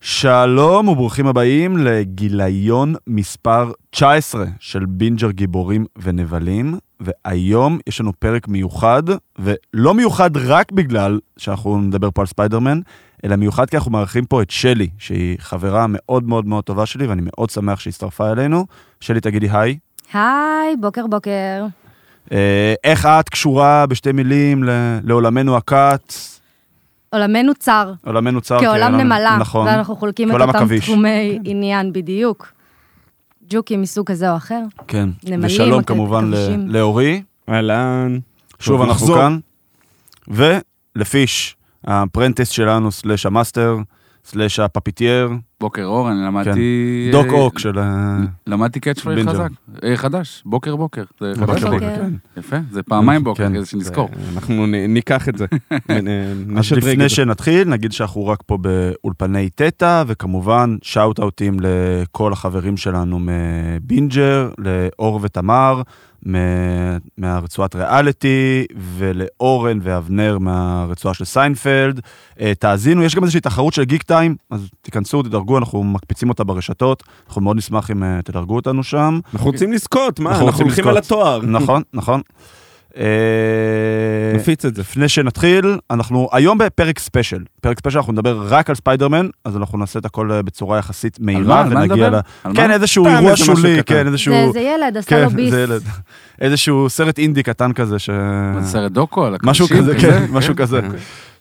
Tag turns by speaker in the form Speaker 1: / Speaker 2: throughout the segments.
Speaker 1: שלום וברוכים הבאים לגיליון מספר 19 של בינג'ר גיבורים ונבלים, והיום יש לנו פרק מיוחד, ולא מיוחד רק בגלל שאנחנו נדבר פה על ספיידרמן, אלא מיוחד כי אנחנו מארחים פה את שלי, שהיא חברה מאוד מאוד מאוד טובה שלי, ואני מאוד שמח שהצטרפה אלינו. שלי, תגידי היי.
Speaker 2: היי, בוקר בוקר.
Speaker 1: אה, איך את קשורה בשתי מילים ל- לעולמנו הקאט?
Speaker 2: עולמנו צר,
Speaker 1: עולמנו צר.
Speaker 2: כעולם נמלה,
Speaker 1: אוקיי, נכון.
Speaker 2: ואנחנו חולקים את
Speaker 1: כעולם
Speaker 2: אותם
Speaker 1: עכביש.
Speaker 2: תחומי עניין בדיוק. ג'וקים מסוג כזה או אחר.
Speaker 1: כן.
Speaker 2: נמלים,
Speaker 1: ושלום
Speaker 2: עקב-
Speaker 1: כמובן ל-
Speaker 2: כבישים.
Speaker 1: לאורי.
Speaker 3: אהלן.
Speaker 1: שוב
Speaker 3: טוב,
Speaker 1: אנחנו
Speaker 3: נחזור.
Speaker 1: כאן. ולפיש, הפרנטס שלנו, סלאש המאסטר, סלאש הפפיטייר,
Speaker 4: בוקר אור, אני למדתי...
Speaker 1: כן. דוק
Speaker 4: אה,
Speaker 1: אוק של ה...
Speaker 4: למדתי קאץ' פרייז
Speaker 1: בינג'ר.
Speaker 4: חזק. אה, חדש, בוקר בוקר. זה חדש
Speaker 2: בוקר.
Speaker 4: לי.
Speaker 1: כן.
Speaker 4: יפה, זה פעמיים בוקר,
Speaker 1: כן.
Speaker 4: כדי שנזכור.
Speaker 3: אה, אנחנו נ- ניקח את זה. נ- נ-
Speaker 1: אז
Speaker 3: נשדרג
Speaker 1: לפני
Speaker 3: את זה.
Speaker 1: שנתחיל, נגיד שאנחנו רק פה באולפני תטא, וכמובן שאוט אאוטים לכל החברים שלנו מבינג'ר, לאור ותמר, מ- מהרצועת ריאליטי, ולאורן ואבנר מהרצועה של סיינפלד. אה, תאזינו, יש גם איזושהי תחרות של גיק טיים, אז תיכנסו, תדרגו, אנחנו מקפיצים אותה ברשתות, אנחנו מאוד נשמח אם אה, תדרגו אותנו שם.
Speaker 3: אנחנו רוצים לזכות, מה?
Speaker 1: אנחנו
Speaker 3: אנחנו
Speaker 1: רוצים
Speaker 3: הולכים
Speaker 1: לזכות.
Speaker 3: על התואר.
Speaker 1: נכון, נכון. אה,
Speaker 3: נפיץ את זה.
Speaker 1: לפני שנתחיל, אנחנו היום בפרק ספיישל. פרק ספיישל, אנחנו נדבר רק על ספיידרמן, אז אנחנו נעשה את הכל אה, בצורה יחסית מהירה,
Speaker 4: על מה
Speaker 1: ונגיע
Speaker 4: נדבר?
Speaker 1: ל...
Speaker 4: על
Speaker 1: כן,
Speaker 4: מה?
Speaker 1: איזשהו
Speaker 3: סתם
Speaker 1: אירוע
Speaker 3: איזה משהו
Speaker 1: שולי,
Speaker 3: קטן.
Speaker 1: כן, איזשהו...
Speaker 2: זה זה ילד, עשה
Speaker 1: כן,
Speaker 2: לו ביס.
Speaker 1: זה ילד. איזשהו סרט אינדי קטן כזה, ש...
Speaker 4: מה, זה סרט דוקו על
Speaker 1: אה, משהו
Speaker 4: הקרשים,
Speaker 1: כזה, כן, משהו כזה.
Speaker 3: אוקיי.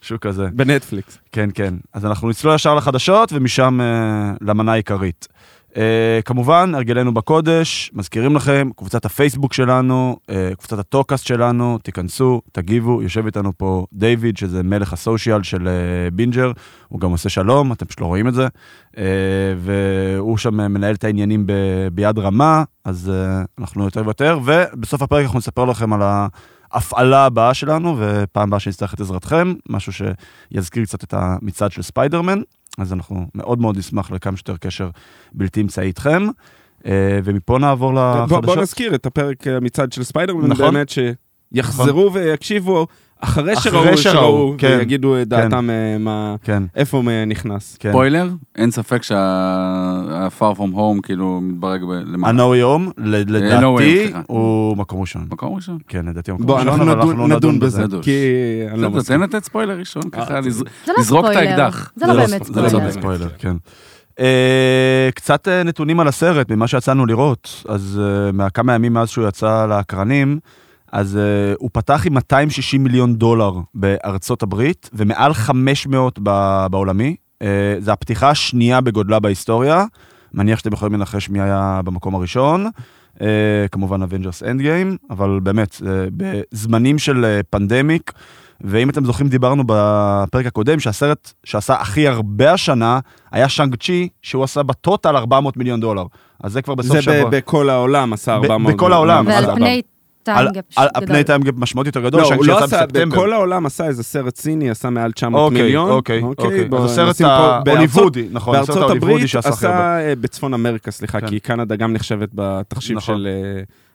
Speaker 1: משהו כזה.
Speaker 3: בנטפליקס.
Speaker 1: כן, כן. אז אנחנו נצלול ישר לחדשות, ומשם אה, למנה העיקרית. אה, כמובן, הרגלנו בקודש, מזכירים לכם, קבוצת הפייסבוק שלנו, אה, קבוצת הטוקאסט שלנו, תיכנסו, תגיבו, יושב איתנו פה דיוויד, שזה מלך הסושיאל של אה, בינג'ר, הוא גם עושה שלום, אתם פשוט לא רואים את זה, אה, והוא שם אה, מנהל את העניינים ב, ביד רמה, אז אה, אנחנו יותר ויותר, ובסוף הפרק אנחנו נספר לכם על ההפעלה הבאה שלנו, ופעם הבאה שנצטרך את עזרתכם, משהו ש... יזכיר קצת את המצעד של ספיידרמן, אז אנחנו מאוד מאוד נשמח לכמה שיותר קשר בלתי אמצעי איתכם. אה, ומפה נעבור
Speaker 3: בוא-
Speaker 1: לחדשות.
Speaker 3: בוא נזכיר את הפרק אה, מצד של ספיידרמן,
Speaker 1: נכון.
Speaker 3: באמת שיחזרו ויקשיבו אחרי
Speaker 1: אחרי
Speaker 3: שראו,
Speaker 1: שראו,
Speaker 3: שראו,
Speaker 1: כן.
Speaker 3: ויגידו את דעתם אה, מה-
Speaker 1: כן,
Speaker 3: איפה אה, נכנס.
Speaker 1: כן.
Speaker 4: ספוילר, אין ספק שה-far from home כאילו מתברג ב- למעלה.
Speaker 1: הנאו יום,
Speaker 4: No Way,
Speaker 1: לדעתי,
Speaker 4: סליחה.
Speaker 1: הוא מקום ראשון.
Speaker 4: מקום ראשון.
Speaker 1: כן, לדעתי הוא מקום
Speaker 3: בוא,
Speaker 1: ראשון,
Speaker 3: אנחנו
Speaker 1: אבל
Speaker 3: נדון-
Speaker 1: אנחנו לא
Speaker 3: נדון בזה,
Speaker 4: נדוש.
Speaker 3: כי אני לא
Speaker 4: בסדר,
Speaker 3: מסכים.
Speaker 4: תן לתת ספוילר ראשון, ככה לז-
Speaker 2: אה, זה לא
Speaker 4: לזרוק את
Speaker 2: ספוילר.
Speaker 4: האקדח.
Speaker 2: זה לא
Speaker 1: לא
Speaker 2: באמת
Speaker 1: ספ- זה לא
Speaker 2: ספוילר.
Speaker 1: באמת ספוילר, כן. אה, קצת אה, נתונים על הסרט, ממה שיצאנו לראות, אז אה, מהכמה ימים מאז שהוא יצא לאקרנים, אז אה, הוא פתח עם 260 מיליון דולר בארצות הברית, ומעל 500 ב- בעולמי. אה, זו הפתיחה השנייה בגודלה בהיסטוריה. מניח שאתם יכולים לנחש מי היה במקום הראשון. אה, כמובן אבנג'רס אנד גיים, אבל באמת, אה, בזמנים של אה, פנדמיק, ואם אתם זוכרים, דיברנו בפרק הקודם שהסרט שעשה הכי הרבה השנה היה שאנג צ'י, שהוא עשה בטוטל 400 מיליון דולר. אז זה כבר בסוף
Speaker 3: זה
Speaker 1: שבוע.
Speaker 3: ב- בכל העולם עשה
Speaker 1: ב-
Speaker 3: 400.
Speaker 1: בכל העולם,
Speaker 2: ועל
Speaker 1: סבבה.
Speaker 2: פני
Speaker 1: אה, על-
Speaker 2: טיימגפ
Speaker 1: על
Speaker 2: גדול.
Speaker 1: הפני טיימגאפ משמעותית יותר גדול,
Speaker 3: לא,
Speaker 1: שאנג
Speaker 3: הוא
Speaker 1: צ'י
Speaker 3: לא
Speaker 1: יצא
Speaker 3: עשה,
Speaker 1: בספטמבר.
Speaker 3: בכל העולם עשה איזה סרט סיני, עשה מעל 900
Speaker 1: אוקיי,
Speaker 3: מיליון.
Speaker 1: אוקיי, אוקיי.
Speaker 3: בוא
Speaker 1: אז הסרט
Speaker 3: נשים פה- בארצות-
Speaker 1: ההוליוודי, נכון, הסרט
Speaker 3: בארצות
Speaker 1: ההוליוודי
Speaker 3: הברית
Speaker 1: שעשה הכי הרבה.
Speaker 3: עשה אה, בצפון אמריקה, סליחה,
Speaker 1: כן.
Speaker 3: כי קנדה גם נחשבת בתחשיב
Speaker 1: נכון.
Speaker 3: של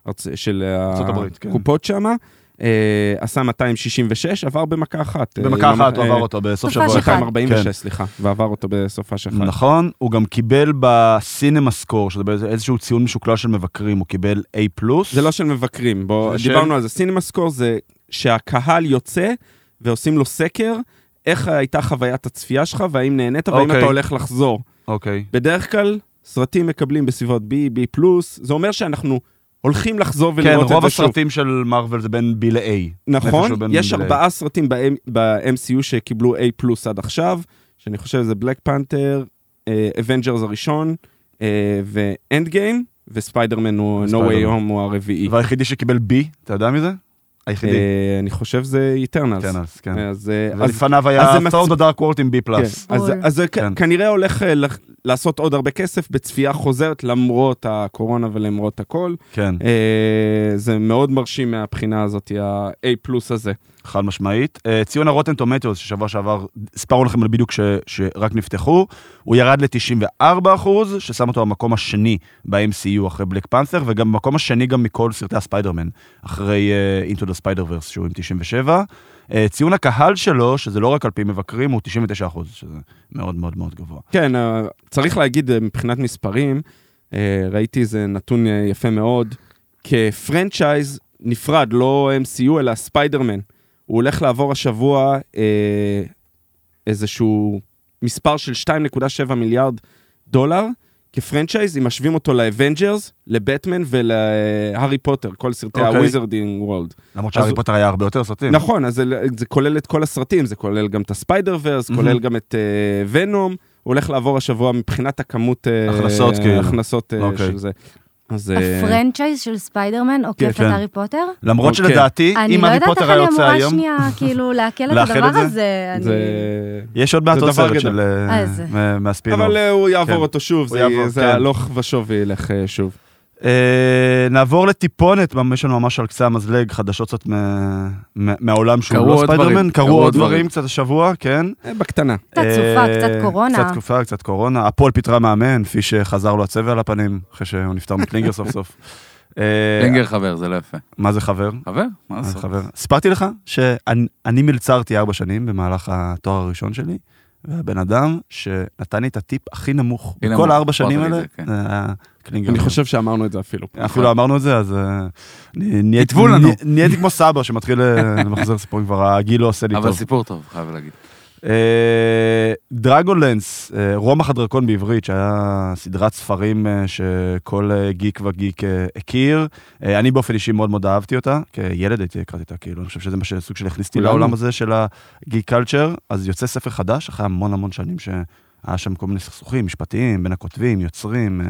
Speaker 3: אה, ארצ- של ה-
Speaker 1: ארצות הברית, כן.
Speaker 3: הקופות שמה. אה, עשה 266, עבר במכה אחת. אה,
Speaker 1: במכה
Speaker 3: עם-
Speaker 1: אחת הוא
Speaker 3: אה,
Speaker 1: עבר אותו בסוף
Speaker 2: תופעה
Speaker 1: שבוע
Speaker 2: שלך.
Speaker 1: אחד.
Speaker 3: 246, סליחה, ועבר אותו בסופה שלך.
Speaker 1: נכון, הוא גם קיבל בסינמה סקור, שזה באיזה- איזשהו ציון משוקלל של מבקרים, הוא קיבל A פלוס.
Speaker 3: זה לא של מבקרים, בוא,
Speaker 1: זה של-
Speaker 3: דיברנו על זה. סינמה סקור זה שהקהל יוצא ועושים לו סקר, איך הייתה חוויית הצפייה שלך, והאם נהנית, והאם
Speaker 1: אוקיי.
Speaker 3: אתה הולך לחזור.
Speaker 1: אוקיי.
Speaker 3: בדרך כלל, סרטים מקבלים בסביבות B, B פלוס, זה אומר שאנחנו הולכים לחזור
Speaker 1: כן,
Speaker 3: ולראות את
Speaker 1: רוב
Speaker 3: זה שוב.
Speaker 1: הסרטים של מארוול זה בין B ל-A.
Speaker 3: נכון,
Speaker 1: איפשהו בין
Speaker 3: יש
Speaker 1: B ל-
Speaker 3: ארבעה סרטים ב-M- ב-MCU שקיבלו A פלוס עד עכשיו, שאני חושב זה בלק פנתר, אבנג'רס אה, הראשון, ואנד גיים, וספיידרמן הוא No
Speaker 1: ספיידרמן.
Speaker 3: way home הוא הרביעי.
Speaker 1: והיחידי שקיבל B, אתה יודע מי זה? היחידי.
Speaker 3: אה, אני חושב זה איטרנלס.
Speaker 1: טנאס, כן.
Speaker 3: אז אה, אז-
Speaker 1: ולפניו
Speaker 3: אז
Speaker 1: היה
Speaker 3: זה מצ-
Speaker 1: תור דארק וורט עם B
Speaker 3: כן,
Speaker 1: פלאס.
Speaker 3: אז-
Speaker 2: בול.
Speaker 3: אז זה
Speaker 1: כן.
Speaker 3: כ- כנראה הולך אה, לח- לעשות עוד הרבה כסף בצפייה חוזרת למרות הקורונה ולמרות הכל.
Speaker 1: כן,
Speaker 3: אה, זה מאוד מרשים מהבחינה הזאת, ה-A פלוס הזה.
Speaker 1: חד משמעית. אה, ציון הרוטן טומטוס, ששבוע שעבר הספרנו לכם על בדיוק ש- שרק נפתחו, הוא ירד ל-94 אחוז, ששם אותו במקום השני ב-MCU אחרי בלק פנת'ר, וגם במקום השני גם מכל סרטי הספיידרמן, אחרי אה, Into the Spider-Verse, שהוא עם 97. אה, ציון הקהל שלו, שזה לא רק על פי מבקרים, הוא 99 אחוז, שזה מאוד מאוד מאוד גבוה.
Speaker 3: כן, אה, צריך להגיד אה, מבחינת מספרים, אה, ראיתי איזה נתון אה, יפה מאוד, כפרנצ'ייז נפרד, לא MCU אלא ספיידרמן. הוא הולך לעבור השבוע אה, איזשהו מספר של 2.7 מיליארד דולר כפרנצ'ייז, אם משווים אותו לאבנג'רס, לבטמן ולהארי פוטר, אה, כל סרטי
Speaker 1: אוקיי.
Speaker 3: הוויזרדינג וולד.
Speaker 1: למרות
Speaker 3: אז
Speaker 1: שהארי
Speaker 3: הוא-
Speaker 1: פוטר היה הרבה יותר סרטים.
Speaker 3: נכון, אז זה, זה כולל את כל הסרטים, זה כולל גם את הספיידר ורס, mm-hmm.
Speaker 1: מהמם.
Speaker 3: כולל גם את אה, ונום, הוא הולך לעבור השבוע מבחינת הכמות... אה,
Speaker 1: הכנסות, כאילו.
Speaker 3: הכנסות אה,
Speaker 1: אוקיי.
Speaker 3: של זה. אז... אה,
Speaker 2: הפרנצ'ייז של ספיידרמן עוקף את
Speaker 1: כן.
Speaker 2: הארי פוטר?
Speaker 1: למרות
Speaker 3: אוקיי.
Speaker 1: שלדעתי,
Speaker 2: אני
Speaker 1: אם
Speaker 2: לא
Speaker 1: הארי
Speaker 2: יודעת איך
Speaker 1: פוטר היה
Speaker 2: אני
Speaker 1: יוצא
Speaker 2: אמורה
Speaker 1: היום,
Speaker 2: שנייה, כאילו, לעכל את
Speaker 1: לאחל את
Speaker 2: הדבר
Speaker 1: זה?
Speaker 2: הזה.
Speaker 3: זה...
Speaker 2: אני-
Speaker 1: יש עוד מעט
Speaker 3: זה
Speaker 1: עוד
Speaker 3: דבר
Speaker 1: סרט
Speaker 3: גדול.
Speaker 1: של...
Speaker 2: אה,
Speaker 1: אה,
Speaker 2: זה.
Speaker 1: מה- מהספין-אוף.
Speaker 3: אבל אה, הוא יעבור
Speaker 1: כן.
Speaker 3: אותו שוב,
Speaker 1: הוא
Speaker 3: זה-
Speaker 1: יעבור,
Speaker 3: זה
Speaker 1: כן.
Speaker 3: הלוך ושוב ילך אה, שוב.
Speaker 1: אה, נעבור לטיפונת, ממש- יש לנו ממש על קצה המזלג חדשות קצת מה- מה- מהעולם שהוא
Speaker 4: קרו
Speaker 1: לא
Speaker 4: עוד
Speaker 1: ספיידרמן,
Speaker 4: דברים.
Speaker 1: קרו
Speaker 4: קרו
Speaker 1: עוד
Speaker 4: עוד
Speaker 1: דברים
Speaker 4: דברים.
Speaker 1: קצת השבוע, כן.
Speaker 3: אה, בקטנה.
Speaker 2: קצת סופה,
Speaker 1: אה,
Speaker 2: קצת קורונה.
Speaker 1: קצת תקופה, קצת קורונה. הפועל פיטרה מאמן, כפי שחזר לו הצבע על הפנים, אחרי שהוא נפטר מקלינגר סוף סוף. אה,
Speaker 4: לינגר חבר, זה לא יפה.
Speaker 1: מה זה חבר?
Speaker 4: חבר? מה
Speaker 1: מה זה
Speaker 4: לעשות?
Speaker 1: חבר? סיפרתי לך שאני אני מלצרתי ארבע שנים במהלך התואר הראשון שלי, והבן אדם שנתן לי את הטיפ הכי נמוך,
Speaker 4: הכי
Speaker 1: כל
Speaker 4: נמוך,
Speaker 1: הארבע שנים
Speaker 4: אמרת
Speaker 1: האלה,
Speaker 4: לי את זה, כן.
Speaker 1: זה היה קלינגר.
Speaker 3: אני חושב שאמרנו את זה אפילו.
Speaker 1: אפילו אמרנו את זה, אז אה, נהי- נהייתי-
Speaker 4: כתבו לנו.
Speaker 1: נהי- נהייתי כמו סבא שמתחיל אה, למחזר סיפורים, כבר הגיל לא עושה לי
Speaker 4: אבל
Speaker 1: טוב.
Speaker 4: סיפור טוב, חייב להגיד.
Speaker 1: אה, דרגונלנס, אה, רומח הדרקון בעברית, שהיה סדרת ספרים אה, שכל אה, גיק וגיק אה, הכיר. אה, אני באופן אישי מאוד מאוד אהבתי אותה, כילד הייתי הקראתי אותה, כאילו, אני חושב שזה מה שסוג של הכניס אותי
Speaker 3: כולנו.
Speaker 1: לעולם הזה של הגיק קלצ'ר. אז יוצא ספר חדש, אחרי המון המון שנים שהיה שם כל מיני סכסוכים משפטיים, בין הכותבים, יוצרים, אה,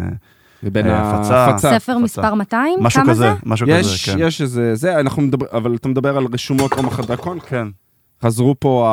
Speaker 3: ובין
Speaker 1: אה, הפצה.
Speaker 3: ההפצה.
Speaker 2: ספר מספר 200?
Speaker 1: משהו
Speaker 2: כמה
Speaker 1: כזה,
Speaker 2: זה?
Speaker 1: משהו כזה,
Speaker 3: יש,
Speaker 1: כן.
Speaker 3: יש איזה, זה, אנחנו מדברים, אבל אתה מדבר על רשומות רום החדרקון?
Speaker 1: כן,
Speaker 3: חזרו פה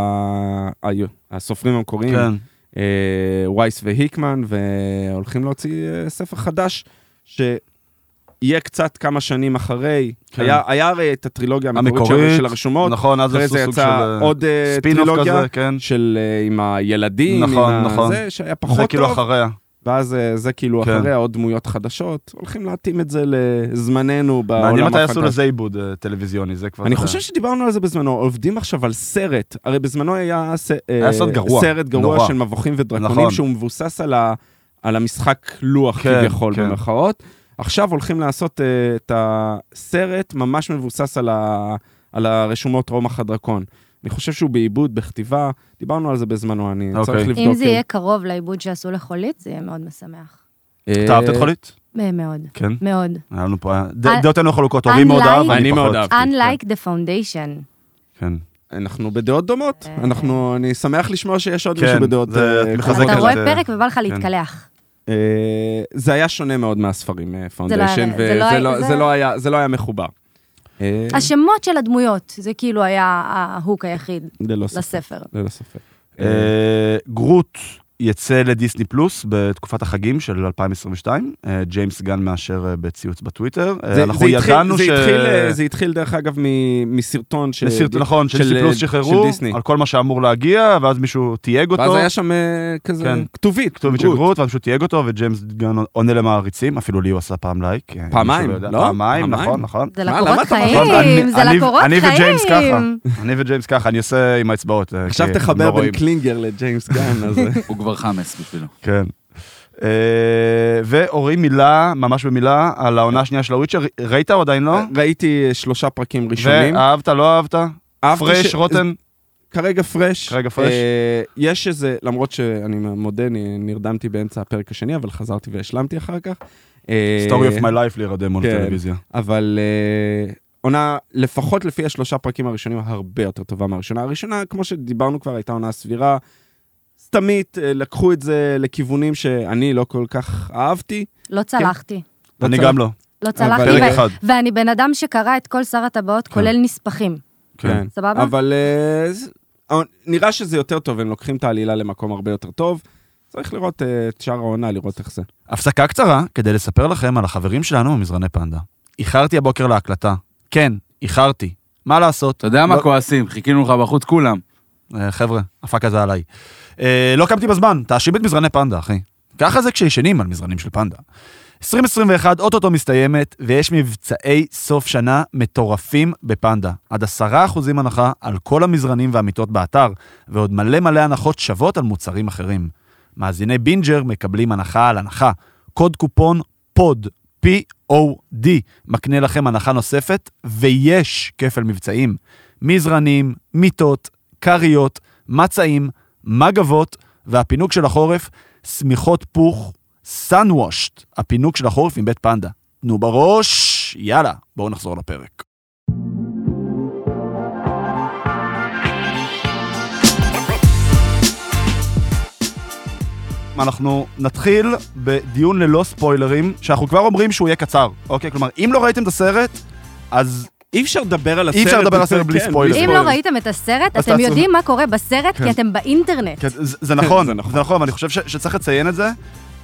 Speaker 3: ה- ה- הסופרים המקוריים,
Speaker 1: כן.
Speaker 3: אה, וייס והיקמן, והולכים להוציא אה, ספר חדש, שיהיה קצת כמה שנים אחרי.
Speaker 1: כן.
Speaker 3: היה, היה הרי את הטרילוגיה המקורית
Speaker 1: המקורית,
Speaker 3: של, של הרשומות,
Speaker 1: נכון, אז
Speaker 3: אחרי
Speaker 1: עשו
Speaker 3: זה
Speaker 1: סוג של
Speaker 3: יצא
Speaker 1: אה,
Speaker 3: עוד אה,
Speaker 1: ספין-אוף
Speaker 3: טרילוגיה
Speaker 1: כזה, כן.
Speaker 3: של אה, עם הילדים,
Speaker 1: נכון,
Speaker 3: עם
Speaker 1: נכון.
Speaker 3: זה שהיה
Speaker 1: זה
Speaker 3: פחות
Speaker 1: כאילו
Speaker 3: טוב,
Speaker 1: אחריה.
Speaker 3: ואז אה, זה כאילו
Speaker 1: כן.
Speaker 3: אחריה עוד דמויות חדשות, הולכים להתאים את זה לזמננו בעולם
Speaker 1: מעניין מתי יעשו
Speaker 3: הפנטזיה.
Speaker 1: לזה עיבוד אה, טלוויזיוני, זה כבר...
Speaker 3: אני
Speaker 1: אתה-
Speaker 3: חושב שדיברנו על זה בזמנו, עובדים עכשיו על סרט, הרי בזמנו היה ס-
Speaker 1: היה סרט
Speaker 3: אה,
Speaker 1: גרוע,
Speaker 3: סרט
Speaker 1: נורא.
Speaker 3: גרוע של מבוכים
Speaker 1: נכון.
Speaker 3: ודרקונים, שהוא מבוסס על ה- על המשחק לוח
Speaker 1: כן,
Speaker 3: כביכול
Speaker 1: כן.
Speaker 3: במרכאות. עכשיו הולכים לעשות אה, את הסרט ממש מבוסס על ה- על הרשומות רומח הדרקון. אני חושב שהוא בעיבוד, בכתיבה, דיברנו על זה בזמנו, אני
Speaker 1: אוקיי.
Speaker 3: צריך
Speaker 1: אם
Speaker 3: לבדוק.
Speaker 2: אם זה יהיה קרוב לעיבוד שעשו לחולית, זה יהיה מאוד משמח.
Speaker 3: אה,
Speaker 1: אתה אהבת את חולית?
Speaker 2: אה, מאוד,
Speaker 1: כן.
Speaker 2: מאוד.
Speaker 1: היה לנו פה... ד-
Speaker 2: אה,
Speaker 1: דעותינו חלוקות, אורי מאוד
Speaker 2: unlike-
Speaker 1: אהב, אני
Speaker 3: אני מאוד
Speaker 1: פחות.
Speaker 3: אהבתי.
Speaker 2: Unlike the foundation.
Speaker 1: כן.
Speaker 3: אה, אנחנו בדעות דומות, אנחנו, אני שמח לשמוע שיש עוד
Speaker 1: כן,
Speaker 3: מישהו בדעות...
Speaker 1: זה
Speaker 3: אה,
Speaker 1: מחזק
Speaker 2: אתה
Speaker 1: את
Speaker 2: רואה
Speaker 1: זה. כן.
Speaker 2: פרק ובא לך להתקלח.
Speaker 3: אה, זה היה שונה מאוד מהספרים, אה, פאונדיישן,
Speaker 2: זה לא היה-
Speaker 3: וזה
Speaker 2: זה לא-
Speaker 3: לא- זה לא היה- זה לא היה מחובר. אה,
Speaker 1: כן.
Speaker 2: השמות של הדמויות, זה כאילו היה ההוק היחיד
Speaker 3: ללא ספק.
Speaker 2: לספר.
Speaker 3: ללא ספק.
Speaker 1: אה, גרוט יצא לדיסני פלוס בתקופת החגים של 2022. אה, ג'יימס גן מאשר אה, בציוץ בטוויטר. אה,
Speaker 3: זה-
Speaker 1: אנחנו
Speaker 3: זה התחיל-
Speaker 1: ידענו
Speaker 3: זה
Speaker 1: ש...
Speaker 3: התחיל, אה, זה התחיל דרך אגב מ- מסרטון ש-
Speaker 1: לסרט- נכון, של
Speaker 3: של,
Speaker 1: דיסני פלוס
Speaker 3: אה,
Speaker 1: שחררו,
Speaker 3: של דיסני.
Speaker 1: על כל מה שאמור להגיע, ואז מישהו תייג אותו.
Speaker 3: ואז היה שם אה, כזה
Speaker 1: כן.
Speaker 3: כתובית,
Speaker 1: כתובת של
Speaker 3: גרוט.
Speaker 1: גרוט, ואז פשוט תייג אותו, וג'יימס גן עונה למעריצים, אפילו לי הוא עשה פעם לייק. אה,
Speaker 3: פעמיים,
Speaker 1: מישהו יודע.
Speaker 3: לא?
Speaker 1: פעמיים,
Speaker 3: פעמיים.
Speaker 1: נכון, נכון.
Speaker 2: זה
Speaker 3: מה,
Speaker 2: לקורות
Speaker 3: למה אתה
Speaker 1: נכון,
Speaker 2: חיים,
Speaker 1: אני-
Speaker 2: זה
Speaker 1: אני-
Speaker 2: לקורות
Speaker 1: אני
Speaker 2: חיים.
Speaker 1: וג'יימס ככה, אני וג'יימס ככה, אני עושה עם האצבעות. אה,
Speaker 3: עכשיו
Speaker 1: כי הם לא
Speaker 3: תחבר בין
Speaker 1: רואים.
Speaker 3: קלינגר לג'יימס גן, אז... אה,
Speaker 4: הוא כבר חמאס בשבילו.
Speaker 1: כן. אה, ואורי מילה, ממש במילה, על העונה השנייה של הוויצ'ר, ראית או עדיין לא?
Speaker 3: ראיתי אה, שלושה פרקים ראשונים.
Speaker 1: ואהבת, לא אהבת?
Speaker 3: אהבתי
Speaker 1: פרש,
Speaker 3: ש-
Speaker 1: רוטן?
Speaker 3: כרגע פרש.
Speaker 1: כרגע פרש.
Speaker 3: אה, יש איזה, למרות שאני מודה, אני נרדמתי באמצע הפרק השני, אבל חזרתי והשלמתי אחר כך. אה,
Speaker 1: Story of my life להירדם מול
Speaker 3: כן.
Speaker 1: הטלוויזיה.
Speaker 3: אבל אה, עונה, לפחות לפי השלושה פרקים הראשונים, הרבה יותר טובה מהראשונה. הראשונה, כמו שדיברנו כבר, הייתה עונה סבירה. סתמית, אה, לקחו את זה לכיוונים שאני לא כל כך אהבתי.
Speaker 2: לא צלחתי.
Speaker 1: אני
Speaker 3: לא
Speaker 1: גם לא.
Speaker 2: לא צלחתי,
Speaker 1: כן. פרק
Speaker 2: ו-
Speaker 1: אחד.
Speaker 2: ואני בן אדם שקרא את כל שר הטבעות, כולל נספחים.
Speaker 1: כן.
Speaker 2: סבבה?
Speaker 3: אבל אה, זה- אה, נראה שזה יותר טוב, הם לוקחים את העלילה למקום הרבה יותר טוב. צריך לראות אה, את שאר העונה, לראות איך זה.
Speaker 1: הפסקה קצרה כדי לספר לכם על החברים שלנו במזרני פנדה. איחרתי הבוקר להקלטה. כן, איחרתי. מה לעשות?
Speaker 4: אתה יודע
Speaker 1: לא-
Speaker 4: מה כועסים? חיכינו לך בחוץ כולם.
Speaker 1: אה, חבר'ה, הפאק הזה עליי. אה, לא קמתי בזמן, תאשים את מזרני פנדה, אחי. ככה זה כשישנים על מזרנים של פנדה. 2021 אוטוטו מסתיימת, ויש מבצעי סוף שנה מטורפים בפנדה. עד 10% הנחה על כל המזרנים והמיטות באתר, ועוד מלא מלא הנחות שוות על מוצרים אחרים. מאזיני בינג'ר מקבלים הנחה על הנחה. קוד קופון פוד, P-O-D, מקנה לכם הנחה נוספת, ויש כפל מבצעים. מזרנים, מיטות, כריות, מצעים, מגבות, והפינוק של החורף, שמיכות פוך, sun washed, הפינוק של החורף עם בית פנדה. תנו בראש, יאללה, בואו נחזור לפרק. אנחנו נתחיל בדיון ללא ספוילרים, שאנחנו כבר אומרים שהוא יהיה קצר, אוקיי? כלומר, אם לא ראיתם את הסרט, אז
Speaker 3: אי אפשר לדבר על הסרט.
Speaker 1: אי אפשר לדבר על הסרט
Speaker 3: כן,
Speaker 1: בלי ספוילר.
Speaker 2: אם לא ראיתם את הסרט,
Speaker 1: אז
Speaker 2: אתם
Speaker 1: תעצרו.
Speaker 2: יודעים מה קורה בסרט,
Speaker 1: כן.
Speaker 2: כי אתם באינטרנט.
Speaker 1: כן, זה זה נכון,
Speaker 3: זה
Speaker 1: זה
Speaker 3: נכון.
Speaker 1: נכון, ואני חושב ש- שצריך לציין את זה,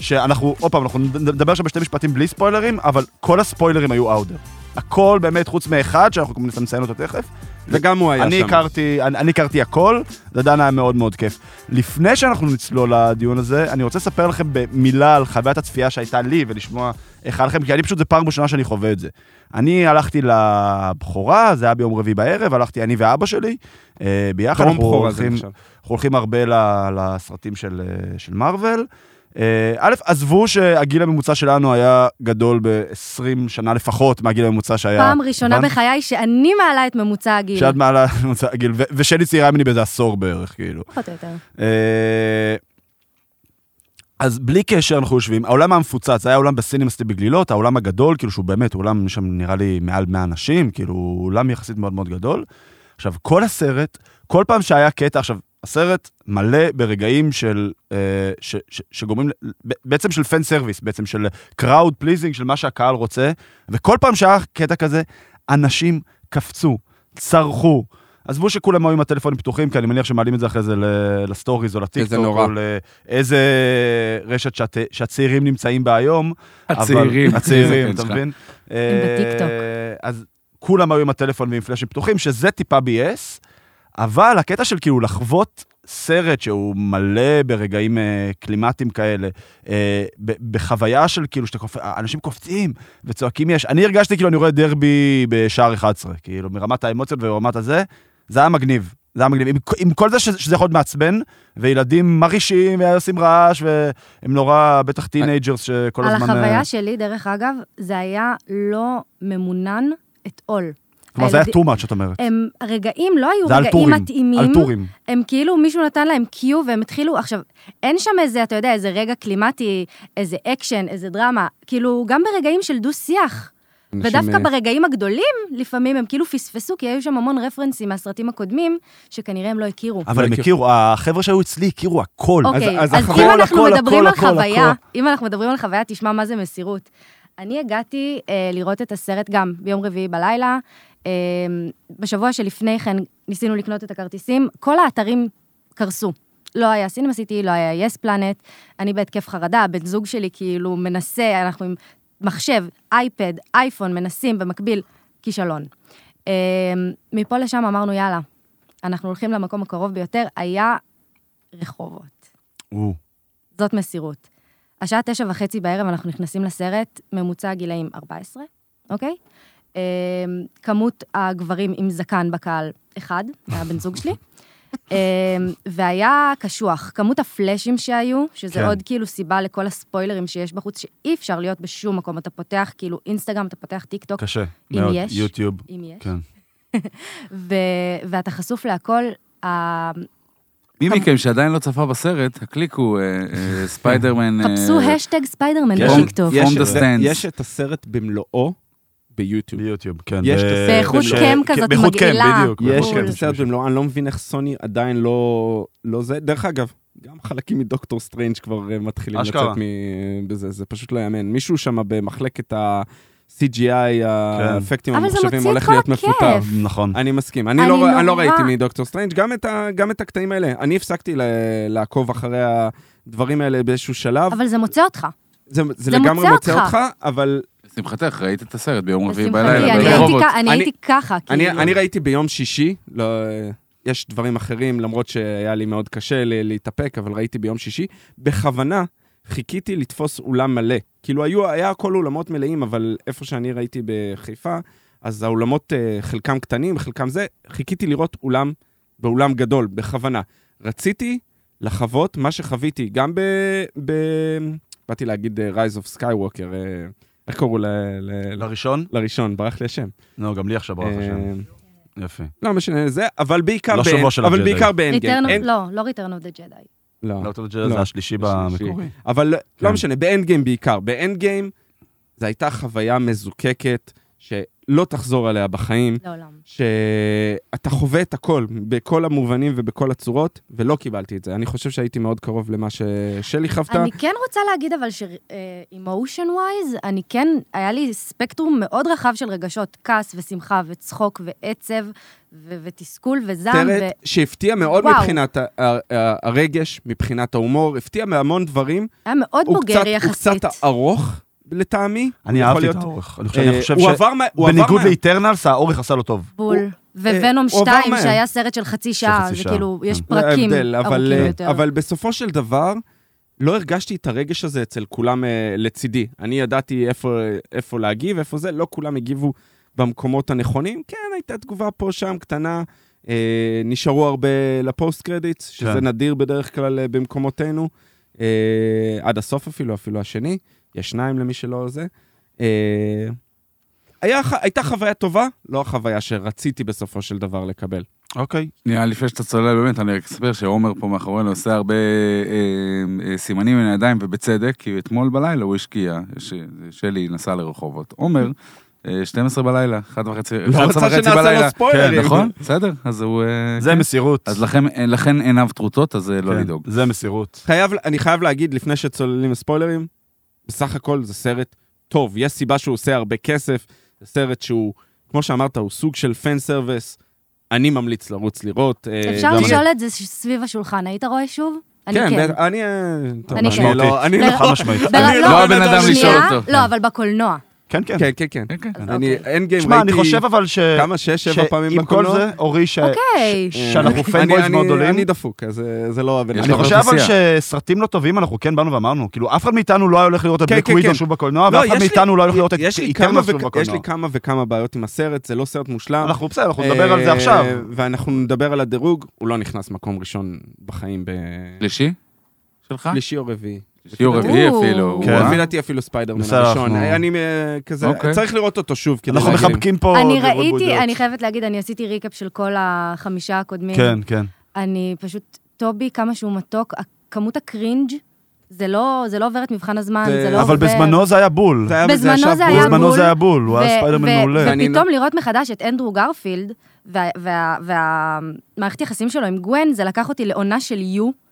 Speaker 1: שאנחנו, עוד פעם, אנחנו נד- נדבר עכשיו בשתי משפטים בלי ספוילרים, אבל כל הספוילרים היו אאודר. הכל באמת, חוץ מאחד, שאנחנו גם ננסה לציין אותו תכף.
Speaker 3: וגם הוא היה שם.
Speaker 1: אני הכרתי, אני, אני הכרתי הכל, לדן היה מאוד מאוד כיף. לפני שאנחנו נצלול לדיון הזה, אני רוצה לספר לכם במילה על חוויית הצפייה שהייתה לי ולשמוע איך היה לכם, כי אני פשוט, זו פעם ראשונה שאני חווה את זה. אני הלכתי לבכורה, זה היה ביום רביעי בערב, הלכתי אני ואבא שלי אה, ביחד.
Speaker 3: טרום
Speaker 1: אנחנו
Speaker 3: בכורה זה
Speaker 1: הולכים-
Speaker 3: נחשב.
Speaker 1: אנחנו הולכים הרבה ל- לסרטים של, אה, של מארוול. אה, א', עזבו שהגיל הממוצע שלנו היה גדול ב-20 שנה לפחות מהגיל הממוצע שהיה.
Speaker 2: פעם ראשונה
Speaker 1: הבנת?
Speaker 2: בחיי שאני מעלה את ממוצע הגיל.
Speaker 1: כן, שאת מעלה ממוצע הגיל, ו- ושלי צעירה ממני באיזה עשור בערך, כאילו.
Speaker 2: פחות או יותר.
Speaker 1: אה, אז בלי קשר אנחנו יושבים, העולם המפוצץ, היה עולם בסינימסטי בגלילות, העולם הגדול, כאילו שהוא באמת, עולם שם נראה לי מעל 100 אנשים, כאילו עולם יחסית מאוד מאוד גדול. עכשיו, כל הסרט, כל פעם שהיה קטע, עכשיו, הסרט מלא ברגעים של, אה, ש, ש, שגורמים, ל- ב- בעצם של פן סרוויס, בעצם של קראוד פליזינג, של מה שהקהל רוצה, וכל פעם שהיה קטע כזה, אנשים קפצו, צרחו. עזבו שכולם היו עם הטלפונים פתוחים, כי אני מניח שמעלים את זה אחרי זה ל- לסטוריז או לטיקטוק,
Speaker 3: נורא.
Speaker 1: או לאיזה רשת שאת, שהצעירים נמצאים בה היום. אבל-
Speaker 3: הצעירים.
Speaker 1: הצעירים,
Speaker 4: כן,
Speaker 1: אתה
Speaker 4: שלך.
Speaker 1: מבין?
Speaker 2: בטיקטוק.
Speaker 1: אה, אז כולם היו עם הטלפון ועם פלאשים פתוחים, שזה טיפה ביאס, אבל הקטע של כאילו לחוות סרט שהוא מלא ברגעים אה, קלימטיים כאלה, אה, ב- בחוויה של כאילו, שאתה קופ... אנשים קופצים וצועקים יש. אני הרגשתי כאילו אני רואה דרבי בשער 11, כאילו, מרמת האמוציות ורמת הזה, זה היה מגניב. זה היה מגניב. עם, עם כל זה שזה, שזה יכול להיות מעצבן, וילדים מרעישים ועושים רעש, והם נורא, בטח טינג'רס שכל
Speaker 2: על
Speaker 1: הזמן... אה,
Speaker 2: החוויה שלי, דרך אגב, זה היה לא ממונן את עול.
Speaker 1: כלומר, זה היה
Speaker 2: הילד-
Speaker 1: too much, את אומרת.
Speaker 2: הם, הרגעים לא היו
Speaker 1: זה על
Speaker 2: רגעים
Speaker 1: טורים,
Speaker 2: מתאימים.
Speaker 1: על טורים.
Speaker 2: הם כאילו, מישהו נתן להם קיו והם התחילו, עכשיו, אין שם איזה, אתה יודע, איזה רגע קלימטי, איזה אקשן, איזה דרמה, כאילו, גם ברגעים של דו-שיח.
Speaker 3: אנשים,
Speaker 2: ודווקא
Speaker 3: אה,
Speaker 2: ברגעים הגדולים, לפעמים הם כאילו פספסו, כי היו שם המון רפרנסים מהסרטים הקודמים, שכנראה הם לא הכירו.
Speaker 1: אבל הם
Speaker 3: מכיר.
Speaker 1: הכירו, החבר'ה שהיו אצלי הכירו הכל.
Speaker 2: אוקיי,
Speaker 3: אז-
Speaker 2: אז,
Speaker 3: אז
Speaker 2: אז
Speaker 3: הכל,
Speaker 2: אם אנחנו
Speaker 1: הכל, הכל,
Speaker 2: מדברים על
Speaker 1: הכל,
Speaker 2: חוויה,
Speaker 1: הכל.
Speaker 2: אם אנחנו מדברים על חוויה, תשמע מה זה מסירות. אני הגעתי אה, לראות את הסרט גם ביום רביעי בלילה. אה, בשבוע שלפני כן ניסינו לקנות את הכרטיסים, כל האתרים קרסו. לא היה סינמה סיטי, לא היה יס פלנט, אני בהתקף חרדה, הבן זוג שלי כאילו מנסה, אנחנו עם מחשב, אייפד, אייפון, מנסים במקביל, כישלון. אה, מפה לשם אמרנו, יאללה, אנחנו הולכים למקום הקרוב ביותר, היה רחובות.
Speaker 1: או,
Speaker 2: זאת מסירות. השעה תשע וחצי בערב אנחנו נכנסים לסרט, ממוצע הגילאים 14, אוקיי? אמ, כמות הגברים עם זקן בקהל, אחד, הבן זוג שלי. אמ, והיה קשוח. כמות הפלאשים שהיו, שזה
Speaker 1: כן.
Speaker 2: כן. עוד כאילו סיבה לכל הספוילרים שיש בחוץ, שאי אפשר להיות בשום מקום. אתה פותח כאילו אינסטגרם, אתה פותח טיק טוק,
Speaker 1: קשה.
Speaker 2: אם
Speaker 1: מאוד.
Speaker 2: יש.
Speaker 1: יוטיוב.
Speaker 2: אם יש,
Speaker 1: כן.
Speaker 2: ו- ואתה חשוף להכל.
Speaker 1: אה,
Speaker 2: ה-
Speaker 4: מי מכם שעדיין לא צפה בסרט, הקליקו אה, אה, ספיידרמן. אה,
Speaker 2: חפשו השטג ספיידרמן
Speaker 1: יש-
Speaker 2: בטיקטוק.
Speaker 4: יש- From the
Speaker 3: זה-
Speaker 4: stands.
Speaker 3: יש את הסרט במלואו ביוטיוב.
Speaker 1: ביוטיוב, כן.
Speaker 3: יש
Speaker 1: ב-
Speaker 3: את הסרט.
Speaker 2: באיכות
Speaker 1: ש-
Speaker 2: קם
Speaker 1: כן,
Speaker 2: כזאת
Speaker 1: באיכות קם,
Speaker 2: מגעילה.
Speaker 1: בדיוק. כן,
Speaker 3: יש
Speaker 1: באיכות
Speaker 2: בול.
Speaker 3: את
Speaker 1: קם,
Speaker 3: הסרט במלואו, אני לא מבין איך סוני עדיין לא... לא זה. דרך אגב, גם חלקים מדוקטור סטרנג' כבר אה, מתחילים
Speaker 1: אשכרה.
Speaker 3: לצאת מ- בזה, זה פשוט לא יאמן. מישהו שם במחלקת
Speaker 1: כן.
Speaker 3: ה-CGI, האפקטים
Speaker 2: אבל זה
Speaker 3: המחשבים,
Speaker 2: מוציא את
Speaker 3: הולך
Speaker 2: כל
Speaker 3: להיות
Speaker 2: הכיף.
Speaker 3: מפוטר.
Speaker 1: נכון.
Speaker 3: אני מסכים, אני,
Speaker 2: אני
Speaker 3: לא, רא- אני לא
Speaker 2: נורא-
Speaker 3: ראיתי מדוקטור סטרנג' גם את, ה, גם את הקטעים האלה. אני הפסקתי ל, לעקוב אחרי הדברים האלה באיזשהו שלב.
Speaker 2: אבל זה מוצא אותך.
Speaker 3: זה, זה,
Speaker 2: זה
Speaker 3: לגמרי
Speaker 2: מוצא
Speaker 3: מוצא
Speaker 2: אותך.
Speaker 3: אותך, אבל
Speaker 4: לשמחתך, ראית את הסרט ביום רביעי
Speaker 2: לשמחתי,
Speaker 4: בלילה.
Speaker 2: אני הייתי
Speaker 4: ברחובות.
Speaker 2: כ- אני
Speaker 3: אני-
Speaker 2: הייתי ככה,
Speaker 3: אני,
Speaker 2: כאילו.
Speaker 3: אני ראיתי ביום שישי, לא, יש דברים אחרים, למרות שהיה לי מאוד קשה ל- להתאפק, אבל ראיתי ביום שישי, בכוונה חיכיתי לתפוס אולם מלא. כאילו, היו, היה הכל אולמות מלאים, אבל איפה שאני ראיתי בחיפה, אז האולמות, אה, חלקם קטנים, חלקם זה, חיכיתי לראות אולם באולם גדול, בכוונה. רציתי לחוות מה שחוויתי, גם ב... ב... באתי להגיד אה, Rise of Skywalker, אה, איך קראו ל... ל...
Speaker 1: לראשון?
Speaker 3: לראשון, ברח לי השם.
Speaker 1: לא, גם לי עכשיו ברח השם.
Speaker 3: אה,
Speaker 1: יפה.
Speaker 3: לא משנה זה, אבל בעיקר
Speaker 1: לא
Speaker 3: באנד-
Speaker 1: שבוע של
Speaker 3: אבל
Speaker 1: הג'די.
Speaker 3: בעיקר באנד גיים.
Speaker 2: Return of-
Speaker 3: אין-
Speaker 2: לא, לא Return of the Jedi.
Speaker 3: לא.
Speaker 1: לא, אתה יודע,
Speaker 3: לא.
Speaker 1: זה השלישי במקורי.
Speaker 3: אבל
Speaker 1: כן.
Speaker 3: לא משנה, באנד גיים בעיקר. באנד גיים זו הייתה חוויה מזוקקת שלא תחזור עליה בחיים,
Speaker 2: לעולם.
Speaker 3: שאתה חווה את הכל, בכל המובנים ובכל הצורות, ולא קיבלתי את זה. אני חושב שהייתי מאוד קרוב למה ששלי חוותה.
Speaker 2: אני כן רוצה להגיד אבל ש-emotion wise, אני כן, היה לי ספקטרום מאוד רחב של רגשות, כעס ושמחה וצחוק ועצב ו- ותסכול וזעם.
Speaker 3: סרט
Speaker 2: ו-
Speaker 3: שהפתיע מאוד
Speaker 2: וואו.
Speaker 3: מבחינת ה- ה- ה- הרגש, מבחינת ההומור, הפתיע מהמון דברים.
Speaker 2: היה מאוד
Speaker 3: הוא
Speaker 2: בוגר
Speaker 3: קצת-
Speaker 2: יחסית.
Speaker 3: הוא קצת ארוך לטעמי.
Speaker 1: אני
Speaker 3: יכול
Speaker 1: אהבתי את
Speaker 3: להיות-
Speaker 1: האורך. אני חושב-
Speaker 3: אה,
Speaker 1: אני חושב
Speaker 3: הוא עבר מה- הוא עבר
Speaker 1: שבניגוד
Speaker 3: מה-
Speaker 1: לאיטרנלס, האורך עשה לו טוב.
Speaker 2: בול.
Speaker 3: אה,
Speaker 2: וונום
Speaker 3: הוא עבר
Speaker 2: 2,
Speaker 3: מהר.
Speaker 2: שהיה סרט של חצי שעה,
Speaker 1: חצי
Speaker 2: זה
Speaker 1: שעה,
Speaker 2: כאילו, יש
Speaker 1: כן.
Speaker 2: פרקים
Speaker 3: ההבדל, אבל,
Speaker 2: ארוכים
Speaker 3: אה,
Speaker 2: יותר.
Speaker 3: אבל בסופו של דבר, לא הרגשתי את הרגש הזה אצל כולם אה, לצידי. אני ידעתי איפה, איפה להגיב, איפה זה, לא כולם הגיבו במקומות הנכונים. כן, הייתה תגובה פה, שם, קטנה. אה, נשארו הרבה לפוסט קרדיטס, שזה
Speaker 1: כן.
Speaker 3: נדיר בדרך כלל אה, במקומותינו. אה, עד הסוף אפילו, אפילו השני. יש שניים למי שלא זה. אה, היה, ח- הייתה חוויה טובה, לא החוויה שרציתי בסופו של דבר לקבל.
Speaker 1: אוקיי.
Speaker 4: נראה לי לפני שאתה צולל באמת, אני רק אספר שעומר פה מאחורינו עושה הרבה אה, אה, סימנים עם הידיים, ובצדק, כי אתמול בלילה הוא השקיע, ש- שלי נסע לרחובות. עומר, אה, 12 בלילה, 1 וחצי, 11
Speaker 3: רצה
Speaker 4: וחצי
Speaker 3: לא שנעשה לו
Speaker 4: בלילה.
Speaker 3: ספוילרים.
Speaker 4: כן, נכון, בסדר, אז הוא... אה,
Speaker 1: זה
Speaker 4: כן.
Speaker 1: מסירות.
Speaker 4: אז לכם- אה, לכן עיניו טרוטות, אז אה, לא
Speaker 1: כן,
Speaker 4: לדאוג.
Speaker 1: זה מסירות.
Speaker 3: חייב, אני חייב להגיד, לפני שצוללים לספוילרים, בסך הכל זה סרט טוב. יש סיבה שהוא עושה הרבה כסף, זה סרט שהוא, כמו שאמרת, הוא סוג של פן סרוויס. אני ממליץ לרוץ לראות. אה,
Speaker 2: אפשר
Speaker 3: גם אני.
Speaker 2: לשאול את זה ש- סביב השולחן, היית רואה שוב? אני
Speaker 3: כן,
Speaker 2: כן.
Speaker 3: בטח, אני... אה, טוב,
Speaker 2: אני כן.
Speaker 3: לא- אני
Speaker 2: בר-
Speaker 3: לא...
Speaker 1: חד משמעית.
Speaker 2: בר-
Speaker 3: אני
Speaker 4: לא הבן אדם
Speaker 2: שנייה,
Speaker 4: לשאול אותו.
Speaker 2: לא, אבל בקולנוע.
Speaker 1: כן, כן.
Speaker 3: כן, כן, כן.
Speaker 4: כן, כן.
Speaker 2: אז
Speaker 3: אני,
Speaker 2: אוקיי.
Speaker 3: אין גיים,
Speaker 1: שמע, אני
Speaker 3: ראיתי
Speaker 1: חושב אבל ש...
Speaker 3: כמה, שש, שבע
Speaker 1: ש-
Speaker 3: פעמים
Speaker 1: עם כל
Speaker 3: בקולנוע.
Speaker 1: זה, אורי, ש-
Speaker 2: אוקיי.
Speaker 1: ש- שאנחנו
Speaker 3: אני-
Speaker 1: פנבויז
Speaker 3: אני-
Speaker 1: מאוד גדולים.
Speaker 3: אני דפוק, אז אה, זה לא הבן
Speaker 4: יש
Speaker 1: אני
Speaker 4: לו
Speaker 3: אדם.
Speaker 1: חושב אבל
Speaker 4: אוכלוסייה.
Speaker 1: שסרטים לא טובים, אנחנו כן באנו ואמרנו, כאילו, אף אחד מאיתנו לא היה הולך לראות את
Speaker 3: כן,
Speaker 1: בלק
Speaker 3: כן,
Speaker 1: ווידו
Speaker 3: כן.
Speaker 1: שוב בקולנוע,
Speaker 3: לא,
Speaker 1: ואף אחד
Speaker 3: יש לי-
Speaker 1: מאיתנו לא היה הולך לראות את
Speaker 3: יש לי כמה
Speaker 1: איטרנלס שוב
Speaker 3: וכ- יש
Speaker 1: בקולנוע.
Speaker 3: לי כמה וכמה בעיות עם הסרט, זה לא סרט מושלם.
Speaker 1: אנחנו בסדר, אנחנו נדבר על זה
Speaker 3: אה,
Speaker 1: עכשיו.
Speaker 3: ואנחנו נדבר על הדירוג, הוא לא נכנס מקום ראשון בחיים ב...
Speaker 4: שלישי? שלך?
Speaker 3: שלישי או רביעי.
Speaker 4: שיעור רביעי
Speaker 2: או.
Speaker 4: אפילו.
Speaker 1: כן.
Speaker 4: וואו.
Speaker 3: לפי דעתי אפילו ספיידרמן
Speaker 1: בסדר,
Speaker 3: הראשון.
Speaker 1: אנחנו-
Speaker 3: אני אה, כזה,
Speaker 4: אוקיי.
Speaker 3: צריך לראות אותו שוב. כדי
Speaker 1: אנחנו
Speaker 3: להגיד אם-
Speaker 1: מחבקים פה...
Speaker 2: אני
Speaker 1: דעות
Speaker 2: ראיתי,
Speaker 1: בודדות.
Speaker 2: אני חייבת להגיד, אני עשיתי ריקאפ של כל החמישה הקודמים.
Speaker 1: כן, כן.
Speaker 2: אני פשוט, טובי, כמה שהוא מתוק, כמות הקרינג', זה לא זה לא עובר את מבחן הזמן,
Speaker 3: זה-
Speaker 2: זה לא עובר.
Speaker 1: אבל בזמנו זה היה בול.
Speaker 3: היה- וזה
Speaker 2: בזמנו
Speaker 3: ישב
Speaker 2: זה
Speaker 3: בול.
Speaker 2: היה
Speaker 1: בזמנו
Speaker 2: בול.
Speaker 1: זה היה בול, הוא היה
Speaker 2: ו-
Speaker 1: ספיידרמן
Speaker 2: ו-
Speaker 1: מעולה.
Speaker 2: ופתאום לראות מחדש את אנדרו גרפילד, והמערכת וה, וה, מערכת יחסים שלו עם גוון, זה לקח אותי לעונה של יו.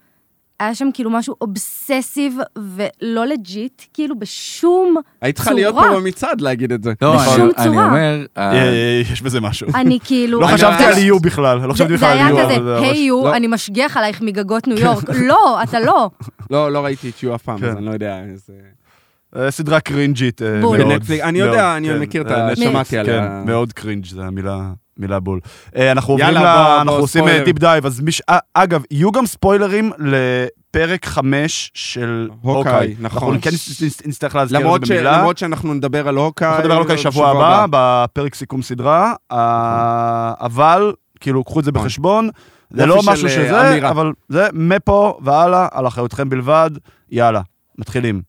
Speaker 2: היה שם כאילו משהו אובססיב ולא לג'יט, כאילו בשום...
Speaker 3: היית צריכה
Speaker 2: צורה.
Speaker 3: להיות פה במצעד להגיד את זה. נכון.
Speaker 4: לא,
Speaker 2: בשום
Speaker 4: אני- אני
Speaker 2: צורה.
Speaker 4: אומר... אה,
Speaker 1: אה, אה, יש בזה משהו.
Speaker 2: אני כאילו...
Speaker 1: לא
Speaker 2: אני
Speaker 1: חשבתי
Speaker 2: ממש-
Speaker 1: על יו בכלל, לא חשבתי
Speaker 2: זה- זה
Speaker 1: בכלל
Speaker 2: היה
Speaker 1: על יו. אבל
Speaker 2: כזה,
Speaker 1: זה
Speaker 2: היי
Speaker 1: ממש-
Speaker 2: יו,
Speaker 3: לא.
Speaker 2: אני משגיח עלייך מגגות ניו יורק. לא, אתה לא.
Speaker 3: לא, לא ראיתי את יו אף פעם, אז
Speaker 1: כן.
Speaker 3: אני לא יודע איזה...
Speaker 1: אה, סדרה קרינג'ית. אה,
Speaker 2: בול.
Speaker 1: מאוד,
Speaker 3: בנטפליקס, אני יודע,
Speaker 1: מאוד,
Speaker 3: אני
Speaker 1: כן.
Speaker 3: מכיר את
Speaker 1: אה,
Speaker 3: ה-
Speaker 1: נטפליקס,
Speaker 3: שמעתי עליה.
Speaker 1: כן, מאוד קרינג', זו המילה... מילה בול. אה, אנחנו עוברים
Speaker 3: יאללה,
Speaker 1: ל...
Speaker 3: בוא, בוא,
Speaker 1: אנחנו עושים
Speaker 3: ספוילר.
Speaker 1: טיפ דייב, אז מי ש... אה, אגב, יהיו גם ספוילרים לפרק 5 של
Speaker 3: הוקאי,
Speaker 1: הוקאי.
Speaker 3: נכון.
Speaker 1: אנחנו כן נצ- נצ- נצטרך להזכיר את
Speaker 3: למרות
Speaker 1: זה
Speaker 3: ש-
Speaker 1: במילה.
Speaker 3: למרות שאנחנו נדבר על הוקאי.
Speaker 1: אנחנו נדבר על אוקיי שבוע הבא, בפרק סיכום סדרה, אה, אבל, כאילו, קחו את זה
Speaker 3: נכון.
Speaker 1: בחשבון. זה
Speaker 3: יופי
Speaker 1: לא
Speaker 3: של,
Speaker 1: משהו
Speaker 3: אה,
Speaker 1: שזה,
Speaker 3: אמירה.
Speaker 1: אבל זה מפה והלאה, על אחריותכם בלבד, יאללה, מתחילים.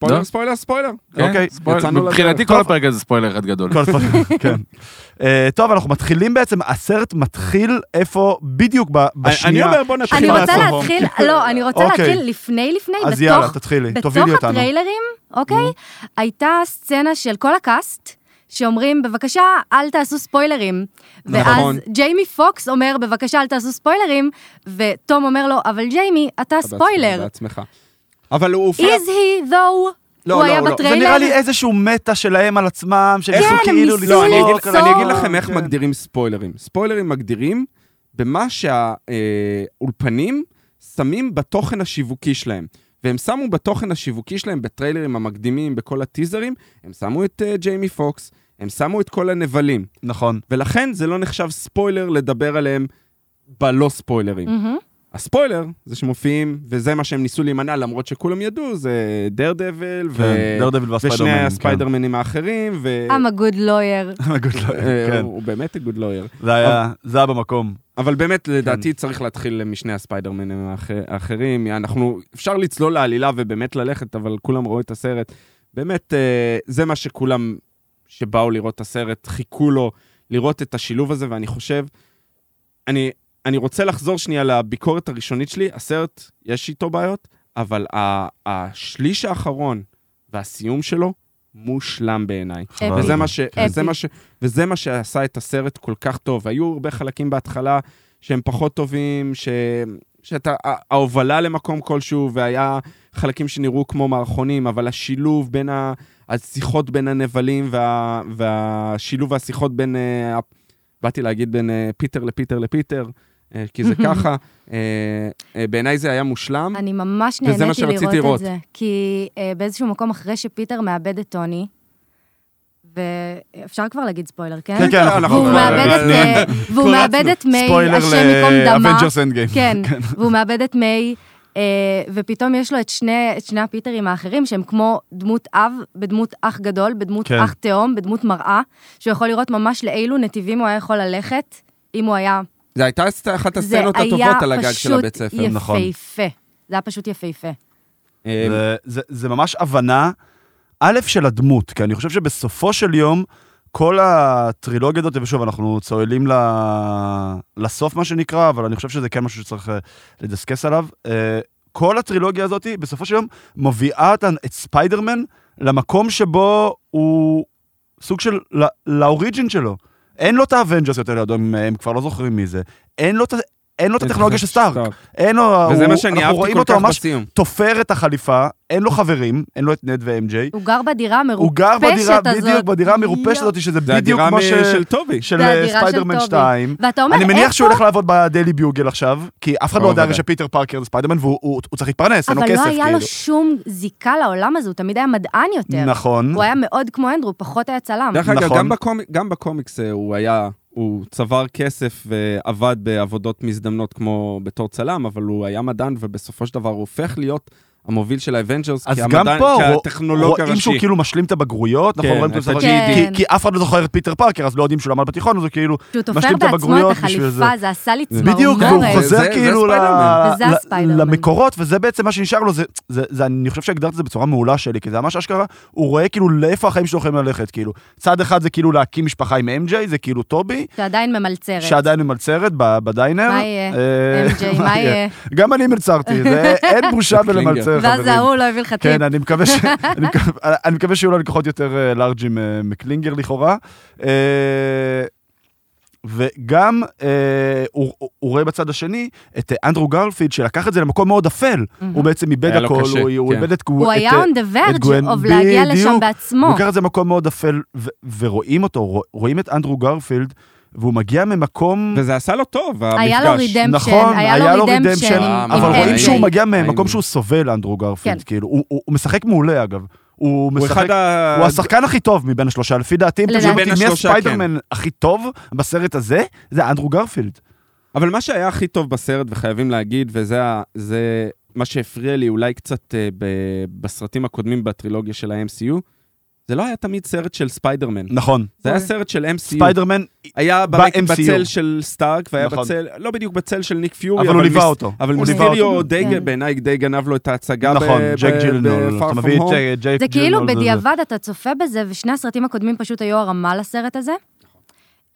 Speaker 3: ספוילר,
Speaker 4: לא?
Speaker 3: ספוילר, ספוילר.
Speaker 4: כן,
Speaker 1: אוקיי,
Speaker 4: ספוילר.
Speaker 3: יצאנו לדרך.
Speaker 4: מבחינתי כל
Speaker 1: טוב.
Speaker 4: הפרק הזה ספוילר אחד גדול.
Speaker 1: כל הדברים, כן. אה, טוב, אנחנו מתחילים בעצם, הסרט מתחיל איפה, בדיוק ב-
Speaker 3: אני
Speaker 1: בשנייה.
Speaker 3: אומר בוא נתחיל.
Speaker 2: אני רוצה
Speaker 1: לעשות
Speaker 2: להתחיל, לא, אני רוצה
Speaker 1: כן, אוקיי.
Speaker 2: להתחיל לפני, לפני,
Speaker 1: אז יאללה,
Speaker 2: בתוך
Speaker 1: תתחילי, תובילי
Speaker 2: בתוך
Speaker 1: אותנו.
Speaker 2: הטריילרים, אוקיי, הייתה סצנה של כל הקאסט, שאומרים, בבקשה, אל תעשו ספוילרים.
Speaker 3: נכון.
Speaker 2: ואז ג'יימי פוקס אומר, בבקשה, אל תעשו ספוילרים, ותום אומר לו, אבל ג'יימי, אתה ספוילר.
Speaker 3: בעצמך. אבל הוא הופך...
Speaker 2: Is he though?
Speaker 3: לא,
Speaker 2: הוא
Speaker 3: לא,
Speaker 2: היה
Speaker 3: לא. זה
Speaker 1: זה
Speaker 2: בטריילר.
Speaker 1: נראה לי איזשהו מטה שלהם על עצמם, שהם
Speaker 3: כן,
Speaker 1: ניסו
Speaker 2: הם
Speaker 1: כאילו
Speaker 2: ניסו
Speaker 3: לא, אני אגיד,
Speaker 1: לצחוק על
Speaker 2: ליצור.
Speaker 3: אני
Speaker 1: העניין.
Speaker 3: אגיד לכם איך
Speaker 1: כן.
Speaker 3: מגדירים ספוילרים. ספוילרים מגדירים במה שהאולפנים שמים בתוכן השיווקי שלהם. והם שמו בתוכן השיווקי שלהם, בטריילרים המקדימים, בכל הטיזרים, הם שמו את אה, ג'יימי פוקס, הם שמו את כל הנבלים.
Speaker 1: נכון.
Speaker 3: ולכן זה לא נחשב ספוילר לדבר עליהם בלא ספוילרים.
Speaker 2: מהמם.
Speaker 3: הספוילר זה שמופיעים, וזה מה שהם ניסו להימנע למרות שכולם ידעו, זה דר דבל ו...
Speaker 1: דרדביל
Speaker 3: כן, ושני
Speaker 1: והספיידרמנים.
Speaker 3: הספיידרמנים כן. האחרים, ו...
Speaker 2: I'm a good lawyer.
Speaker 1: כן. Good luck,
Speaker 3: אה,
Speaker 1: כן.
Speaker 3: הוא באמת גוד לויר.
Speaker 1: זה היה, זה היה במקום.
Speaker 3: אבל באמת, לדעתי צריך להתחיל משני הספיידרמנים האח- האחרים. אנחנו, אפשר לצלול לעלילה ובאמת ללכת, אבל כולם ראו את הסרט. באמת, אה, זה מה שכולם שבאו לראות את הסרט חיכו לו, לראות את השילוב הזה, ואני חושב... אני, אני רוצה לחזור שנייה לביקורת הראשונית שלי. הסרט, יש איתו בעיות, אבל ה, השליש האחרון והסיום שלו מושלם בעיניי.
Speaker 1: חבל.
Speaker 2: אוקיי.
Speaker 3: וזה מה, ש...
Speaker 2: כן.
Speaker 3: וזה,
Speaker 2: אפי.
Speaker 3: מה ש... וזה מה שעשה את הסרט כל כך טוב. היו הרבה חלקים בהתחלה שהם פחות טובים, ש... שאתה, ה- ההובלה למקום כלשהו, והיה חלקים שנראו כמו מערכונים, אבל השילוב בין ה... השיחות בין הנבלים, וה... והשילוב והשיחות בין, אה, ה- באתי להגיד בין אה, פיטר לפיטר לפיטר, אה, כי זה ככה, אה, אה, בעיניי זה היה מושלם.
Speaker 2: אני ממש
Speaker 3: וזה מה
Speaker 2: נהניתי
Speaker 3: שרציתי
Speaker 2: לראות,
Speaker 3: לראות.
Speaker 2: את זה. כי אה, באיזשהו מקום, אחרי שפיטר מאבד את טוני, ואפשר כבר להגיד ספוילר, כן?
Speaker 1: כן, כן, אנחנו
Speaker 2: והוא
Speaker 1: כבר-
Speaker 2: מאבד את, אה, והוא
Speaker 1: כבר
Speaker 2: מאבד
Speaker 1: רצנו.
Speaker 2: את מיי,
Speaker 1: ספוילר
Speaker 2: השם ייקום דמה.
Speaker 1: לאבנג'רס אנד גיים.
Speaker 2: כן, והוא מאבד את מיי, אה, ופתאום יש לו את שני, את שני הפיטרים האחרים, שהם כמו דמות אב, בדמות אח גדול, בדמות
Speaker 1: כן.
Speaker 2: כן. אח תאום, בדמות מראה, שהוא יכול לראות ממש לאילו נתיבים הוא היה יכול ללכת, אם הוא היה...
Speaker 3: זה הייתה אחת
Speaker 2: זה
Speaker 3: הסצנות
Speaker 2: היה
Speaker 3: הטובות על הגג של
Speaker 2: פשוט
Speaker 3: הבית ספר.
Speaker 1: נכון.
Speaker 2: יפהפה. זה היה פשוט יפהפה.
Speaker 3: אה,
Speaker 1: זה- זה- זה ממש הבנה, א', של הדמות, כי אני חושב שבסופו של יום, כל הטרילוגיה הזאת, ושוב, אנחנו צוללים ל... לסוף, מה שנקרא, אבל אני חושב שזה כן משהו שצריך אה, לדסקס עליו. אה, כל הטרילוגיה הזאת, בסופו של יום, מביאה את, את ספיידרמן למקום שבו הוא סוג של, ל- לאוריג'ין שלו. אין לו את האבנג'רס יותר לידו, הם, הם כבר לא זוכרים מי זה. אין לו את ה- אין לו את הטכנולוגיה של סטארק. אין לו...
Speaker 3: וזה
Speaker 1: הוא-
Speaker 3: מה שאני
Speaker 1: אנחנו
Speaker 3: אהבתי
Speaker 1: רואים
Speaker 3: כל
Speaker 1: אותו
Speaker 3: כך
Speaker 1: ממש
Speaker 3: בסיום.
Speaker 1: תופר את החליפה, אין לו חברים, אין לו את נד ואם.ג'יי.
Speaker 2: הוא גר בדירה המרופשת
Speaker 1: הוא גר בדירה,
Speaker 2: הזאת.
Speaker 1: בדיוק, בדירה המרופשת
Speaker 2: יואו.
Speaker 1: הזאת, שזה
Speaker 3: זה
Speaker 1: בדיוק
Speaker 3: הדירה
Speaker 1: כמו
Speaker 3: מ-
Speaker 1: ש...
Speaker 3: של טובי.
Speaker 1: של
Speaker 2: זה
Speaker 1: אה,
Speaker 2: הדירה של
Speaker 1: ספיידרמן
Speaker 2: טובי.
Speaker 1: 2.
Speaker 2: ואתה אומר,
Speaker 1: אני מניח שהוא
Speaker 2: איפה?
Speaker 1: הולך לעבוד בדיילי ביוגל עכשיו, כי אף אחד לא
Speaker 3: ברור,
Speaker 1: יודע הרי
Speaker 3: ודאי.
Speaker 1: שפיטר פארקר זה ספיידרמן, והוא הוא- הוא צריך להתפרנס, אין לו
Speaker 2: אבל
Speaker 1: כסף,
Speaker 2: לא
Speaker 1: כאילו.
Speaker 2: היה לו שום זיקה לעולם הזה, הוא תמיד היה מדען יותר.
Speaker 1: נכון.
Speaker 2: הוא היה מאוד כמו אנדרו, פחות היה צלם.
Speaker 3: דרך אגב,
Speaker 1: נכון.
Speaker 3: גם, בקומיק, גם בקומיקס אה, הוא היה, הוא צבר כסף ועבד בעבודות מזדמנות כמו בתור צלם, אבל הוא היה מדען, ובסופו של דבר הוא הופך להיות המוביל של האבנג'רס,
Speaker 1: אז גם פה רוא-
Speaker 3: כהטכנולוג
Speaker 1: רואים
Speaker 3: הראשי.
Speaker 1: שהוא כאילו משלים את הבגרויות,
Speaker 3: כן,
Speaker 1: אנחנו רואים את
Speaker 3: את
Speaker 1: זה, אבל-
Speaker 2: ה-GED.
Speaker 1: כי- כי אף אחד לא זוכר את פיטר פארקר, אז לא יודעים שהוא למד בתיכון, אז הוא כאילו
Speaker 2: כשהוא תופר
Speaker 1: משלים את
Speaker 2: בעצמו את
Speaker 1: הבגרויות בשביל זה.
Speaker 2: החליפה, זה עשה לי צמרמורת.
Speaker 1: בדיוק, והוא
Speaker 3: זה-
Speaker 1: חוזר
Speaker 3: זה
Speaker 1: כאילו ל-
Speaker 3: הספיידרמן.
Speaker 2: וזה
Speaker 1: ל-
Speaker 2: הספיידרמן.
Speaker 1: למקורות, וזה בעצם מה שנשאר לו, זה, זה, זה, אני חושב שהגדרת את זה בצורה מעולה שלי, כי זה ממש אשכרה, הוא רואה כאילו לאיפה החיים שלו יכולים ללכת, כאילו. צד אחד זה כאילו להקים משפחה עם אמג'יי, זה כאילו טובי,
Speaker 2: שעדיין ממלצרת.
Speaker 1: שעדיין ממלצרת ב- בדיינר.
Speaker 2: מה יהיה?
Speaker 1: אה,
Speaker 2: MJ, מה יהיה?
Speaker 1: גם אני מלצרתי, זה- אין בושה בלמלצר,
Speaker 2: ואז
Speaker 1: כן, חברים.
Speaker 2: ההוא לא הביא לך טיפ.
Speaker 1: כן, אני מקווה, ש... אני, מקווה, אני מקווה שיהיו לו לקוחות יותר אה, לארג'ים אה, מקלינגר לכאורה. אה, וגם אה, הוא, הוא- הוא רואה בצד השני את אה, אנדרו גרפילד, שלקח את זה למקום מאוד אפל. הוא בעצם איבד
Speaker 3: היה לו
Speaker 1: הכל,
Speaker 3: קשה,
Speaker 1: הוא, הוא
Speaker 3: כן.
Speaker 1: איבד את...
Speaker 2: Mm-hmm. הוא היה
Speaker 1: את, אה,
Speaker 2: on the
Speaker 1: את גוון,
Speaker 2: verge of להגיע לשם
Speaker 1: בדיוק.
Speaker 2: בעצמו.
Speaker 1: הוא לקח את זה למקום מאוד אפל, ו- ורואים אותו, רוא- רואים את אנדרו גרפילד, והוא מגיע ממקום...
Speaker 3: וזה עשה לו טוב, המפגש.
Speaker 2: היה לו רידמפשן,
Speaker 1: נכון,
Speaker 2: היה לו רידמפשן.
Speaker 3: אה,
Speaker 2: עם-
Speaker 1: אבל
Speaker 2: עם
Speaker 1: רואים
Speaker 2: MJ.
Speaker 1: שהוא מגיע ממקום
Speaker 3: האם-
Speaker 1: שהוא סובל, אנדרו גרפילד,
Speaker 2: כן.
Speaker 1: כאילו, הוא- הוא הוא משחק מעולה אגב. הוא
Speaker 3: הוא
Speaker 1: משחק,
Speaker 3: אחד ה...
Speaker 1: הוא השחקן הכי טוב מבין השלושה, לפי דעתי, אם
Speaker 2: לדעתי.
Speaker 1: תשאלו אותי
Speaker 3: מבין
Speaker 1: מי
Speaker 3: השלושה, כן.
Speaker 1: הספיידרמן הכי טוב בסרט הזה, זה אנדרו גרפילד.
Speaker 3: אבל מה שהיה הכי טוב בסרט, וחייבים להגיד, וזה ה- זה מה שהפריע לי אולי קצת אה, ב, בסרטים הקודמים בטרילוגיה של ה-MCU, זה לא היה תמיד סרט של ספיידרמן.
Speaker 1: נכון.
Speaker 3: זה היה סרט של MCU.
Speaker 1: ספיידרמן,
Speaker 3: היה
Speaker 1: ב-
Speaker 3: ברק-
Speaker 1: MCU.
Speaker 3: בצל של סטארק, והיה
Speaker 1: נכון.
Speaker 3: בצל, לא בדיוק בצל של ניק פיורי,
Speaker 1: אבל הוא ליווה
Speaker 3: מיס-
Speaker 1: אותו.
Speaker 3: אבל
Speaker 1: הוא ליווה
Speaker 3: מיסטריו
Speaker 1: אותו.
Speaker 3: די,
Speaker 2: כן.
Speaker 3: בעיניי די גנב לו את ההצגה
Speaker 1: נכון,
Speaker 3: ב-
Speaker 1: ג'ק
Speaker 3: ב-
Speaker 1: ג'ילנול,
Speaker 3: ב-
Speaker 1: אתה
Speaker 3: Far From
Speaker 1: מביא
Speaker 3: Home.
Speaker 1: את אה, ג'ק ג'ילנול.
Speaker 2: זה כאילו
Speaker 1: זה-
Speaker 2: בדיעבד אתה צופה בזה, ושני הסרטים הקודמים פשוט היו הרמה לסרט הזה.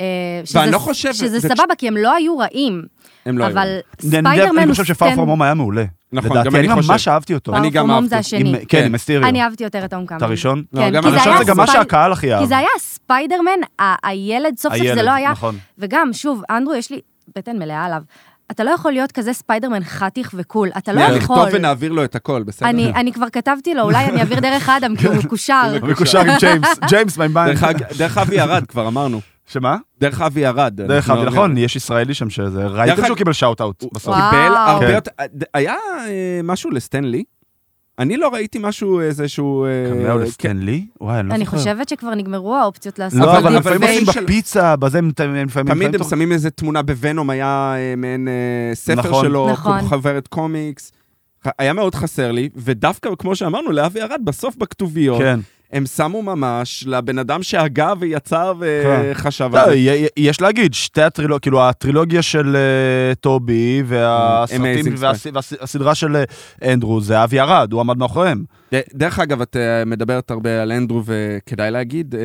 Speaker 2: אה, שזה-
Speaker 3: ואני לא חושב-
Speaker 2: שזה
Speaker 3: זה-
Speaker 2: סבבה, כי הם לא היו רעים.
Speaker 3: הם לא היו.
Speaker 2: אבל
Speaker 1: זה- אני יודע-
Speaker 2: ספיידרמן
Speaker 1: אני
Speaker 2: הוא
Speaker 1: חושב שפאר
Speaker 2: כן-
Speaker 1: פרום הום היה מעולה.
Speaker 3: נכון,
Speaker 1: לדעתי,
Speaker 3: גם אני
Speaker 1: אני ממש
Speaker 3: חושב.
Speaker 1: אהבתי אותו.
Speaker 3: אני גם
Speaker 2: Far From Home
Speaker 3: אהבתי.
Speaker 2: זה השני.
Speaker 1: עם- כן, עם אסטיריו.
Speaker 2: אני אהבתי יותר את ההומקאמינג.
Speaker 1: את הראשון?
Speaker 3: לא,
Speaker 2: כן,
Speaker 3: גם
Speaker 2: כי זה
Speaker 1: הראשון
Speaker 2: היה
Speaker 1: זה גם מה
Speaker 2: ספייד-
Speaker 1: שהקהל הכי אהב.
Speaker 2: כי זה היה ספיידרמן, ה- הילד, סוף סוף זה
Speaker 1: הילד,
Speaker 2: לא היה...
Speaker 1: נכון.
Speaker 2: וגם, שוב, אנדרו, יש לי בטן מלאה עליו. אתה לא יכול להיות כזה ספיידרמן חתיך וקול, אתה לא
Speaker 3: אנחנו נכתוב
Speaker 2: יכול.
Speaker 3: ונעביר לו את הכל, בסדר.
Speaker 2: אני אני כבר כתבתי לו, אולי אני אעביר דרך אדם, כי הוא
Speaker 3: לא
Speaker 2: מקושר.
Speaker 1: הוא מקושר עם ג'יימס, ג'יימס מימן.
Speaker 3: דרך אג- דרך אבי ארד, כבר אמרנו.
Speaker 1: שמה?
Speaker 3: דרך אבי ארד.
Speaker 1: דרך
Speaker 3: אנחנו- לא-
Speaker 1: אגב, נכון, יש ישראלי שם שזה,
Speaker 3: דרך
Speaker 1: ראיתם
Speaker 3: אגב-
Speaker 1: שהוא קיבל שאוט-אאוט בסוף.
Speaker 2: וואו.
Speaker 3: קיבל הרבה
Speaker 1: כן.
Speaker 3: יותר... היה אה, משהו לסטנלי? אני לא ראיתי משהו, איזשהו... אה,
Speaker 1: קמאו
Speaker 3: כן.
Speaker 1: לסטנלי? וואי, אני לא
Speaker 2: אני
Speaker 1: זוכר.
Speaker 2: חושבת שכבר נגמרו האופציות לעשות
Speaker 1: לא,
Speaker 3: אבל
Speaker 1: אבל לפעמים
Speaker 3: אבל
Speaker 1: עושים
Speaker 3: של-
Speaker 1: בפיצה, בזה הם לפעמים... הם
Speaker 3: תמיד הם
Speaker 1: תוך-
Speaker 3: שמים איזה תמונה בוונום, היה אה, מעין אה, ספר
Speaker 1: נכון.
Speaker 3: שלו,
Speaker 2: נכון.
Speaker 3: חוברת קומיקס. ח- היה מאוד חסר לי, ודווקא, כמו שאמרנו, לאבי ארד, בסוף בכתוביות,
Speaker 1: כן.
Speaker 3: הם שמו ממש לבן אדם שהגה ויצר אה,
Speaker 1: כן.
Speaker 3: וחשב
Speaker 1: לא, י- י- יש להגיד, שתי הטרילוגיות, כאילו הטרילוגיה של אה, טובי והסרטים
Speaker 3: Amazing
Speaker 1: והס- והס- והסדרה של אה, אנדרו, זה אבי ארד, הוא עמד מאחוריהם.
Speaker 3: ד- דרך אגב, את אה, מדברת הרבה על אנדרו, וכדאי להגיד, אה,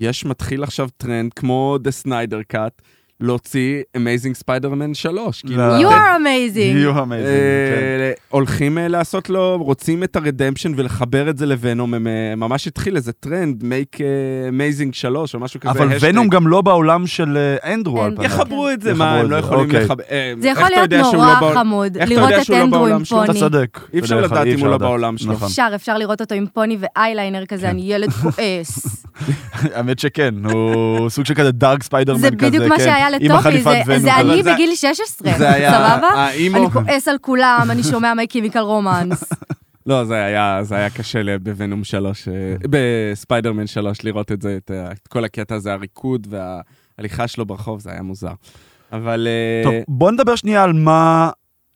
Speaker 3: יש מתחיל עכשיו טרנד כמו The Snyder Cut, להוציא Amazing Spider-Man 3. כאילו,
Speaker 1: לא.
Speaker 2: You
Speaker 1: אתם-
Speaker 2: are amazing.
Speaker 1: You are amazing, כן.
Speaker 3: אה, הולכים אה, לעשות לו, רוצים את הרדמפשן ולחבר את זה לוונום, הם אה, ממש התחיל איזה טרנד, make אה, amazing 3 או משהו כזה.
Speaker 1: אבל
Speaker 3: השטג.
Speaker 1: ונום גם לא בעולם של אה, אנדרו על
Speaker 2: אין.
Speaker 1: פניו.
Speaker 3: יחברו את זה,
Speaker 1: יחברו
Speaker 3: מה,
Speaker 1: את
Speaker 3: הם לא
Speaker 1: זה,
Speaker 3: יכולים
Speaker 1: אוקיי.
Speaker 3: לחבר... אה,
Speaker 2: זה
Speaker 3: איך
Speaker 2: יכול
Speaker 3: אתה
Speaker 2: להיות
Speaker 3: יודע שהוא
Speaker 2: נורא
Speaker 3: לא בעול-
Speaker 2: חמוד,
Speaker 3: איך אתה
Speaker 2: לראות
Speaker 3: יודע
Speaker 2: את
Speaker 3: שהוא לא
Speaker 2: אנדרו עם
Speaker 3: בעולם שלו?
Speaker 1: אתה
Speaker 2: פוני.
Speaker 1: צודק.
Speaker 3: אי אפשר
Speaker 1: אתה יודע,
Speaker 3: לדעת
Speaker 1: אי
Speaker 3: אם הוא לא
Speaker 1: לדעת.
Speaker 3: בעולם שלו.
Speaker 1: נכון.
Speaker 2: אפשר, אפשר לראות אותו עם פוני ואייליינר
Speaker 3: כן.
Speaker 2: כזה, אני ילד כועס.
Speaker 1: האמת שכן, הוא סוג של כזה דארק ספיידרמן
Speaker 2: זה
Speaker 1: כזה,
Speaker 2: בדיוק מה
Speaker 1: כן,
Speaker 2: שהיה
Speaker 1: עם
Speaker 2: לטופי,
Speaker 1: החליפת
Speaker 2: זה-
Speaker 1: ונום
Speaker 2: זה
Speaker 1: כזה.
Speaker 2: אני
Speaker 3: זה-
Speaker 2: בגיל 16,
Speaker 3: זה היה
Speaker 2: סבבה?
Speaker 3: האימו.
Speaker 2: אני כועס על כולם, אני שומע מי קימיקל רומנס.
Speaker 3: לא, זה היה, זה היה קשה ל- בוונום 3, אה, בספיידרמן 3, לראות את זה, את, ה- את כל הקטע הזה, הריקוד וההליכה שלו ברחוב, זה היה מוזר. אבל... אה,
Speaker 1: טוב, בוא נדבר שנייה על מה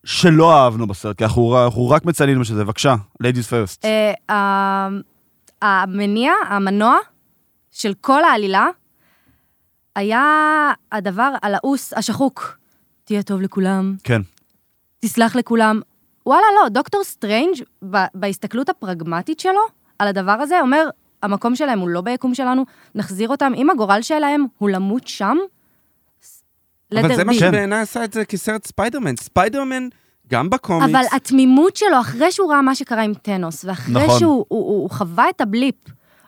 Speaker 1: שלא אהבנו בסרט, כי אנחנו אנחנו רק מציינים שזה. בבקשה, ladies first.
Speaker 2: אה, ה- המניע, המנוע של כל העלילה, היה הדבר הלעוס, השחוק. תהיה טוב לכולם,
Speaker 1: כן.
Speaker 2: תסלח לכולם. וואלה, לא, דוקטור סטרנג' ב- בהסתכלות הפרגמטית שלו על הדבר הזה, אומר, המקום שלהם הוא לא ביקום שלנו, נחזיר אותם. אם הגורל שלהם הוא למות שם,
Speaker 3: אבל
Speaker 2: letter
Speaker 3: זה מה
Speaker 2: be.
Speaker 3: שבעיניי עשה את זה כסרט ספיידרמן. ספיידרמן, גם בקומיקס,
Speaker 2: אבל התמימות שלו, אחרי שהוא ראה מה שקרה עם טנוס, ואחרי
Speaker 1: נכון.
Speaker 2: שהוא הוא, הוא, הוא חווה את הבליפ,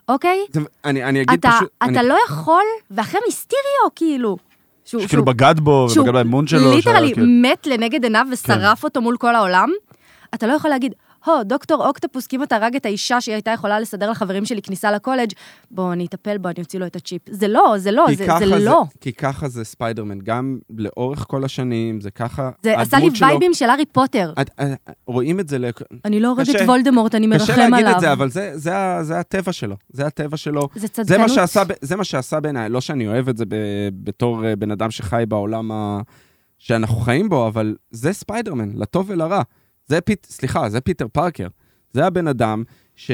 Speaker 2: אוקיי?
Speaker 3: זה, אני, אני אגיד
Speaker 2: אתה,
Speaker 3: פשוט...
Speaker 2: אתה
Speaker 3: אני,
Speaker 2: לא יכול, ואחרי מיסטיריו, כאילו. שהוא,
Speaker 1: שכאילו בגד בו,
Speaker 2: שהוא
Speaker 1: ובגד באמון שלו.
Speaker 2: ליטרלי
Speaker 1: שהיה,
Speaker 3: כן.
Speaker 1: כאילו,
Speaker 2: מת לנגד עיניו ושרף אותו מול כל העולם, אתה לא יכול להגיד, הו, דוקטור אוקטופוס כמעט הרג את האישה שהיא הייתה יכולה לסדר לחברים שלי כניסה לקולג', בוא, אני אטפל בו, אני אוציא לו את הצ'יפ. זה לא, זה לא,
Speaker 3: כי
Speaker 2: זה,
Speaker 3: ככה
Speaker 2: זה לא.
Speaker 3: כי ככה זה ספיידרמן, גם לאורך כל השנים, זה ככה...
Speaker 2: זה עשה לי
Speaker 3: הדמות שלו-
Speaker 2: וייבים של הארי פוטר.
Speaker 3: את- את- רואים את זה, לכ-
Speaker 2: אני לא הורג
Speaker 3: קשה.
Speaker 2: את וולדמורט, אני מרחם
Speaker 3: קשה
Speaker 2: עליו.
Speaker 3: להגיד את זה, אבל זה- זה ה- זה הטבע שלו. זה הטבע שלו.
Speaker 2: זה
Speaker 3: זה
Speaker 2: צדקנות.
Speaker 3: מה שעשה, ב- זה מה שעשה בעיניי, לא שאני אוהב את זה ב, בתור אה, בן אדם שחי בעולם ה... שאנחנו חיים בו, אבל זה ספיידרמן, לטוב ולרע. זה פיט, סליחה, זה פיטר פארקר. זה הבן אדם שגם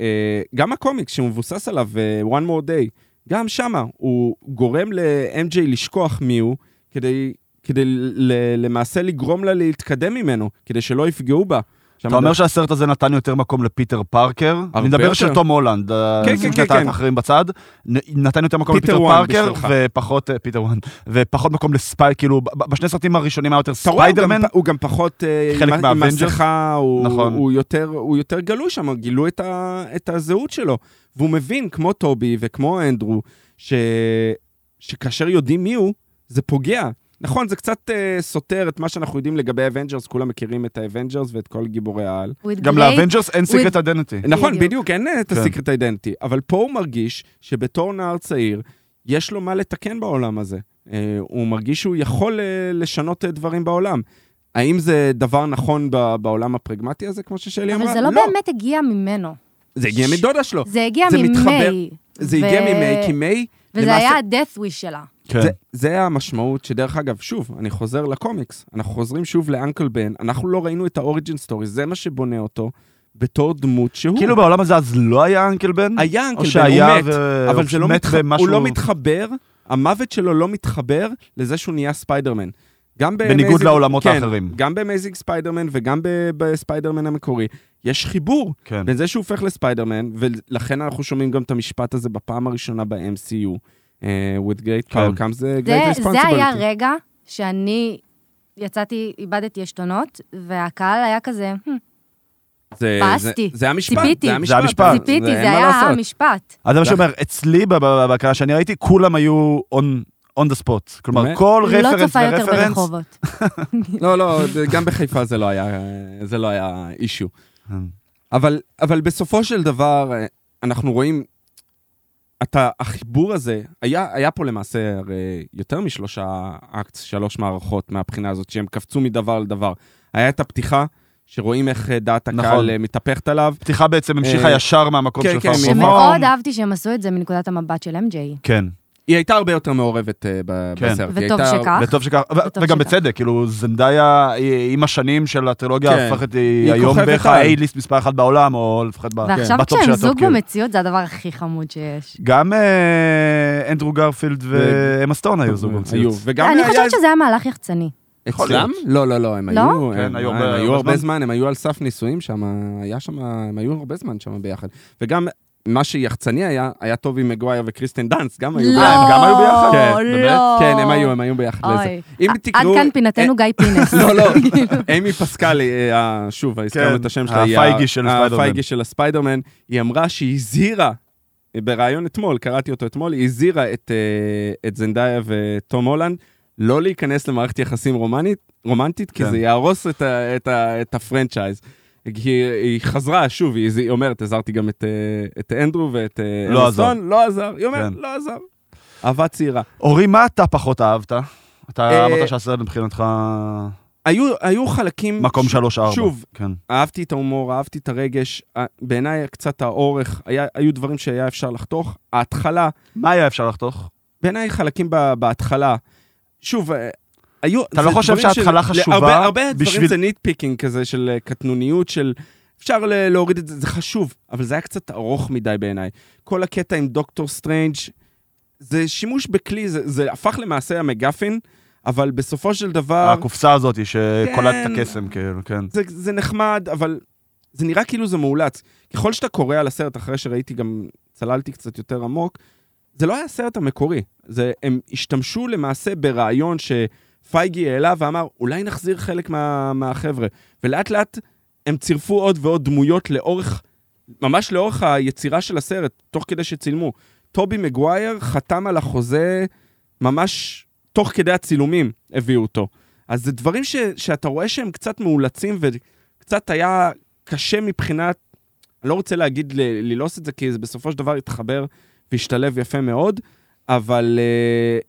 Speaker 3: אה, גם הקומיקס שהוא מבוסס עליו, אה, One More Day, גם שמה, הוא גורם ל-MJ לשכוח מיהו, כדי, כדי ל- למעשה לגרום לה להתקדם ממנו, כדי שלא יפגעו בה.
Speaker 1: אתה אומר שהסרט הזה נתן יותר מקום לפיטר פרקר? אני מדבר
Speaker 3: יותר.
Speaker 1: של תום הולנד,
Speaker 3: כן,
Speaker 1: נשים
Speaker 3: כן,
Speaker 1: את האחרים
Speaker 3: כן.
Speaker 1: אחרים בצד. נ- נתן יותר מקום
Speaker 3: פיטר
Speaker 1: לפיטר
Speaker 3: וואן
Speaker 1: פארקר,
Speaker 3: בשבילך.
Speaker 1: ופחות, אה, פיטר וואן, ופחות מקום לספייד, כאילו, ב- ב- בשני סרטים הראשונים היה יותר
Speaker 3: אתה רואה, הוא גם-
Speaker 1: ספיידרמן.
Speaker 3: הוא גם פחות אה,
Speaker 1: חלק
Speaker 3: עם- עם
Speaker 1: מהאבנג'רס.
Speaker 3: מסכה, הוא-
Speaker 1: נכון.
Speaker 3: הוא יותר- הוא יותר גלוי שם, גילו את ה- את הזהות שלו. והוא מבין, כמו טובי וכמו אנדרו, ש- שכאשר יודעים מי הוא, זה פוגע. נכון, זה קצת אה, סותר את מה שאנחנו יודעים לגבי אבנג'רס, כולם מכירים את האבנג'רס ואת כל גיבורי העל.
Speaker 2: With
Speaker 1: גם
Speaker 2: Blade,
Speaker 1: לאבנג'רס אין
Speaker 2: הוא-
Speaker 1: סיקרט אידנטי.
Speaker 3: נכון,
Speaker 2: בדיוק.
Speaker 3: בדיוק, אין אה, את
Speaker 1: כן.
Speaker 3: הסיקרט אידנטי, אבל פה הוא מרגיש שבתור נער צעיר, יש לו מה לתקן בעולם הזה. אה, הוא מרגיש שהוא יכול אה, לשנות אה, דברים בעולם. האם זה דבר נכון ב- בעולם הפרגמטי הזה, כמו ששלי אמרה?
Speaker 2: אבל זה לא באמת הגיע ממנו.
Speaker 3: זה הגיע מדודה שלו.
Speaker 2: זה הגיע
Speaker 3: זה מתחבר-
Speaker 2: ממיי.
Speaker 3: זה
Speaker 2: ו-
Speaker 3: הגיע ממי, כי מיי...
Speaker 2: וזה
Speaker 3: למעשה-
Speaker 2: היה ה-death wish שלה.
Speaker 1: כן.
Speaker 3: זה- זה המשמעות שדרך אגב, שוב, אני חוזר לקומיקס, אנחנו חוזרים שוב לאנקל בן, אנחנו לא ראינו את האוריג'ין סטורי, זה מה שבונה אותו בתור דמות שהוא.
Speaker 1: כאילו בעולם הזה אז לא היה אנקל בן?
Speaker 3: היה
Speaker 1: או
Speaker 3: אנקל בן,
Speaker 1: שהיה,
Speaker 3: הוא מת,
Speaker 1: ו-
Speaker 3: כאילו, אבל זה לא
Speaker 1: מת
Speaker 3: מתח...
Speaker 1: במשהו-
Speaker 3: הוא לא מתחבר, המוות שלו לא מתחבר לזה שהוא נהיה ספיידרמן. גם ב-
Speaker 1: בניגוד
Speaker 3: Amazing-
Speaker 1: לעולמות
Speaker 3: כן,
Speaker 1: האחרים.
Speaker 3: גם במייזינג ספיידרמן וגם ב- בספיידרמן המקורי, יש חיבור
Speaker 1: כן.
Speaker 3: בין זה שהוא הופך לספיידרמן, ולכן אנחנו שומעים גם את המשפט הזה בפעם הראשונה ב-MCU. אה, With great
Speaker 1: כן.
Speaker 3: power comes the
Speaker 2: זה,
Speaker 3: great
Speaker 2: זה היה
Speaker 3: responsibility.
Speaker 2: רגע שאני יצאתי, איבדתי עשתונות, והקהל היה כזה, "Hmm, "הם,
Speaker 3: זה-
Speaker 2: פסתי.
Speaker 3: זה- זה המשפט,
Speaker 2: ציפיתי.
Speaker 3: זה
Speaker 1: זה המשפט.
Speaker 3: המשפט.
Speaker 2: ציפיתי,
Speaker 3: אין
Speaker 2: זה
Speaker 3: מה
Speaker 2: היה
Speaker 3: לעשות.
Speaker 2: המשפט.
Speaker 1: אז זה מה שאומר, אצלי ב- ב- בהקראה שאני ראיתי, כולם היו on... on the spot, כלומר
Speaker 3: באמת?
Speaker 1: כל
Speaker 2: לא
Speaker 1: רפרנס
Speaker 2: צופה יותר
Speaker 1: ורפרנס,
Speaker 2: ברחובות.
Speaker 3: לא, לא, זה- גם בחיפה זה לא היה, זה לא היה אישיו. אבל, אבל בסופו של דבר, אה, אנחנו רואים, אתה, החיבור הזה, היה, היה פה למעשה הרי יותר משלושה אקט, שלוש מערכות מהבחינה הזאת, שהם קפצו מדבר לדבר. היה את הפתיחה, שרואים איך אה, דעת הקהל
Speaker 1: נכון.
Speaker 3: אה, מתהפכת עליו.
Speaker 1: פתיחה בעצם המשיכה
Speaker 3: אה,
Speaker 1: ישר מהמקום
Speaker 3: כן,
Speaker 1: שלך.
Speaker 3: כן,
Speaker 1: במקום.
Speaker 2: שמאוד אהבתי שהם עשו את זה מנקודת המבט של MJ.
Speaker 1: כן,
Speaker 3: היא הייתה הרבה יותר מעורבת אה, ב-
Speaker 1: כן.
Speaker 3: בסרט. היא
Speaker 2: וטוב
Speaker 3: הייתה-
Speaker 2: שכך. אך,
Speaker 1: וטוב שכך, ו-
Speaker 2: וטוב
Speaker 1: וגם
Speaker 2: שכך.
Speaker 1: בצדק, כאילו זנדאיה היא- עם השנים של הטרילוגיה
Speaker 3: כן.
Speaker 1: הופכת, היא
Speaker 3: היא
Speaker 1: היום
Speaker 3: כוכבת
Speaker 1: בערך
Speaker 3: על.
Speaker 1: ה-A-ליסט מספר אחת בעולם, או לפחות ב-
Speaker 2: ועכשיו
Speaker 1: בטופ של
Speaker 2: כשהם
Speaker 1: הטופ.
Speaker 2: זוג
Speaker 1: כאילו.
Speaker 2: במציאות, זה הדבר הכי חמוד שיש.
Speaker 1: גם אה, אנדרו גרפילד ואמה סטון היו זוג
Speaker 3: היו,
Speaker 1: במציאות.
Speaker 3: וגם
Speaker 2: אני
Speaker 3: היה
Speaker 2: חושבת שזה היה מהלך יחצני.
Speaker 1: יכול
Speaker 3: אצלם? לא, לא, לא, הם
Speaker 2: לא?
Speaker 3: היו...
Speaker 1: כן,
Speaker 3: הם-
Speaker 1: היו
Speaker 3: הם
Speaker 1: הרבה-
Speaker 3: היו
Speaker 1: הרבה
Speaker 3: הרבה
Speaker 1: זמן.
Speaker 3: זמן, הם היו על סף נישואים שם, היה שם, הם היו הרבה זמן שם ביחד. וגם מה שיחצני היה, היה טוב עם מגווייר וקריסטן דאנס, גם היו
Speaker 2: לא,
Speaker 3: ביחד.
Speaker 1: הם גם היו ביחד?
Speaker 3: כן,
Speaker 2: לא.
Speaker 3: באמת? כן, הם היו, הם היו ביחד לזה.
Speaker 2: אוי.
Speaker 3: אם
Speaker 2: ע-
Speaker 3: תקראו-
Speaker 2: עד כאן פינתנו גיא פינס.
Speaker 3: לא, לא, אימי פסקל, אה, ה- שוב, הזכרנו את השם שלה, היא ה-
Speaker 1: כן, הפייגי של הספיידרמן.
Speaker 3: הפייגי של הספיידרמן, היא אמרה שהיא הזהירה, אה, בריאיון אתמול, קראתי אותו אתמול, היא הזהירה את, אה, את זנדאיה וטום הולנד לא להיכנס למערכת יחסים רומנית, רומנטית, כי
Speaker 1: כן.
Speaker 3: זה יהרוס את, ה, את, ה, את הפרנצ'ייז. היא, היא חזרה, שוב, היא, היא אומרת, הזהרתי גם את, אה, את אנדרו ואת אה,
Speaker 1: לא
Speaker 3: אמה
Speaker 1: עזר.
Speaker 3: סטון", לא עזר, היא אומרת,
Speaker 1: כן.
Speaker 3: לא עזר. אהבה צעירה.
Speaker 1: אורי, מה אתה פחות אהבת? אתה
Speaker 3: אה,
Speaker 1: אמרת שהסרט מבחינתך
Speaker 3: היו, היו חלקים...
Speaker 1: מקום 3-4.
Speaker 3: שוב,
Speaker 1: כן.
Speaker 3: אהבתי את ההומור, אהבתי את הרגש, אה, בעיניי קצת האורך, היה, היו דברים שהיה אפשר לחתוך. ההתחלה,
Speaker 1: מה היה אפשר לחתוך?
Speaker 3: בעיניי חלקים ב, בהתחלה, שוב, אה, היו...
Speaker 1: אתה
Speaker 3: זה
Speaker 1: לא חושב
Speaker 3: דברים
Speaker 1: שההתחלה חשובה
Speaker 3: הרבה, הרבה
Speaker 1: בשביל-
Speaker 3: דברים זה ניטפיקינג כזה של אה, קטנוניות, של... אפשר ל- להוריד את זה, זה חשוב, אבל זה היה קצת ארוך מדי בעיניי. כל הקטע עם דוקטור סטרנג' זה שימוש בכלי, זה, זה הפך למעשה המגפין, אבל בסופו של דבר...
Speaker 1: הקופסה הזאת שקולט את
Speaker 3: אה, כן.
Speaker 1: הקסם, כאילו, כן.
Speaker 3: זה, זה נחמד, אבל זה נראה כאילו זה מאולץ. ככל שאתה קורא על הסרט, אחרי שראיתי גם, צללתי קצת יותר עמוק, זה לא היה הסרט המקורי. זה, הם השתמשו למעשה ברעיון שפייגי העלה ואמר, אולי נחזיר חלק מה, מהחבר'ה. ולאט לאט הם צירפו עוד ועוד דמויות לאורך, ממש לאורך היצירה של הסרט, תוך כדי שצילמו. טובי מגווייר חתם על החוזה ממש תוך כדי הצילומים הביאו אותו. אז זה דברים ש, שאתה רואה שהם קצת מאולצים וקצת היה קשה מבחינת, אני לא רוצה להגיד ל- ללעוס את זה, כי זה בסופו של דבר התחבר והשתלב יפה מאוד, אבל uh,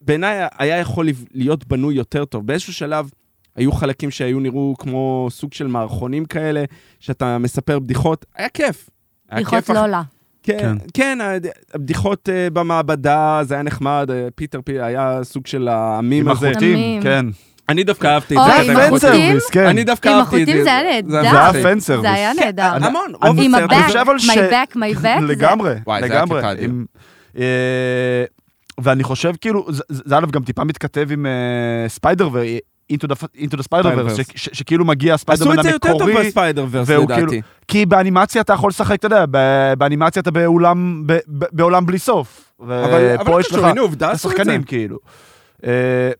Speaker 3: בעיניי היה יכול לב- להיות בנוי יותר טוב. באיזשהו שלב היו חלקים שהיו נראו כמו סוג של מערכונים כאלה, שאתה מספר בדיחות, היה כיף. היה
Speaker 2: בדיחות
Speaker 3: כיף אח-
Speaker 2: לא לה.
Speaker 3: כן, כן, הד- הבדיחות אה, במעבדה, זה היה נחמד, אה, פיטר פי היה סוג של העמים
Speaker 1: עם
Speaker 3: הזה.
Speaker 1: החוטים,
Speaker 2: תמים.
Speaker 1: כן.
Speaker 3: אני דווקא אהבתי את
Speaker 2: אוי,
Speaker 1: זה
Speaker 3: זה.
Speaker 2: עם
Speaker 1: היה פן
Speaker 3: החוטים.
Speaker 2: החוטים?
Speaker 1: סרוויס, כן.
Speaker 3: אני דווקא
Speaker 2: עם
Speaker 3: אהבתי את זה. כן,
Speaker 2: החוטים זה היה
Speaker 1: זה
Speaker 2: זה
Speaker 1: היה
Speaker 2: היה-
Speaker 1: פן סרוויס.
Speaker 2: זה היה נהדר.
Speaker 3: המון,
Speaker 1: אני-
Speaker 3: רוב
Speaker 2: עם
Speaker 3: הסרט
Speaker 1: אני
Speaker 2: הבק,
Speaker 1: חושב אבל ש-
Speaker 2: my back, my back. זה-
Speaker 1: לגמרי,
Speaker 3: וואי, זה היה
Speaker 1: לגמרי.
Speaker 3: קטע אדיר.
Speaker 1: עם- אה, ואני חושב כאילו, זה- זה זה א' גם טיפה מתכתב עם אה, ספיידר ואינטו דה ספיידר ורס,
Speaker 3: Spider-Verse.
Speaker 1: שכאילו מגיע
Speaker 3: עשו
Speaker 1: הספיידרמן
Speaker 3: את זה יותר טוב
Speaker 1: המקורי,
Speaker 3: בספיידר ורס
Speaker 1: והוא כאילו-
Speaker 3: לדעתי.
Speaker 1: כי באנימציה אתה יכול לשחק, אתה יודע, ב- באנימציה אתה באולם, ב- ב- בעולם בלי סוף.
Speaker 3: אבל אבל
Speaker 1: ופה
Speaker 3: לא
Speaker 1: אה, יש לך
Speaker 3: קשור, הנה עובדה
Speaker 1: את
Speaker 3: עשו את זה.
Speaker 1: השחקנים כאילו. אה,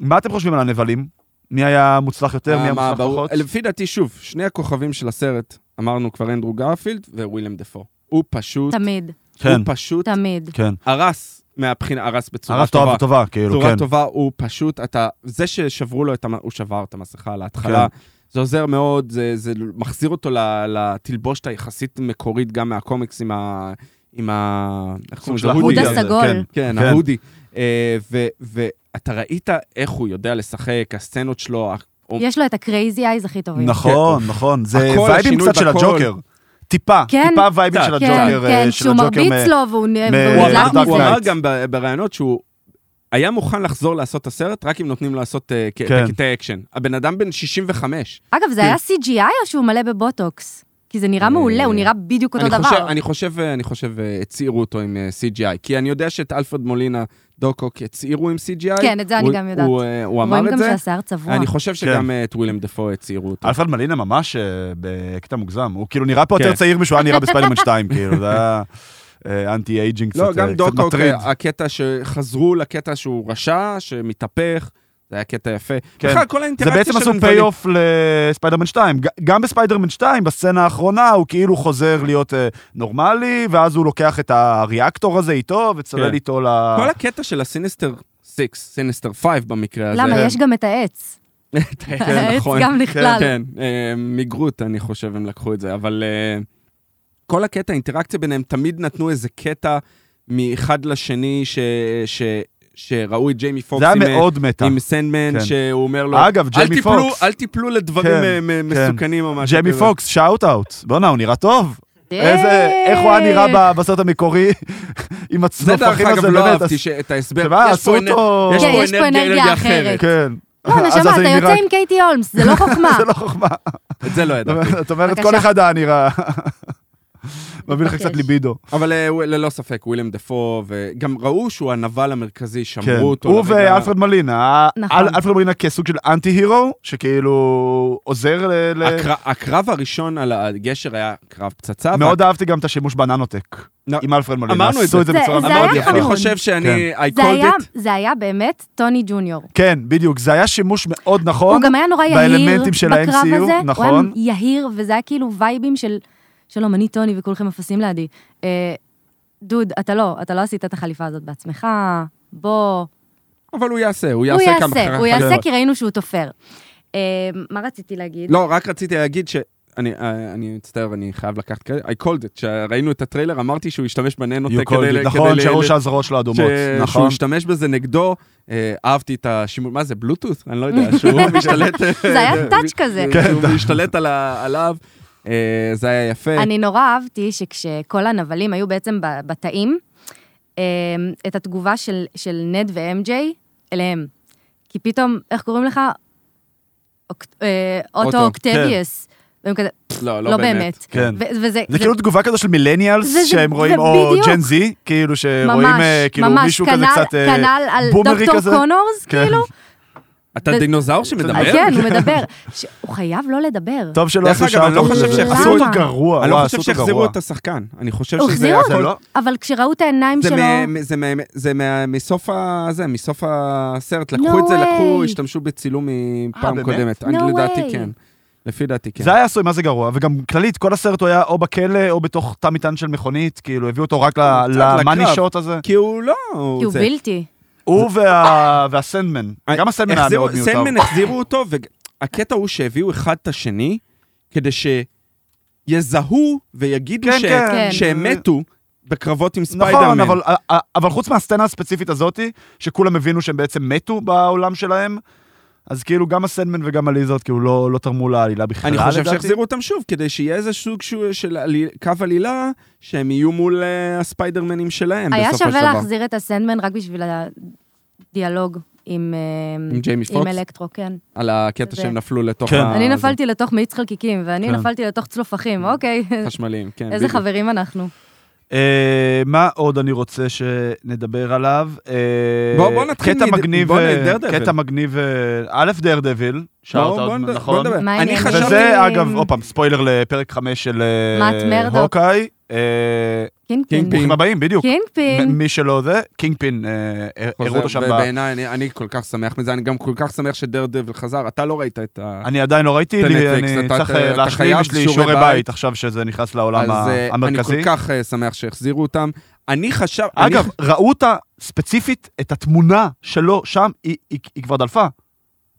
Speaker 1: מה אתם חושבים על הנבלים? מי היה מוצלח יותר, מי היה
Speaker 3: מה,
Speaker 1: מוצלח
Speaker 3: ברור.
Speaker 1: פחות?
Speaker 3: אה, לפי דעתי, שוב, שני הכוכבים של הסרט, אמרנו כבר אנדרו גרפילד ווילם דפו. הוא פשוט,
Speaker 2: תמיד,
Speaker 3: הוא
Speaker 1: כן,
Speaker 3: פשוט
Speaker 2: תמיד.
Speaker 1: כן.
Speaker 3: הרס מהבחינה, הרס בצורה
Speaker 1: הרס טובה
Speaker 3: טובה.
Speaker 1: וטובה, כאילו,
Speaker 3: בצורה
Speaker 1: כן.
Speaker 3: טובה, הוא פשוט, אתה, זה ששברו לו את, המ- הוא שבר את המסכה על ההתחלה,
Speaker 1: כן.
Speaker 3: זה עוזר מאוד, זה, זה מחזיר אותו ל- לתלבושת היחסית מקורית גם מהקומיקס עם ה... עם ה... איך קוראים לזה?
Speaker 1: של
Speaker 2: ההוד
Speaker 3: הודי
Speaker 1: הזה,
Speaker 3: הזה.
Speaker 2: הסגול.
Speaker 1: כן.
Speaker 3: כן,
Speaker 1: כן.
Speaker 3: ההודי. אה, ו- ואתה ראית איך הוא יודע לשחק, הסצנות שלו, הוא-
Speaker 2: יש לו את הקרייזי אייז הכי טובים.
Speaker 1: נכון, נכון. זה
Speaker 3: הכל,
Speaker 1: וייבים
Speaker 3: השינוי
Speaker 1: קצת של
Speaker 3: בכל.
Speaker 1: הג'וקר. טיפה,
Speaker 2: כן.
Speaker 1: טיפה וייבים
Speaker 3: קצת,
Speaker 1: של
Speaker 2: כן,
Speaker 1: הג'וקר. אה,
Speaker 2: כן,
Speaker 1: של
Speaker 2: שהוא
Speaker 1: הג'וקר
Speaker 2: מרביץ
Speaker 1: מ-
Speaker 2: לו והוא נ-
Speaker 1: מ-
Speaker 2: והוא
Speaker 3: הוא
Speaker 1: אה,
Speaker 2: נזהר
Speaker 3: אמר,
Speaker 1: Dark
Speaker 3: הוא
Speaker 2: מזה.
Speaker 3: אמר
Speaker 1: Knight.
Speaker 3: גם ב- בראיונות שהוא היה מוכן לחזור לעשות את הסרט רק אם נותנים לו לעשות אה, ק-
Speaker 1: כן.
Speaker 3: קטעי אקשן. הבן אדם בן 65.
Speaker 2: אגב, זה היה CGI או שהוא מלא בבוטוקס? כי זה נראה
Speaker 3: אה,
Speaker 2: מעולה, הוא נראה בדיוק אותו
Speaker 3: אני חושב,
Speaker 2: דבר.
Speaker 3: אני חושב, אני חושב, אה, הצעירו אותו עם אה, CGI, כי אני יודע שאת אלפרד מולינה דוקוק הצעירו עם CGI.
Speaker 2: כן, את זה אני
Speaker 3: הוא-
Speaker 2: גם יודעת.
Speaker 3: הוא, אה, הוא
Speaker 2: רואים
Speaker 3: אמר
Speaker 2: גם
Speaker 3: את זה.
Speaker 2: שהשיער צבוע.
Speaker 3: אני חושב שגם אה, את ווילם דפו הצעירו אותו.
Speaker 1: כן. אלפרד מלינה ממש אה, בקטע מוגזם. הוא כאילו נראה פה יותר
Speaker 3: כן.
Speaker 1: צעיר משהוא היה נראה בספיידרמן 2, כאילו, זה היה אה, אנטי אייג'ינג קצת
Speaker 3: לא,
Speaker 1: אה,
Speaker 3: גם
Speaker 1: קצת
Speaker 3: דוקוק,
Speaker 1: מטריד.
Speaker 3: אה, הקטע שחזרו לקטע שהוא רשע, שמתהפך, זה היה קטע יפה.
Speaker 1: כן.
Speaker 3: בכלל, כל
Speaker 1: זה
Speaker 3: האינטראקציה
Speaker 1: בעצם
Speaker 3: של
Speaker 1: עשו פי אוף לספיידרמן 2. ג- גם בספיידרמן 2, בסצנה האחרונה, הוא כאילו חוזר להיות אה, נורמלי, ואז הוא לוקח את הריאקטור הזה איתו, וצולל
Speaker 3: כן.
Speaker 1: איתו ל...
Speaker 3: כל הקטע של הסיניסטר 6, סיניסטר 5 במקרה הזה.
Speaker 2: למה?
Speaker 1: כן.
Speaker 2: יש גם את העץ. העץ
Speaker 3: נכון.
Speaker 2: גם נכלל.
Speaker 3: כן, אה, מגרוט, אני חושב, הם לקחו את זה, אבל אה, כל הקטע, האינטראקציה ביניהם, תמיד נתנו איזה קטע מאחד לשני ש... ש... שראו את ג'יימי פוקס
Speaker 1: זה היה
Speaker 3: עם, אה,
Speaker 1: מאוד מטא.
Speaker 3: עם סנדמן,
Speaker 1: כן.
Speaker 3: שהוא אומר לו,
Speaker 1: אגב,
Speaker 3: "אל
Speaker 1: ג'יימי
Speaker 3: תיפלו-
Speaker 1: פוקס.
Speaker 3: אל תיפלו לדברים
Speaker 1: כן,
Speaker 3: אה, מ-
Speaker 1: כן.
Speaker 3: מסוכנים או משהו
Speaker 1: ג'יימי
Speaker 3: כזה."
Speaker 1: פוקס, שאוט אאוט. בואנה, הוא נראה טוב. איזה,
Speaker 2: אה.
Speaker 1: איך הוא היה נראה ב- בסרט המקורי עם
Speaker 3: זה דרך
Speaker 1: הצנופחים
Speaker 3: אגב,
Speaker 1: הזה,
Speaker 3: לא
Speaker 1: באמת.
Speaker 3: אהבתי
Speaker 1: אז-
Speaker 3: את ההסבר.
Speaker 1: שמה,
Speaker 3: יש פה
Speaker 1: עשו
Speaker 3: אנר-
Speaker 1: אותו-
Speaker 2: כן, יש פה אנרגיה אחרת.
Speaker 1: כן.
Speaker 2: לא,
Speaker 1: אז
Speaker 2: נשמה,
Speaker 1: זה
Speaker 2: אתה
Speaker 1: נראה-
Speaker 2: יוצא עם קייטי הולמס, זה לא חוכמה.
Speaker 1: זה לא חוכמה.
Speaker 3: את זה לא ידעתי.
Speaker 1: זאת אומרת, כל
Speaker 2: בבקשה. אוקיי.
Speaker 1: אחד היה נראה. מביא לך קצת
Speaker 2: מתבקש.
Speaker 1: ליבידו.
Speaker 3: אבל אה, הוא- ללא ספק, ווילם דפו, וגם ראו שהוא הנבל המרכזי,
Speaker 1: כן.
Speaker 3: שמרו אותו.
Speaker 1: הוא
Speaker 3: לרגע-
Speaker 1: ואלפרד מלינה.
Speaker 2: נכון.
Speaker 1: אל- אלפרד מלינה כסוג של אנטי הירו, שכאילו עוזר ל... ל-
Speaker 3: הקרב- הקרב הראשון על הגשר היה קרב פצצה.
Speaker 1: מאוד אהבתי גם את השימוש בננוטק.
Speaker 3: נו,
Speaker 1: עם אלפרד מלינה.
Speaker 3: אמרנו את
Speaker 1: עשו
Speaker 3: זה.
Speaker 1: את זה כן.
Speaker 2: זה-
Speaker 1: בצורה
Speaker 2: זה
Speaker 1: מאוד
Speaker 2: היה
Speaker 1: יפה.
Speaker 3: אני
Speaker 2: חמוד.
Speaker 3: חושב שאני, I
Speaker 2: זה היה-
Speaker 3: called it.
Speaker 2: זה היה באמת טוני ג'וניור.
Speaker 1: כן, בדיוק. זה היה שימוש מאוד נכון.
Speaker 2: הוא גם היה נורא יהיר
Speaker 1: באלמנטים של
Speaker 2: בקרב
Speaker 1: ה-MCU,
Speaker 2: הזה. הוא
Speaker 1: נכון.
Speaker 2: היה יהיר, וזה היה כאילו וייבים של, שלום, אני טוני וכולכם אפסים לידי. אה, דוד, אתה לא, אתה לא עשית את החליפה הזאת בעצמך, בוא.
Speaker 3: אבל הוא יעשה,
Speaker 2: הוא
Speaker 3: הוא יעשה כמה
Speaker 2: יעשה, הוא
Speaker 1: כן.
Speaker 2: יעשה
Speaker 3: חלקות.
Speaker 2: כי ראינו שהוא תופר. אה, מה רציתי להגיד?
Speaker 3: לא, רק רציתי להגיד ש... אני, אה, אני מצטער, אני חייב לקחת קרדיט. I called it, כשראינו את הטריילר, אמרתי שהוא השתמש
Speaker 1: You
Speaker 3: בננוטק
Speaker 1: called
Speaker 3: כדי...
Speaker 1: it.
Speaker 3: ל-
Speaker 1: נכון,
Speaker 3: כדי ל-
Speaker 1: שראו
Speaker 3: ל-
Speaker 1: שהזרועות שלו
Speaker 3: ש-
Speaker 1: אדומות.
Speaker 3: שהוא
Speaker 1: נכון.
Speaker 3: השתמש בזה נגדו, אה, אהבתי את השימוש, מה זה, בלוטות'? אני לא יודע, שהוא משתלט...
Speaker 2: זה היה טאץ' כזה.
Speaker 3: שהוא
Speaker 1: כן.
Speaker 3: משתלט על ה- עליו, אה, זה היה יפה.
Speaker 2: אני נורא אהבתי שכשכל הנבלים היו בעצם ב- בתאים, אה, את התגובה של, של נד ואם-ג'יי אליהם. כי פתאום, איך קוראים לך? אוק- אה,
Speaker 3: אוטו,
Speaker 2: אוטו אוקטביוס. והם כזה,
Speaker 3: לא,
Speaker 2: לא באמת.
Speaker 1: כן.
Speaker 2: ו- וזה...
Speaker 1: זה כאילו תגובה כזו של מילניאלס,
Speaker 2: זה- זה-
Speaker 1: שהם
Speaker 2: זה
Speaker 1: רואים, או
Speaker 2: בדיוק.
Speaker 1: ג'ן זי, כאילו שרואים
Speaker 2: ממש,
Speaker 1: אה, כאילו
Speaker 2: ממש,
Speaker 1: מישהו כזה
Speaker 2: כנ"ל-
Speaker 1: קצת אה,
Speaker 2: כנ"ל על
Speaker 1: בומרי
Speaker 2: דוקטור
Speaker 1: כזה.
Speaker 2: קונורס,
Speaker 1: כן.
Speaker 2: כאילו.
Speaker 3: אתה
Speaker 2: ו-
Speaker 3: דינוזאור
Speaker 2: אה,
Speaker 3: שמדבר?
Speaker 2: כן, הוא מדבר. ש- הוא חייב לא לדבר.
Speaker 1: טוב שלא
Speaker 3: דרך
Speaker 1: עשו
Speaker 3: אגב,
Speaker 1: שעה
Speaker 3: אני לא חושב
Speaker 2: שהחזירו
Speaker 1: עשו אותו
Speaker 2: אותו.
Speaker 1: גרוע,
Speaker 3: אני לא
Speaker 1: וואי,
Speaker 3: חושב
Speaker 1: עשו אותו
Speaker 3: שהחזירו
Speaker 1: גרוע.
Speaker 3: את השחקן. אני חושב
Speaker 2: הוא
Speaker 3: שזה...
Speaker 2: החזיר
Speaker 1: זה לא-
Speaker 2: אותו, אבל כשראו את העיניים
Speaker 3: זה
Speaker 2: שלו...
Speaker 3: מה- זה מה- זה מה- מסוף ה- זה, מסוף הסרט. לקחו
Speaker 2: No
Speaker 3: את זה, לקחו,
Speaker 2: way.
Speaker 3: השתמשו בצילום
Speaker 1: אה,
Speaker 3: מפעם
Speaker 1: באמת?
Speaker 3: קודמת.
Speaker 2: No
Speaker 3: אני לדעתי
Speaker 2: way.
Speaker 3: כן. לפי דעתי כן.
Speaker 1: זה היה עשוי, מה זה גרוע? וגם כללית, כל הסרט הוא היה או בכלא או בתוך תא מטען של מכונית, כאילו הביאו אותו רק ל-
Speaker 3: קצת
Speaker 1: למאני
Speaker 3: לקרב.
Speaker 1: שוט הזה.
Speaker 3: כי הוא לא...
Speaker 2: כי הוא
Speaker 3: זה. אה,
Speaker 2: בלתי.
Speaker 1: הוא וה- והסנדמן, גם הסנדמן היה
Speaker 3: החזירו-
Speaker 1: מאוד מיותר.
Speaker 3: סנדמן החזירו אותו, והקטע הוא שהביאו אחד את השני, כדי שיזהו ויגידו
Speaker 1: כן,
Speaker 3: ש-
Speaker 1: כן.
Speaker 3: שהם מתו בקרבות עם
Speaker 1: נכון,
Speaker 3: ספיידרמן.
Speaker 1: אבל, אבל חוץ מהסצנה הספציפית הזאתי, שכולם הבינו שהם בעצם מתו בעולם שלהם, אז כאילו גם הסנדמן וגם הליזרד כאילו לא, לא תרמו לעלילה בכלל,
Speaker 3: אני חושב
Speaker 1: לדעתי.
Speaker 3: שיחזירו אותם שוב, כדי שיהיה איזה סוג שהוא- של עלי- קו עלילה, שהם יהיו מול אה, הספיידרמנים שלהם
Speaker 2: היה
Speaker 3: כן, בסופו של
Speaker 2: שווה
Speaker 3: דבר.
Speaker 2: להחזיר את הסנדמן רק בשביל הדיאלוג עם... אה,
Speaker 3: עם ג'יימי
Speaker 2: עם
Speaker 3: פוקס, אה,
Speaker 2: אלקטרו, כן.
Speaker 3: על הקטע
Speaker 2: זה-
Speaker 3: שהם נפלו לתוך
Speaker 1: כן.
Speaker 3: ה...
Speaker 2: אני נפלתי לתוך מאיץ חלקיקים, ואני
Speaker 1: כן.
Speaker 2: נפלתי לתוך צלופחים, אוקיי.
Speaker 3: זה, חשמליים, כן.
Speaker 2: איזה
Speaker 3: בדיוק.
Speaker 2: חברים אנחנו.
Speaker 1: אה, מה עוד אני רוצה שנדבר עליו? אה,
Speaker 3: בוא- בוא נתחיל
Speaker 1: קטע
Speaker 3: מד-
Speaker 1: מגניב,
Speaker 3: בוא לא,
Speaker 1: אה,
Speaker 3: נדרדביל.
Speaker 1: קטע מגניב, אה, א', דאר דביל, שאלת
Speaker 3: בוא- בוא
Speaker 1: עוד,
Speaker 3: נד-
Speaker 1: נכון?
Speaker 3: בוא נדבר.
Speaker 2: מה
Speaker 3: אני
Speaker 2: העניינים?
Speaker 3: חשבתי...
Speaker 1: וזה
Speaker 2: חשבתי-
Speaker 1: אגב, עוד פעם, ספוילר לפרק 5 של אה,
Speaker 2: מאט מרדוק.
Speaker 1: הוקאי. אה,
Speaker 2: קינגפין.
Speaker 3: קינגפין.
Speaker 1: ברוכים הבאים, בדיוק. מ-
Speaker 2: קינגפין.
Speaker 1: מי שלא זה, קינגפין, אה, אה, הראו אותו שם. ב-
Speaker 3: בעיניי, אני, אני כל כך שמח מזה, אני גם כל כך שמח שדר דבל חזר, אתה לא ראית את ה...
Speaker 1: אני עדיין לא ראיתי,
Speaker 3: בנטפליקס,
Speaker 1: לי- אני
Speaker 3: אתה-
Speaker 1: צריך
Speaker 3: אתה-
Speaker 1: אה,
Speaker 3: אתה
Speaker 1: להשלים,
Speaker 3: חייב
Speaker 1: יש לי
Speaker 3: שיעורי
Speaker 1: שיעורי
Speaker 3: בית.
Speaker 1: בית עכשיו שזה נכנס לעולם
Speaker 3: אז
Speaker 1: ה-
Speaker 3: אה, אני כל
Speaker 1: לא המרכזי.
Speaker 3: כך אה, שמח שהחזירו אותם. אני חשב... אני
Speaker 1: אגב, ראו אותה ספציפית, את התמונה שלו שם, היא- היא היא כבר דלפה.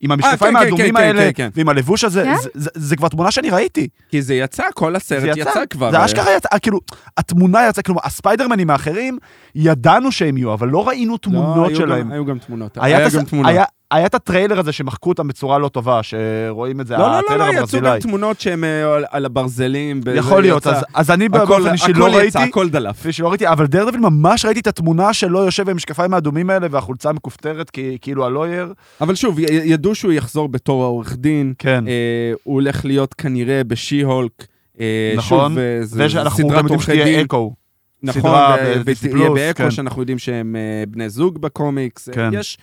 Speaker 1: עם המשקפיים
Speaker 3: כן, כן,
Speaker 1: האדומים
Speaker 3: כן,
Speaker 1: האלה,
Speaker 3: כן, כן.
Speaker 1: ועם הלבוש הזה,
Speaker 2: כן?
Speaker 1: זה- זה- זה כבר תמונה שאני ראיתי.
Speaker 3: כי זה יצא, כל
Speaker 1: זה
Speaker 3: הסרט יצא כבר.
Speaker 1: זה
Speaker 3: אה,
Speaker 1: אשכרה יצא, אה, כאילו, התמונה יצאה, כאילו, הספיידרמנים האחרים, ידענו שהם יהיו, אבל לא ראינו
Speaker 3: לא,
Speaker 1: תמונות
Speaker 3: היו
Speaker 1: שלהם.
Speaker 3: גם- היו גם תמונות.
Speaker 1: היה
Speaker 3: היה
Speaker 1: את הס-
Speaker 3: גם תמונות.
Speaker 1: היה- היה את הטריילר הזה שמחקו אותם בצורה לא טובה, שרואים את זה,
Speaker 3: לא, לא, לא,
Speaker 1: הטריילר
Speaker 3: לא, יצאו גם
Speaker 1: הברזילאי.
Speaker 3: תמונות שהם אה, על- על הברזלים. בזה
Speaker 1: יכול להיות,
Speaker 3: יצא.
Speaker 1: אז- אז אני
Speaker 3: הכל-
Speaker 1: באופן אישי לא
Speaker 3: הכל יצא,
Speaker 1: ראיתי,
Speaker 3: הכל דלף.
Speaker 1: כפי שלא ראיתי, אבל דרדביל ממש ראיתי את התמונה שלו יושב עם המשקפיים האדומים האלה והחולצה המכופתרת, כי- כאילו הלויר.
Speaker 3: אבל שוב, י- ידעו שהוא יחזור בתור העורך דין.
Speaker 1: כן.
Speaker 3: אה, הוא הולך להיות כנראה בשי-הולק. אה,
Speaker 1: נכון,
Speaker 3: שוב, אה, זה- זה
Speaker 1: ואנחנו
Speaker 3: סדרת
Speaker 1: גם יודעים
Speaker 3: עורכי
Speaker 1: שתהיה
Speaker 3: דין.
Speaker 1: אקו.
Speaker 3: נכון,
Speaker 1: סדרה
Speaker 3: ו-
Speaker 1: בדיסני
Speaker 3: ותהיה
Speaker 1: פלוס, כן.
Speaker 3: באקו, שאנחנו יודעים שהם אה, בני זוג בקומיקס. אה,
Speaker 1: כן.
Speaker 3: יש,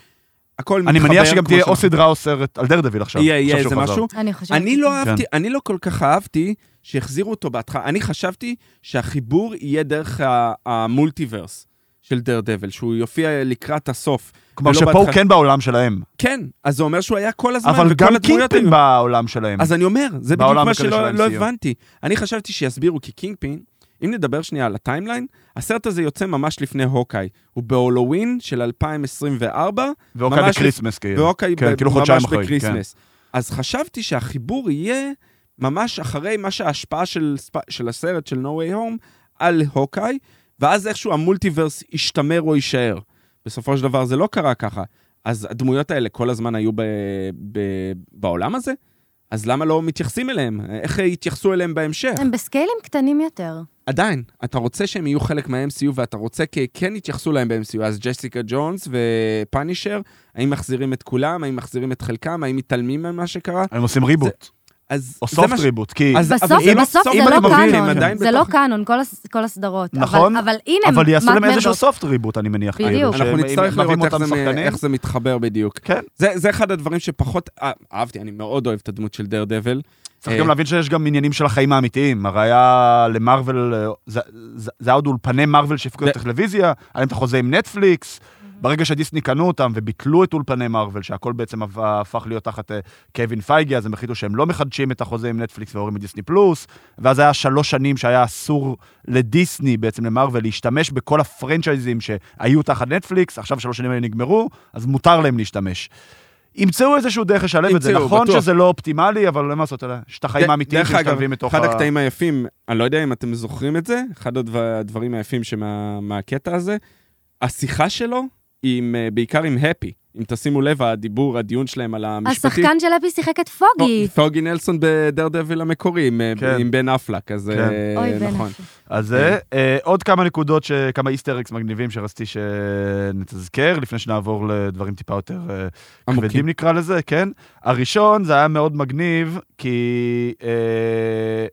Speaker 3: הכל מתחבר.
Speaker 1: אני מניח שגם
Speaker 3: כמו
Speaker 1: תהיה או
Speaker 3: שאנחנו-
Speaker 1: סדרה או סרט על דרדביל עכשיו.
Speaker 3: יהיה, יהיה
Speaker 1: עכשיו שהוא
Speaker 3: איזה
Speaker 1: חזר.
Speaker 3: משהו.
Speaker 2: אני חושבת...
Speaker 3: אני
Speaker 2: שכן.
Speaker 3: לא
Speaker 1: כן.
Speaker 3: אהבתי, אני לא כל כך אהבתי שהחזירו אותו בהתחלה. אני חשבתי שהחיבור יהיה דרך ה- המולטיברס של דר דבל, שהוא יופיע לקראת הסוף.
Speaker 1: כלומר
Speaker 3: ולא
Speaker 1: שפה הוא
Speaker 3: לא בהתחלה.
Speaker 1: כן בעולם שלהם,
Speaker 3: כן, אז זה אומר שהוא היה כל הזמן,
Speaker 1: אבל
Speaker 3: וכל
Speaker 1: גם
Speaker 3: הדמויות
Speaker 1: קינגפין
Speaker 3: היו-
Speaker 1: בעולם שלהם.
Speaker 3: אז אני אומר, זה בדיוק
Speaker 1: בעולם
Speaker 3: מה
Speaker 1: הכללי
Speaker 3: שלא
Speaker 1: של
Speaker 3: לא
Speaker 1: ה-MCU.
Speaker 3: הבנתי. אני חשבתי שיסבירו, כי קינגפין, אם נדבר שנייה על הטיימליין, הסרט הזה יוצא ממש לפני הוקאי. הוא בהולווין של 2024,
Speaker 1: ואוקיי
Speaker 3: ממש אוקיי.
Speaker 1: בקריסמס כאילו.
Speaker 3: והוקאי
Speaker 1: כן,
Speaker 3: ב-
Speaker 1: כאילו
Speaker 3: ממש
Speaker 1: חודשיים אחרי,
Speaker 3: בקריסמס. אז חשבתי שהחיבור יהיה ממש אחרי מה שההשפעה של, ספ- של הסרט של No Way Home על הוקאי, ואז איכשהו המולטיברס ישתמר או יישאר. בסופו של דבר זה לא קרה ככה. אז הדמויות האלה כל הזמן היו ב- ב- בעולם הזה? אז למה לא מתייחסים אליהם? איך יתייחסו אליהם בהמשך?
Speaker 2: הם בסקיילים קטנים יותר.
Speaker 3: עדיין, אתה רוצה שהם יהיו חלק מה-MCU ואתה רוצה כי כן יתייחסו להם ב-MCU, אז ג'סיקה ג'ונס ופאנישר, האם מחזירים את כולם, האם מחזירים את חלקם, האם מתעלמים ממה שקרה?
Speaker 1: הם עושים ריבוט,
Speaker 3: אז
Speaker 1: או
Speaker 3: זה
Speaker 1: סופט
Speaker 3: מה ש-
Speaker 1: ריבוט, כי...
Speaker 3: אז-
Speaker 2: בסוף,
Speaker 3: אבל זה לא
Speaker 2: בסוף
Speaker 3: סוף,
Speaker 2: זה
Speaker 3: אם
Speaker 2: לא
Speaker 3: אתם מבינים,
Speaker 2: קאנון,
Speaker 3: הם עדיין
Speaker 2: זה לא
Speaker 3: בתוך-
Speaker 2: קאנון, כל הס- כל הסדרות. אבל-
Speaker 1: נכון,
Speaker 2: אבל הנה,
Speaker 1: אבל יעשו
Speaker 2: מאט
Speaker 1: להם איזשהו
Speaker 2: מרדוק.
Speaker 1: סופט ריבוט, אני מניח.
Speaker 2: בדיוק.
Speaker 1: כאילו,
Speaker 3: אנחנו
Speaker 1: שהם-
Speaker 3: נצטרך
Speaker 1: אם מביאים
Speaker 3: לראות אה, איך
Speaker 1: אותם
Speaker 3: זה, מ-
Speaker 1: שחקנים.
Speaker 3: איך זה מתחבר בדיוק.
Speaker 1: כן.
Speaker 3: זה, זה אחד הדברים שפחות אה, אהבתי, אני מאוד אוהב את הדמות של דר דבל.
Speaker 1: צריך גם להבין שיש גם עניינים של החיים האמיתיים. הרי היה למרוויל, אה, זה- זה זה היה עוד אולפני מרוויל שהפקו
Speaker 3: זה-
Speaker 1: לטלוויזיה, היה להם את החוזה עם נטפליקס. ברגע שדיסני קנו אותם וביטלו את אולפני מרוויל, שהכל בעצם הפ- הפך להיות תחת אה, קווין פייגי, אז הם החליטו שהם לא מחדשים את החוזה עם נטפליקס ועוברים את דיסני פלוס, ואז היה שלוש שנים שהיה אסור לדיסני, בעצם למרוויל, להשתמש בכל הפרנצ'ייזים שהיו תחת נטפליקס, עכשיו שלוש שנים האלה נגמרו, אז מותר להם להשתמש. ימצאו איזשהו דרך לשלב את זה,
Speaker 3: ימצאו,
Speaker 1: נכון
Speaker 3: בטוח.
Speaker 1: שזה לא אופטימלי, אבל אין מה לעשות, אלא יש את החיים
Speaker 3: ד-
Speaker 1: האמיתיים
Speaker 3: דרך אגב,
Speaker 1: שמשתלבים מתוך
Speaker 3: אחד הקטעים היפים, אני לא יודע אם אתם זוכרים את זה, אחד הדו- הדברים היפים שמה- מהקטע הזה, השיחה שלו היא עם, אה, בעיקר עם הפי. אם תשימו לב, הדיבור, הדיון שלהם על המשפטי.
Speaker 2: השחקן של אפי שיחק את פוגי.
Speaker 3: פוגי נלסון בדר דביל המקורי, עם, אה,
Speaker 1: כן.
Speaker 3: עם בן אפלק, אז
Speaker 1: כן.
Speaker 3: אה,
Speaker 2: אוי, בן
Speaker 3: נכון.
Speaker 2: אפי.
Speaker 1: אז זה, אה, עוד כמה נקודות, ש- כמה איסטריקס מגניבים שרציתי שנתזכר, לפני שנעבור לדברים טיפה יותר אה, כבדים
Speaker 3: עמוקים.
Speaker 1: נקרא לזה, כן? הראשון, זה היה מאוד מגניב, כי אה,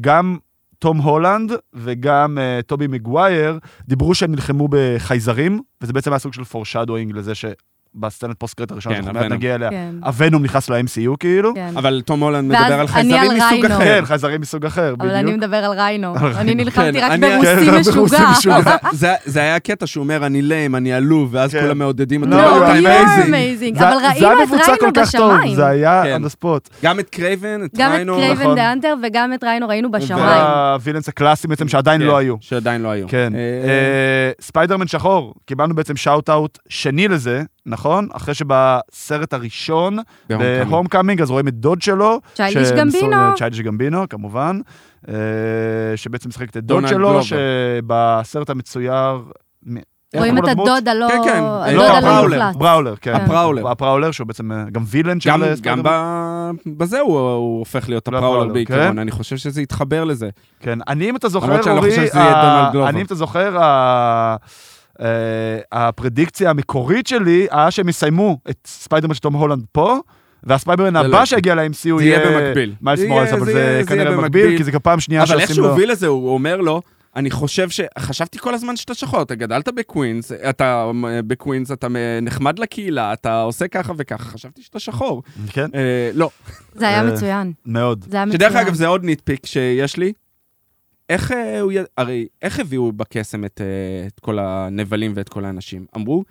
Speaker 1: גם תום הולנד וגם אה, טובי מגווייר דיברו שהם נלחמו בחייזרים, וזה בעצם היה סוג של פורשדואינג לזה שבסצנת פוסט-קרט הראשונה,
Speaker 3: כן,
Speaker 1: אנחנו מיד
Speaker 3: הוונום.
Speaker 1: נגיע אליה,
Speaker 2: כן,
Speaker 1: הוונום נכנס ל-MCU כאילו.
Speaker 2: כן.
Speaker 3: אבל תום הולנד
Speaker 2: ואז
Speaker 3: מדבר על
Speaker 2: אני
Speaker 3: חייזרים
Speaker 2: על
Speaker 3: מסוג
Speaker 2: ריינו.
Speaker 3: אחר.
Speaker 1: כן, חייזרים מסוג אחר,
Speaker 2: אבל אני
Speaker 1: בדיוק.
Speaker 2: מדבר על ריינו.
Speaker 1: על
Speaker 2: אני
Speaker 1: ריינו.
Speaker 2: נלחמתי
Speaker 3: כן,
Speaker 2: רק
Speaker 3: אני-
Speaker 2: ברוסי
Speaker 1: כן, רק ברוסי
Speaker 2: משוגע.
Speaker 1: משוגע.
Speaker 3: זה- זה היה הקטע שהוא אומר, אני ליים, אני עלוב, ואז
Speaker 1: כן.
Speaker 3: כולם מעודדים אותו.
Speaker 1: לא,
Speaker 3: "You're
Speaker 1: הוא
Speaker 2: לא,
Speaker 1: היה
Speaker 2: you're
Speaker 1: amazing.
Speaker 2: amazing.
Speaker 1: זה-
Speaker 2: אבל
Speaker 1: זה היה
Speaker 2: ראינו את
Speaker 1: מבוצע כל
Speaker 2: ריינו
Speaker 1: כך טוב,
Speaker 2: בשמיים.
Speaker 1: זה היה on
Speaker 3: כן.
Speaker 1: the spot.
Speaker 3: גם את קרייבן, את
Speaker 2: גם את
Speaker 3: ריינו.
Speaker 1: נכון.
Speaker 2: קרייבן דה אנטר וגם את ריינו ראינו בשמיים.
Speaker 1: אה, והווילנס הקלאסיים בעצם שעדיין
Speaker 3: כן,
Speaker 1: לא היו.
Speaker 3: שעדיין לא היו.
Speaker 1: כן.
Speaker 3: אה,
Speaker 1: אה, ספיידרמן שחור, קיבלנו בעצם שאוט אאוט שני לזה, נכון? אחרי שבסרט הראשון,
Speaker 3: בהומקאמינג.
Speaker 1: בהום קאמינג, אז רואים את דוד שלו.
Speaker 2: צ'יילדיש
Speaker 1: שנשוא
Speaker 2: גמבינו.
Speaker 1: לצ'יילדיש גמבינו, כמובן. אה, שבעצם משחק את הדוד
Speaker 3: דונלד
Speaker 1: שלו,
Speaker 3: גלובר.
Speaker 1: שבסרט המצויר... מ- איך
Speaker 2: רואים את
Speaker 1: קוראים לדמות?
Speaker 2: הדוד הלא...
Speaker 3: כן, כן,
Speaker 2: הדוד
Speaker 1: לא,
Speaker 3: דודה
Speaker 2: הלא
Speaker 3: הפראולר.
Speaker 2: מוחלט.
Speaker 1: בראולר, כן.
Speaker 3: הפראולר.
Speaker 1: הפראולר, שהוא בעצם אה, גם וילן של
Speaker 3: גם,
Speaker 1: ספיידרמן.
Speaker 3: גם ב- בזה הוא, הוא הופך להיות
Speaker 1: לא
Speaker 3: הפראולר
Speaker 1: הפראולר,
Speaker 3: בעיקרון,
Speaker 1: כן.
Speaker 3: אני חושב שזה יתחבר לזה.
Speaker 1: כן, אני אם אתה זוכר,
Speaker 3: למרות שאני לא
Speaker 1: אורי,
Speaker 3: חושב שזה יהיה
Speaker 1: ה-
Speaker 3: דונלד גלובר.
Speaker 1: אני אם אתה זוכר, ה- אה, הפרדיקציה המקורית שלי היה שהם יסיימו את ספיידרמן של תום הולנד פה. והספיידרמן
Speaker 3: זה לא
Speaker 1: הבא
Speaker 3: יקרה.
Speaker 1: שיגיע ל-MCU
Speaker 3: זה
Speaker 1: יהיה...
Speaker 3: יהיה במקביל.
Speaker 1: מיילס
Speaker 3: זה
Speaker 1: מורלס,
Speaker 3: יהיה-
Speaker 1: אבל
Speaker 3: זה
Speaker 1: זה
Speaker 3: יהיה- זה
Speaker 1: כנראה
Speaker 3: יהיה
Speaker 1: במקביל,
Speaker 3: במקביל.
Speaker 1: כי זה גם פעם שנייה
Speaker 3: אבל איך
Speaker 1: שעושים
Speaker 3: שהוא
Speaker 1: לו...
Speaker 3: הוביל לזה, הוא אומר לו, אני חושב ש... חשבתי כל הזמן שאתה שחור, אתה גדלת בקווינס, אתה אה, בקווינס, אתה אה, נחמד לקהילה, אתה עושה ככה וככה, חשבתי שאתה שחור.
Speaker 1: כן,
Speaker 3: אה, לא.
Speaker 2: זה היה
Speaker 1: אה,
Speaker 2: מצוין.
Speaker 1: מאוד.
Speaker 2: זה היה מצוין.
Speaker 3: שדרך אגב, זה עוד ניטפיק שיש לי. איך אה, הוא... י- הרי, איך הביאו בקסם את אה, את כל הנבלים ואת כל האנשים? אמרו,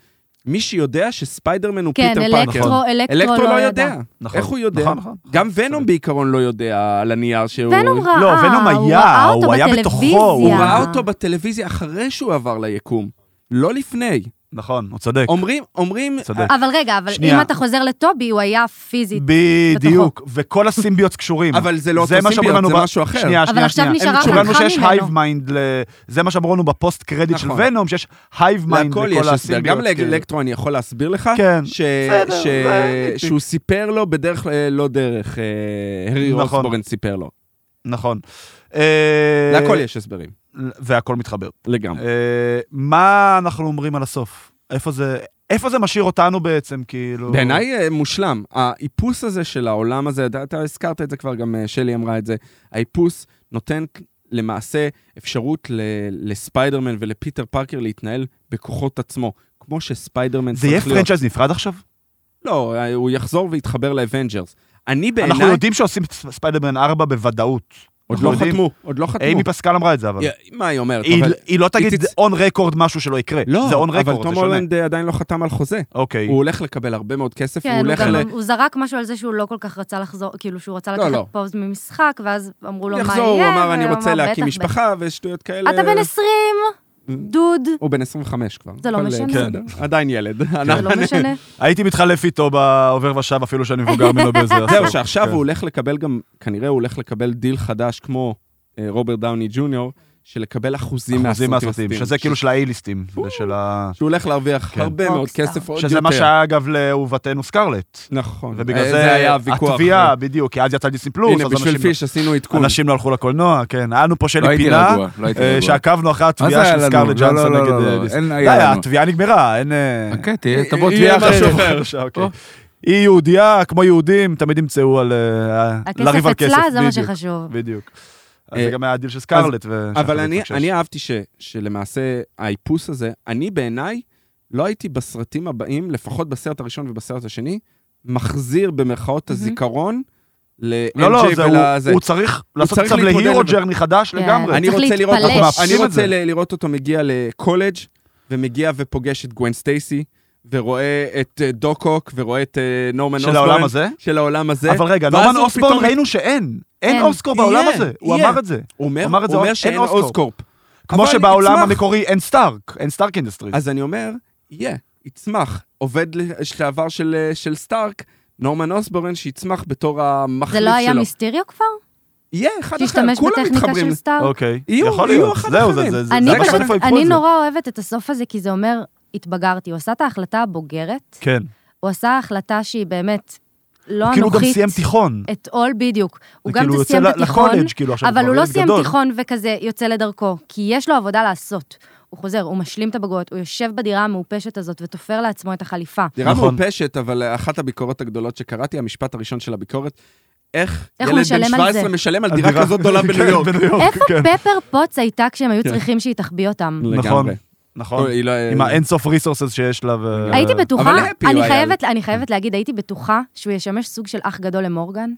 Speaker 3: מי שיודע שספיידרמן הוא
Speaker 2: כן,
Speaker 3: פיטר פאקר.
Speaker 1: נכון.
Speaker 2: אלקטרו, אלקטרו לא ידע.
Speaker 1: נכון.
Speaker 3: איך הוא יודע?
Speaker 1: נכון, נכון.
Speaker 3: גם ונום בעיקרון לא יודע על הנייר שהוא...
Speaker 2: ונום ראה,
Speaker 1: לא, ונום
Speaker 2: הוא
Speaker 1: היה,
Speaker 2: ראה
Speaker 1: הוא
Speaker 2: אותו
Speaker 1: היה
Speaker 2: בטלוויזיה.
Speaker 1: בתוכו, הוא
Speaker 3: הוא ראה אותו בטלוויזיה אחרי שהוא עבר ליקום, לא לפני.
Speaker 1: נכון, הוא צודק.
Speaker 3: אומרים, אומרים...
Speaker 1: צודק.
Speaker 2: אבל רגע, אבל
Speaker 1: שנייה.
Speaker 2: אם אתה חוזר לטובי, הוא היה פיזית.
Speaker 1: בדיוק, וכל הסימביוטס קשורים.
Speaker 3: אה, אבל זה לא אותו
Speaker 1: מה שאמרו
Speaker 3: סימביוט,
Speaker 1: לנו
Speaker 3: זה
Speaker 1: ב-
Speaker 3: משהו אחר.
Speaker 1: שנייה,
Speaker 2: אבל
Speaker 1: שנייה,
Speaker 2: עכשיו
Speaker 1: שנייה.
Speaker 2: נשארה
Speaker 1: הם אמרו לנו
Speaker 2: חלקה
Speaker 1: שיש
Speaker 2: ממנו.
Speaker 1: הייב מיינד, זה מה שאמרו לנו בפוסט קרדיט של
Speaker 3: נכון.
Speaker 1: ונום, שיש הייב מיינד
Speaker 3: להכל יש
Speaker 1: לכל
Speaker 3: הסבר, גם
Speaker 1: הסימביוטס. כאילו.
Speaker 3: לאלקטרו אני יכול להסביר לך,
Speaker 1: כן.
Speaker 3: ש-
Speaker 1: בסדר,
Speaker 3: ש-
Speaker 1: זה ניטפיק.
Speaker 3: שהוא סיפר לו בדרך אה, לא דרך, אה, הרי
Speaker 1: נכון.
Speaker 3: רוסבורן סיפר לו.
Speaker 1: נכון. אה,
Speaker 3: להכל יש הסברים,
Speaker 1: והכל מתחבר.
Speaker 3: לגמרי.
Speaker 1: אה, מה אנחנו אומרים על הסוף? איפה זה... איפה זה משאיר אותנו בעצם, כאילו...
Speaker 3: בעיניי אה, מושלם. האיפוס הזה של העולם הזה, אתה- אתה הזכרת את זה כבר, גם אה, שלי אמרה את זה, האיפוס נותן למעשה אפשרות ל- לספיידרמן ולפיטר פארקר להתנהל בכוחות עצמו, כמו שספיידרמן
Speaker 1: זה יהיה
Speaker 3: צריך להיות.
Speaker 1: פרנצ'ייז נפרד עכשיו?
Speaker 3: לא, אה, הוא יחזור ויתחבר לאבנג'רס. אני בעיניי...
Speaker 1: אנחנו יודעים שעושים את ספ- ספיידרמן 4 בוודאות.
Speaker 3: עוד
Speaker 1: אנחנו
Speaker 3: לא
Speaker 1: יודעים.
Speaker 3: חתמו, עוד לא חתמו.
Speaker 1: אימי פסקל אמרה את זה, אבל.
Speaker 3: יא- מה היא אומרת?
Speaker 1: היא-
Speaker 3: אבל-
Speaker 1: היא לא תגיד
Speaker 3: היא תצ-
Speaker 1: און רקורד משהו שלא יקרה.
Speaker 3: לא,
Speaker 1: זה און
Speaker 3: אבל
Speaker 1: רקורד, זה
Speaker 3: תום
Speaker 1: שונה.
Speaker 3: הולנד אה, עדיין לא חתם על חוזה.
Speaker 1: אוקיי.
Speaker 3: הוא הולך לקבל הרבה מאוד כסף, הוא
Speaker 2: כן, הוא
Speaker 3: הולך ל...
Speaker 2: גם- הוא זרק משהו על זה שהוא לא כל כך רצה לחזור, כאילו שהוא רצה
Speaker 3: לא,
Speaker 2: לקחת
Speaker 3: לא.
Speaker 2: פוז ממשחק, ואז אמרו לו מה יהיה.
Speaker 3: יחזור, הוא אמר, אני
Speaker 2: לא והוא
Speaker 3: רוצה
Speaker 2: אמר,
Speaker 3: להקים
Speaker 2: "בטח,
Speaker 3: משפחה ושטויות
Speaker 2: בטח."
Speaker 3: כאלה.
Speaker 2: אתה בן 20, דוד,
Speaker 3: הוא בן 25 כבר.
Speaker 2: זה לא
Speaker 3: אבל,
Speaker 2: משנה.
Speaker 3: בסדר, עדיין ילד.
Speaker 2: זה
Speaker 3: אנחנו-
Speaker 2: לא משנה.
Speaker 1: הייתי מתחלף איתו בעובר ושב, אפילו שאני מבוגר ממנו באיזה עשור.
Speaker 3: זהו, שעכשיו
Speaker 1: כן.
Speaker 3: הוא הולך לקבל גם, כנראה הוא הולך לקבל דיל חדש כמו אה, רוברט דאוני ג'וניור, של לקבל אחוזים
Speaker 1: אחוזים מהסרטים,
Speaker 3: הספציפיים.
Speaker 1: שזה כאילו של האייליסטים, זה של ה...
Speaker 3: שהוא הולך להרוויח
Speaker 1: כן.
Speaker 3: הרבה מאוד
Speaker 2: רוקסטאר.
Speaker 3: כסף עוד יותר.
Speaker 1: שזה מה שהיה אגב לאהובתנו סקרלט.
Speaker 3: נכון.
Speaker 1: ובגלל
Speaker 3: אה,
Speaker 1: זה
Speaker 3: היה הוויכוח.
Speaker 4: אה.
Speaker 1: התביעה, בדיוק, כי אז יצא דיסני פלוס,
Speaker 3: הנה,
Speaker 1: אז אנשים
Speaker 3: בשביל
Speaker 1: לא-
Speaker 3: פיש עשינו עדכון.
Speaker 1: אנשים לא הלכו לקולנוע, כן. היה לנו פה
Speaker 4: לא
Speaker 1: שלי
Speaker 4: הייתי
Speaker 1: פינה,
Speaker 4: רגוע, לא הייתי
Speaker 1: אה,
Speaker 4: רגוע.
Speaker 1: שעקבנו אחרי
Speaker 4: מה זה
Speaker 1: התביעה
Speaker 4: היה
Speaker 1: של
Speaker 4: לנו?
Speaker 1: סקרלט
Speaker 4: לא, לא,
Speaker 1: ג'אנסון
Speaker 4: לא,
Speaker 1: נגד
Speaker 4: לא, לא,
Speaker 1: אה,
Speaker 4: לא.
Speaker 1: דיסני.
Speaker 4: אין,
Speaker 1: די,
Speaker 4: היה לנו.
Speaker 1: התביעה נגמרה, אין... אה,
Speaker 4: חכה, תהיה- תבוא
Speaker 3: יהיה
Speaker 4: תביעה
Speaker 3: משהו
Speaker 4: אחרת.
Speaker 3: אחר.
Speaker 1: עכשיו, אוקיי. היא יהודייה, כמו יהודים, תמיד ימצאו על... אה, לריב
Speaker 2: הכסף
Speaker 1: על
Speaker 2: אצלה זה מה
Speaker 1: בדיוק,
Speaker 2: שחשוב.
Speaker 1: בדיוק. אז
Speaker 3: אה,
Speaker 1: זה גם היה הדיל של סקרלט. ו-
Speaker 3: אבל
Speaker 1: שאנחנו
Speaker 3: אני,
Speaker 1: נתפקשש.
Speaker 3: אני אהבתי ש, שלמעשה האיפוס הזה, אני בעיניי לא הייתי בסרטים הבאים, לפחות בסרט הראשון ובסרט השני, מחזיר במרכאות הזיכרון ל-MJ
Speaker 1: לא, לא, זה
Speaker 3: ולזה.
Speaker 1: הוא- הוא צריך לעשות
Speaker 3: צריך
Speaker 1: עכשיו
Speaker 3: להתמודד
Speaker 1: להירו
Speaker 3: עם זה.
Speaker 1: ג'רני חדש
Speaker 2: כן.
Speaker 1: לגמרי.
Speaker 3: אני
Speaker 2: צריך
Speaker 3: רוצה לראות
Speaker 2: להתפלש.
Speaker 3: אותו,
Speaker 1: אנחנו
Speaker 3: אני
Speaker 1: מאפסים את
Speaker 3: רוצה
Speaker 1: זה.
Speaker 3: ל- לראות אותו מגיע לקולג' ומגיע ופוגש את גווין סטייסי, ורואה את אה, דוקוק, ורואה את אה, נורמן
Speaker 1: של
Speaker 3: אוסבורן.
Speaker 1: העולם הזה?
Speaker 3: של העולם הזה.
Speaker 1: אבל רגע,
Speaker 3: ואז
Speaker 1: נורמן
Speaker 3: הוא פתאום-
Speaker 1: אוסבורן ראינו שאין. אין
Speaker 2: אין.
Speaker 1: אוסקור בעולם
Speaker 3: יהיה,
Speaker 1: הזה. הוא
Speaker 3: יהיה.
Speaker 1: אמר את זה.
Speaker 3: הוא אומר,
Speaker 1: הוא אמר את זה,
Speaker 3: הוא אומר
Speaker 1: אין
Speaker 3: שאין
Speaker 1: אוסקורפ.
Speaker 3: אוסקורפ.
Speaker 1: כמו
Speaker 3: אבל
Speaker 1: שבעולם
Speaker 3: יצמח.
Speaker 1: המקורי אין סטארק, אין סטארק אינדסטריז.
Speaker 3: אז אני אומר, יהיה, יצמח. עובד לשעבר של, אה, של סטארק, נורמן אוסבורן, שיצמח בתור המחליף
Speaker 2: זה
Speaker 3: שלו.
Speaker 2: לא היה מיסטריו כבר?
Speaker 3: יהיה, אחד אחר,
Speaker 2: שהשתמש
Speaker 3: כולם
Speaker 2: בטכניקה
Speaker 3: מתחברים.
Speaker 2: של סטאר?
Speaker 1: אוקיי,
Speaker 3: יהיו-
Speaker 1: יכול
Speaker 3: יהיו
Speaker 1: להיות.
Speaker 3: אחד
Speaker 1: זהו,
Speaker 3: אחרים.
Speaker 1: זה- זה זה-
Speaker 2: אני
Speaker 1: זה
Speaker 3: פשוט-
Speaker 1: בסוף
Speaker 2: פשוט,
Speaker 1: איפה ייקחו
Speaker 2: אני
Speaker 1: את זה.
Speaker 2: נורא אוהבת את הסוף הזה, כי זה אומר, התבגרתי. הוא עשה את ההחלטה הבוגרת,
Speaker 1: כן.
Speaker 2: הוא עשה החלטה שהיא באמת לא
Speaker 1: כאילו הוא גם
Speaker 2: אנוכית.
Speaker 1: סיים תיכון.
Speaker 2: את עול בדיוק. הוא גם
Speaker 1: כאילו,
Speaker 2: זה
Speaker 1: יוצא
Speaker 2: סיים
Speaker 1: ל-
Speaker 2: את התיכון,
Speaker 1: לקולג', כאילו, עכשיו
Speaker 2: אבל
Speaker 1: כבר
Speaker 2: הוא לא
Speaker 1: ילד
Speaker 2: סיים
Speaker 1: גדול.
Speaker 2: תיכון וכזה יוצא לדרכו, כי יש לו עבודה לעשות. הוא חוזר, הוא משלים את הבגרויות, הוא יושב בדירה המעופשת הזאת ותופר לעצמו את החליפה.
Speaker 3: דירה
Speaker 1: נכון.
Speaker 3: מעופשת, אבל אה, אחת הביקורות הגדולות שקראתי, המשפט הראשון של הביקורת, איך
Speaker 2: איך הוא
Speaker 3: ילד
Speaker 2: משלם
Speaker 3: בן
Speaker 2: על
Speaker 3: 17
Speaker 2: זה?
Speaker 3: משלם על
Speaker 1: על
Speaker 3: דירה כזאת גדולה
Speaker 1: כן,
Speaker 3: בניו יורק.
Speaker 1: בניו יורק,
Speaker 2: איפה
Speaker 1: כן.
Speaker 2: פפר פוץ הייתה כשהם היו
Speaker 3: כן.
Speaker 2: צריכים שהיא תחביא אותם?
Speaker 1: נכון,
Speaker 3: לגמרי.
Speaker 1: נכון.
Speaker 3: היא לא-
Speaker 1: עם האינסוף ריסורסס שיש לה. ו-
Speaker 2: הייתי בטוחה,
Speaker 3: happy הוא
Speaker 2: אני
Speaker 3: היה.
Speaker 2: חייבת, אני חייבת להגיד, הייתי בטוחה שהוא ישמש סוג של אח גדול למורגן.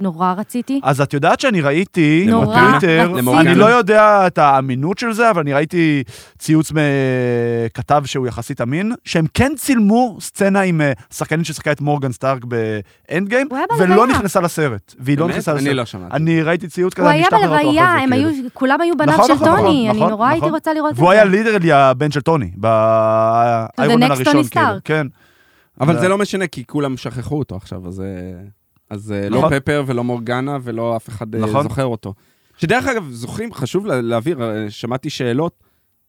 Speaker 2: נורא רציתי.
Speaker 1: אז את יודעת שאני ראיתי
Speaker 2: נורא
Speaker 1: בטוויטר,
Speaker 2: רציתי.
Speaker 1: אני לא יודע את האמינות של זה, אבל אני ראיתי ציוץ מכתב שהוא יחסית אמין, שהם כן צילמו סצנה עם אה, שחקנית ששיחקה את מורגן סטארק באנד גיים,
Speaker 2: הוא היה בהלוויה.
Speaker 1: ולא נכנסה לסרט, והיא לא
Speaker 3: באמת?
Speaker 1: נכנסה
Speaker 3: אני
Speaker 1: לסרט.
Speaker 3: לא שמעתי.
Speaker 1: אני ראיתי ציוץ כזה,
Speaker 2: הוא
Speaker 1: אני
Speaker 2: היה
Speaker 1: אשלח לך אותו אחרי
Speaker 2: בלוויה,
Speaker 1: זה,
Speaker 2: הם
Speaker 1: כאילו.
Speaker 2: היו, כולם היו בניו
Speaker 1: נכון,
Speaker 2: של
Speaker 1: נכון,
Speaker 2: טוני, אני
Speaker 1: נכון,
Speaker 2: נורא הייתי
Speaker 1: נכון.
Speaker 2: רוצה לראות את זה.
Speaker 1: והוא היה לידרלי הבן של טוני, באיירון מן
Speaker 2: next
Speaker 1: הראשון,
Speaker 2: Tony
Speaker 1: כאילו,
Speaker 2: Stark.
Speaker 1: כן.
Speaker 3: אבל זה
Speaker 1: לא-
Speaker 3: לא משנה, כי כולם שכחו אותו עכשיו, אז... אה, אז אה, לא
Speaker 1: נכון.
Speaker 3: פפר ולא מורגנה ולא אף אחד אה,
Speaker 1: נכון.
Speaker 3: זוכר אותו. שדרך אגב, זוכרים, חשוב לה- להבהיר, אה, שמעתי שאלות,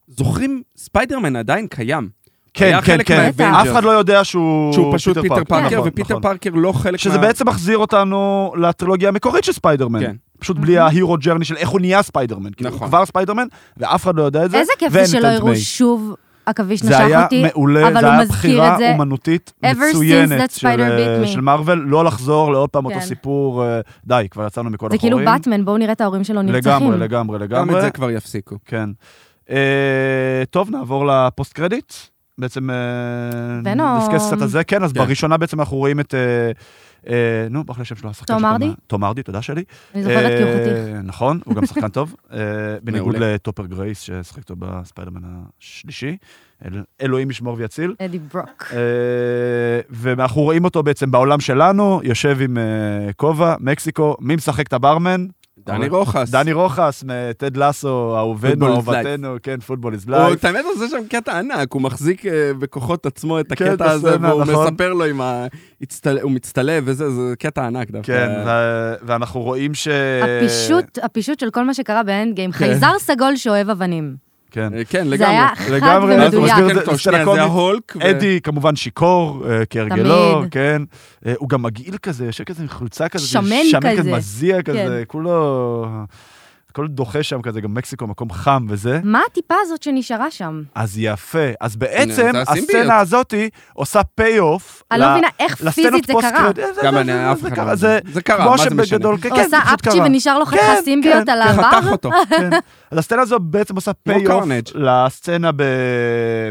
Speaker 3: זוכרים, ספיידרמן עדיין קיים.
Speaker 1: כן,
Speaker 3: היה
Speaker 1: כן,
Speaker 3: חלק
Speaker 1: כן.
Speaker 2: מהאבנג'רס.
Speaker 1: אף אחד לא יודע שהוא...
Speaker 3: שהוא פשוט פיטר פארקר,
Speaker 1: נכון,
Speaker 3: ופיטר
Speaker 1: נכון.
Speaker 3: פארקר לא חלק
Speaker 1: שזה
Speaker 3: מה...
Speaker 1: בעצם מחזיר אותנו לטרילוגיה המקורית של ספיידרמן.
Speaker 3: כן.
Speaker 1: פשוט
Speaker 2: Mhm.
Speaker 1: בלי ההירו ג'רני של איך הוא נהיה ספיידרמן. כאילו,
Speaker 3: נכון.
Speaker 1: הוא כבר ספיידרמן, ואף אחד לא יודע את זה.
Speaker 2: איזה כיף
Speaker 1: ואין
Speaker 2: זה
Speaker 1: את
Speaker 2: שלא
Speaker 1: אנט מיי.
Speaker 2: יראו שוב עכביש
Speaker 1: זה
Speaker 2: נשך
Speaker 1: היה
Speaker 2: אותי,
Speaker 1: מעולה,
Speaker 2: אבל
Speaker 1: זה
Speaker 2: הוא
Speaker 1: היה
Speaker 2: מזכיר
Speaker 1: בחירה
Speaker 2: את זה.
Speaker 1: אומנותית
Speaker 2: Ever since
Speaker 1: מצוינת
Speaker 2: that
Speaker 1: של,
Speaker 2: spider bit me.
Speaker 1: של מארוול, לא לחזור לעוד פעם אותו
Speaker 2: כן.
Speaker 1: סיפור, אה, די, כבר יצאנו מכל
Speaker 2: זה
Speaker 1: החורים.
Speaker 2: כאילו באטמן, בואו נראה את ההורים שלו נרצחים.
Speaker 1: לגמרי, לגמרי,
Speaker 3: גם את
Speaker 1: לגמרי.
Speaker 3: זה כבר יפסיקו.
Speaker 1: כן. אה, טוב, נעבור לפוסט קרדיט. בעצם אה,
Speaker 2: ונום.
Speaker 1: נדסקס קצת על זה, כן, אז
Speaker 3: כן.
Speaker 1: בראשונה בעצם אנחנו רואים את... אה, אה, נו, ברח לי השם שלו, השחקן
Speaker 2: תום
Speaker 1: של
Speaker 2: הרדי?
Speaker 1: תום הרדי, תודה שלי.
Speaker 2: אני זוכרת כי הוא חתיך.
Speaker 1: אה, נכון, הוא גם שחקן טוב. אה, בניגוד
Speaker 3: מעולה.
Speaker 1: לטופר גרייס, ששחק אותו בספיידרמן השלישי. אל- אלוהים ישמור ויציל.
Speaker 2: אדי ברוק.
Speaker 1: אה, ואנחנו רואים אותו בעצם בעולם שלנו, יושב עם אה, כובע, מקסיקו, מי משחק את הברמן?
Speaker 3: דני רוחס.
Speaker 1: דני רוחס, מטד לסו, אהובנו,
Speaker 3: Football is life.
Speaker 1: אהובתנו, כן, פוטבול איז
Speaker 3: הוא,
Speaker 1: לייב.
Speaker 3: את האמת, הוא עושה שם קטע ענק, הוא מחזיק אה, בכוחות עצמו את
Speaker 1: כן,
Speaker 3: הקטע
Speaker 1: את
Speaker 3: הזה,
Speaker 1: הסצנה,
Speaker 3: והוא
Speaker 1: נכון.
Speaker 3: מספר לו עם ה... הצטל- הוא מצטלב וזה, זה קטע ענק דווקא.
Speaker 1: כן, ו- ואנחנו רואים ש...
Speaker 2: הפישוט, הפישוט של כל מה שקרה באנד גיים, חייזר סגול שאוהב אבנים.
Speaker 1: כן.
Speaker 3: אה, כן, לגמרי.
Speaker 2: זה היה חד
Speaker 1: לגמרי,
Speaker 3: ואז הוא
Speaker 1: מדויק.
Speaker 2: ומדויק.
Speaker 3: מסתכל
Speaker 1: זה-
Speaker 3: אותו,
Speaker 1: זה
Speaker 3: שנייה,
Speaker 1: לקומי.
Speaker 3: זה ההולק. ו-
Speaker 1: אדי כמובן שיכור, אה, כהרגלו,
Speaker 2: תמיד.
Speaker 1: כן. אה, הוא גם מגעיל כזה, יושב כזה עם חולצה כזה.
Speaker 2: שמן כזה. כן.
Speaker 1: מזיע כזה, כולו... הכל דוחה שם כזה, גם מקסיקו מקום חם וזה.
Speaker 2: מה הטיפה הזאת שנשארה שם?
Speaker 1: אז יפה. אז בעצם
Speaker 3: זה הסימביות.
Speaker 1: הסצנה הזאתי עושה פי אוף.
Speaker 2: אני לא מבינה איך פיזית זה קרה.
Speaker 3: גם אני, אף אחד לא...
Speaker 1: זה
Speaker 3: זה קרה,
Speaker 1: כמו
Speaker 3: מה זה משנה?
Speaker 1: שבגדול, כן,
Speaker 2: הוא
Speaker 1: כן,
Speaker 2: עשה
Speaker 1: זה פשוט
Speaker 2: אפצ'י
Speaker 1: קרה.
Speaker 2: ונשאר לו
Speaker 1: כן,
Speaker 2: חתיכה סימביות
Speaker 1: כן,
Speaker 2: על
Speaker 1: כן.
Speaker 2: העבר?
Speaker 3: חתך אותו.
Speaker 1: כן. אז הסצנה הזו בעצם עושה פי אוף
Speaker 3: Carnage.
Speaker 1: לסצנה ב-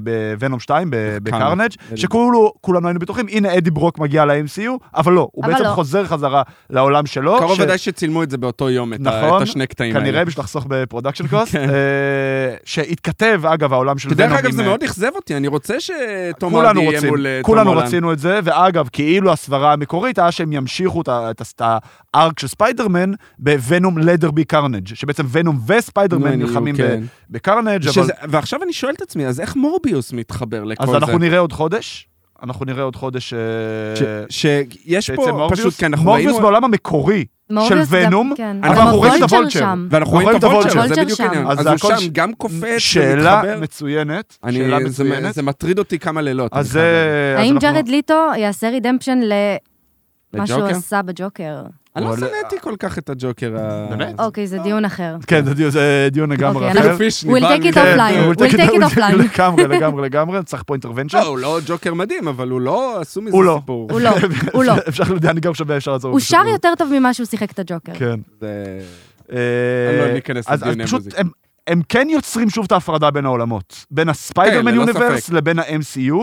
Speaker 1: בוונום 2, ב- בקרנג',
Speaker 3: Carnage.
Speaker 1: שכולנו כולנו היינו בטוחים, הנה אדי ברוק מגיע ל-MCU, אבל לא, הוא
Speaker 2: אבל
Speaker 1: בעצם
Speaker 2: לא.
Speaker 1: חוזר חזרה לעולם שלו.
Speaker 3: קרוב
Speaker 1: ש-
Speaker 3: ודאי שצילמו את זה באותו יום, את ה-
Speaker 1: אוקיי. נכון,
Speaker 3: את השני קטעים האלה.
Speaker 1: כנראה בשביל לחסוך בפרודקשן קוסט, אה,
Speaker 3: כן.
Speaker 1: שהתכתב, אגב, העולם של ונום
Speaker 3: שדרך אגב,
Speaker 1: עם,
Speaker 3: זה
Speaker 1: אה,
Speaker 3: מאוד אכזב אותי, אני רוצה שתום
Speaker 1: כולנו
Speaker 3: הרדי יהיה
Speaker 1: רוצים,
Speaker 3: מול אה, תום
Speaker 1: כולנו
Speaker 3: הולנד.
Speaker 1: רצינו את זה, ואגב, כאילו הסברה המקורית היה שהם ימשיכו את ה- את ה- את הארק של ספיידרמן בוונום לדרבי קרנג', שבעצם ונום וספיידרמן
Speaker 3: נו,
Speaker 1: נלחמים ב-
Speaker 3: כן.
Speaker 1: בקרנג', אבל...
Speaker 3: שזה- ועכשיו אני שואל את עצמי, אז איך מורביוס מתחבר לכל
Speaker 1: אז
Speaker 3: זה?
Speaker 1: אנחנו נראה עוד חודש. אנחנו נראה עוד חודש... אה,
Speaker 3: שיש
Speaker 1: שיצא
Speaker 3: פה
Speaker 1: מורביוס.
Speaker 3: פשוט, כי אנחנו
Speaker 1: מורביוס
Speaker 3: ראינו...
Speaker 1: בעולם המקורי.
Speaker 2: מורביוס גם-
Speaker 1: ונום,
Speaker 2: כן.
Speaker 1: אנחנו
Speaker 2: גם
Speaker 1: רואים את
Speaker 2: הוולצ'ר
Speaker 1: הוולצ'ר.
Speaker 2: שם.
Speaker 3: ואנחנו רואים את
Speaker 1: הוולצ'ר
Speaker 3: הוולצ'ר, זה
Speaker 2: שם.
Speaker 3: בדיוק העניין.
Speaker 1: אז
Speaker 3: אז
Speaker 1: זה
Speaker 3: הוא
Speaker 1: הכל ש-
Speaker 3: שם גם קופץ,
Speaker 1: שאלה
Speaker 3: ומתחבר.
Speaker 1: מצוינת.
Speaker 3: אני-
Speaker 1: שאלה
Speaker 3: זה-
Speaker 1: מצוינת.
Speaker 3: זה מטריד אותי כמה לילות.
Speaker 1: אז
Speaker 3: אני
Speaker 1: זה...
Speaker 3: חייב להגיד.
Speaker 1: אז
Speaker 2: האם
Speaker 1: אנחנו-
Speaker 2: ג'רד ליטו יעשה רידמפשן למה
Speaker 1: אה,
Speaker 2: שהוא
Speaker 3: לג'וקר?
Speaker 2: עשה בג'וקר?
Speaker 3: אני לא
Speaker 1: אבל-
Speaker 3: שנאתי כל כך את הג'וקר ה...
Speaker 1: באמת?
Speaker 2: אוקיי, זה דיון אחר.
Speaker 1: כן, זה דיון- זה דיון לגמרי
Speaker 2: אוקיי,
Speaker 1: אחר. כן,
Speaker 2: אנחנו-
Speaker 3: פיש
Speaker 2: We'll take it offline.
Speaker 1: we'll take
Speaker 2: We'll
Speaker 1: it-
Speaker 2: take it offline.
Speaker 1: לגמרי, לגמרי, לגמרי, צריך פה אינטרוונצ'ן.
Speaker 3: לא, הוא לא ג'וקר מדהים, אבל הוא לא עשו מזה
Speaker 1: הוא לא.
Speaker 3: סיפור.
Speaker 2: הוא לא, הוא לא.
Speaker 1: אפשר, אני גם שווה, אפשר לעזור.
Speaker 2: הוא שר
Speaker 1: בסיפור.
Speaker 2: יותר טוב ממה שהוא שיחק את הג'וקר.
Speaker 1: כן.
Speaker 3: זה-
Speaker 1: אה,
Speaker 3: אני לא אכנס
Speaker 1: אז- אז
Speaker 3: לדיוני
Speaker 1: פשוט
Speaker 3: המוזיקה.
Speaker 1: הם- הם כן יוצרים שוב את ההפרדה בין העולמות. בין הספיידרמן
Speaker 3: כן, ללא
Speaker 1: יוניברס
Speaker 3: ספק.
Speaker 1: לבין ה-MCU,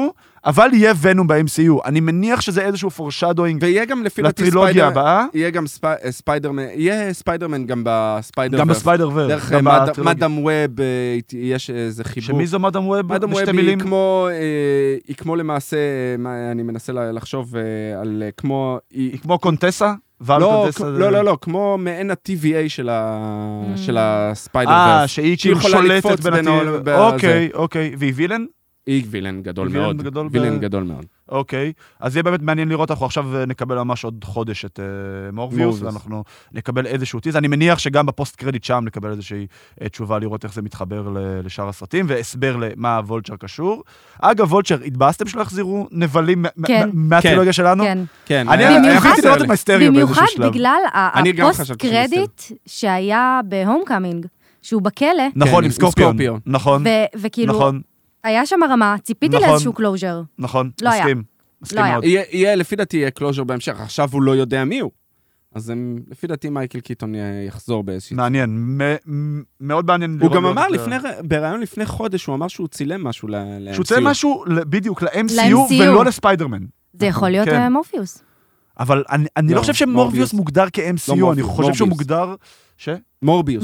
Speaker 1: אבל יהיה ונום ב-MCU. אני מניח שזה איזשהו פורשדוינג
Speaker 3: ויהיה גם לפי דעתי
Speaker 1: לטרילוגיה
Speaker 3: ספיידרמן,
Speaker 1: הבאה.
Speaker 3: יהיה גם ספ- ספיידרמן, יהיה ספיידרמן גם בספיידרמן.
Speaker 1: גם בספיידר ורס.
Speaker 3: דרך אה,
Speaker 1: גם
Speaker 3: מד-
Speaker 1: בטרילוגיה.
Speaker 3: מאדם ווב, אה, יש איזה חיבור.
Speaker 1: שמי זו מאדם ווב?
Speaker 3: מאדם
Speaker 1: בשתי
Speaker 3: ווב היא
Speaker 1: מילים.
Speaker 3: כמו, אה, היא כמו למעשה, אה, מה- אני מנסה ל- לחשוב אה, על אה, כמו, היא-
Speaker 1: היא כמו קונטסה? ואל
Speaker 3: לא,
Speaker 1: קונטסה
Speaker 3: כ-
Speaker 1: זה-
Speaker 3: לא, לא, לא, כמו מעין ה-TVA של
Speaker 2: Mm.
Speaker 3: הספיידר
Speaker 1: אה,
Speaker 3: ורס.
Speaker 1: שהיא
Speaker 3: שהיא
Speaker 1: כאילו
Speaker 3: יכולה
Speaker 1: שולטת
Speaker 3: לקפוץ
Speaker 1: בין
Speaker 3: בין
Speaker 1: הטיול.
Speaker 3: העולם- בזה.
Speaker 1: אוקיי, אוקיי. והיא וילן?
Speaker 3: היא וילן גדול
Speaker 1: וילן
Speaker 3: מאוד.
Speaker 1: גדול ב-
Speaker 3: וילן גדול מאוד.
Speaker 1: אוקיי. אז יהיה באמת מעניין לראות, אנחנו עכשיו אה, נקבל ממש עוד חודש את אה, מורביוס,
Speaker 3: מורביוס.
Speaker 1: ואנחנו נקבל איזשהו טיז. אני מניח שגם בפוסט קרדיט שם נקבל איזושהי אה, תשובה לראות איך זה מתחבר ל- לשאר הסרטים, והסבר למה הוולצ'ר קשור. אגב, וולצ'ר, התבאסתם שלא יחזירו נבלים מה-
Speaker 2: כן.
Speaker 1: מה- מהטרילוגיה שלנו?
Speaker 2: כן.
Speaker 3: כן.
Speaker 1: אני
Speaker 3: היה-
Speaker 2: במיוחד-
Speaker 1: אני יכולתי
Speaker 3: חסר
Speaker 1: לראות
Speaker 3: לי.
Speaker 1: את מהיסטריה באיזשהו
Speaker 2: במיוחד
Speaker 1: שלב.
Speaker 2: בגלל ה-
Speaker 3: אני גם
Speaker 2: הפוסט
Speaker 3: חשבתי שזה
Speaker 2: קרדיט שהיה בהום קאמינג, שהוא בכלא,
Speaker 1: נכון,
Speaker 3: כן,
Speaker 1: עם
Speaker 3: עם
Speaker 1: סקורפיון.
Speaker 3: סקורפיון.
Speaker 1: נכון,
Speaker 2: ו- וכאילו,
Speaker 1: נכון,
Speaker 2: היה שם הרמה, ציפיתי
Speaker 1: נכון.
Speaker 2: לאיזשהו קלוז'ר.
Speaker 1: נכון,
Speaker 2: לא היה.
Speaker 1: מסכים. מסכים
Speaker 2: היה.
Speaker 1: מאוד.
Speaker 3: יהיה- יהיה, לפי דעתי יהיה קלוז'ר בהמשך, עכשיו הוא לא יודע מי הוא. אז הם- לפי דעתי מייקל קיטון אה, יחזור באיזושהי...
Speaker 1: מעניין, מ- מ- מאוד מעניין לראות.
Speaker 3: הוא גם אמר
Speaker 1: לראות, אה,
Speaker 3: לפני, בריאיון לפני חודש, הוא אמר שהוא צילם משהו ל... ל-
Speaker 1: שהוא צילם
Speaker 3: MCU.
Speaker 1: משהו ל- בדיוק ל-MCU
Speaker 2: ל-MCU.
Speaker 1: ולא לספיידרמן.
Speaker 2: זה יכול להיות
Speaker 1: כן.
Speaker 2: אה, מורפיוס.
Speaker 1: אבל אני, אני לא,
Speaker 3: לא,
Speaker 1: חושב שמורביוס
Speaker 3: מורביוס.
Speaker 1: מוגדר כ-MCU,
Speaker 3: לא,
Speaker 1: אני
Speaker 3: מורביוס,
Speaker 1: חושב שהוא
Speaker 3: מורביוס.
Speaker 1: מוגדר... ש?
Speaker 3: מורביוס.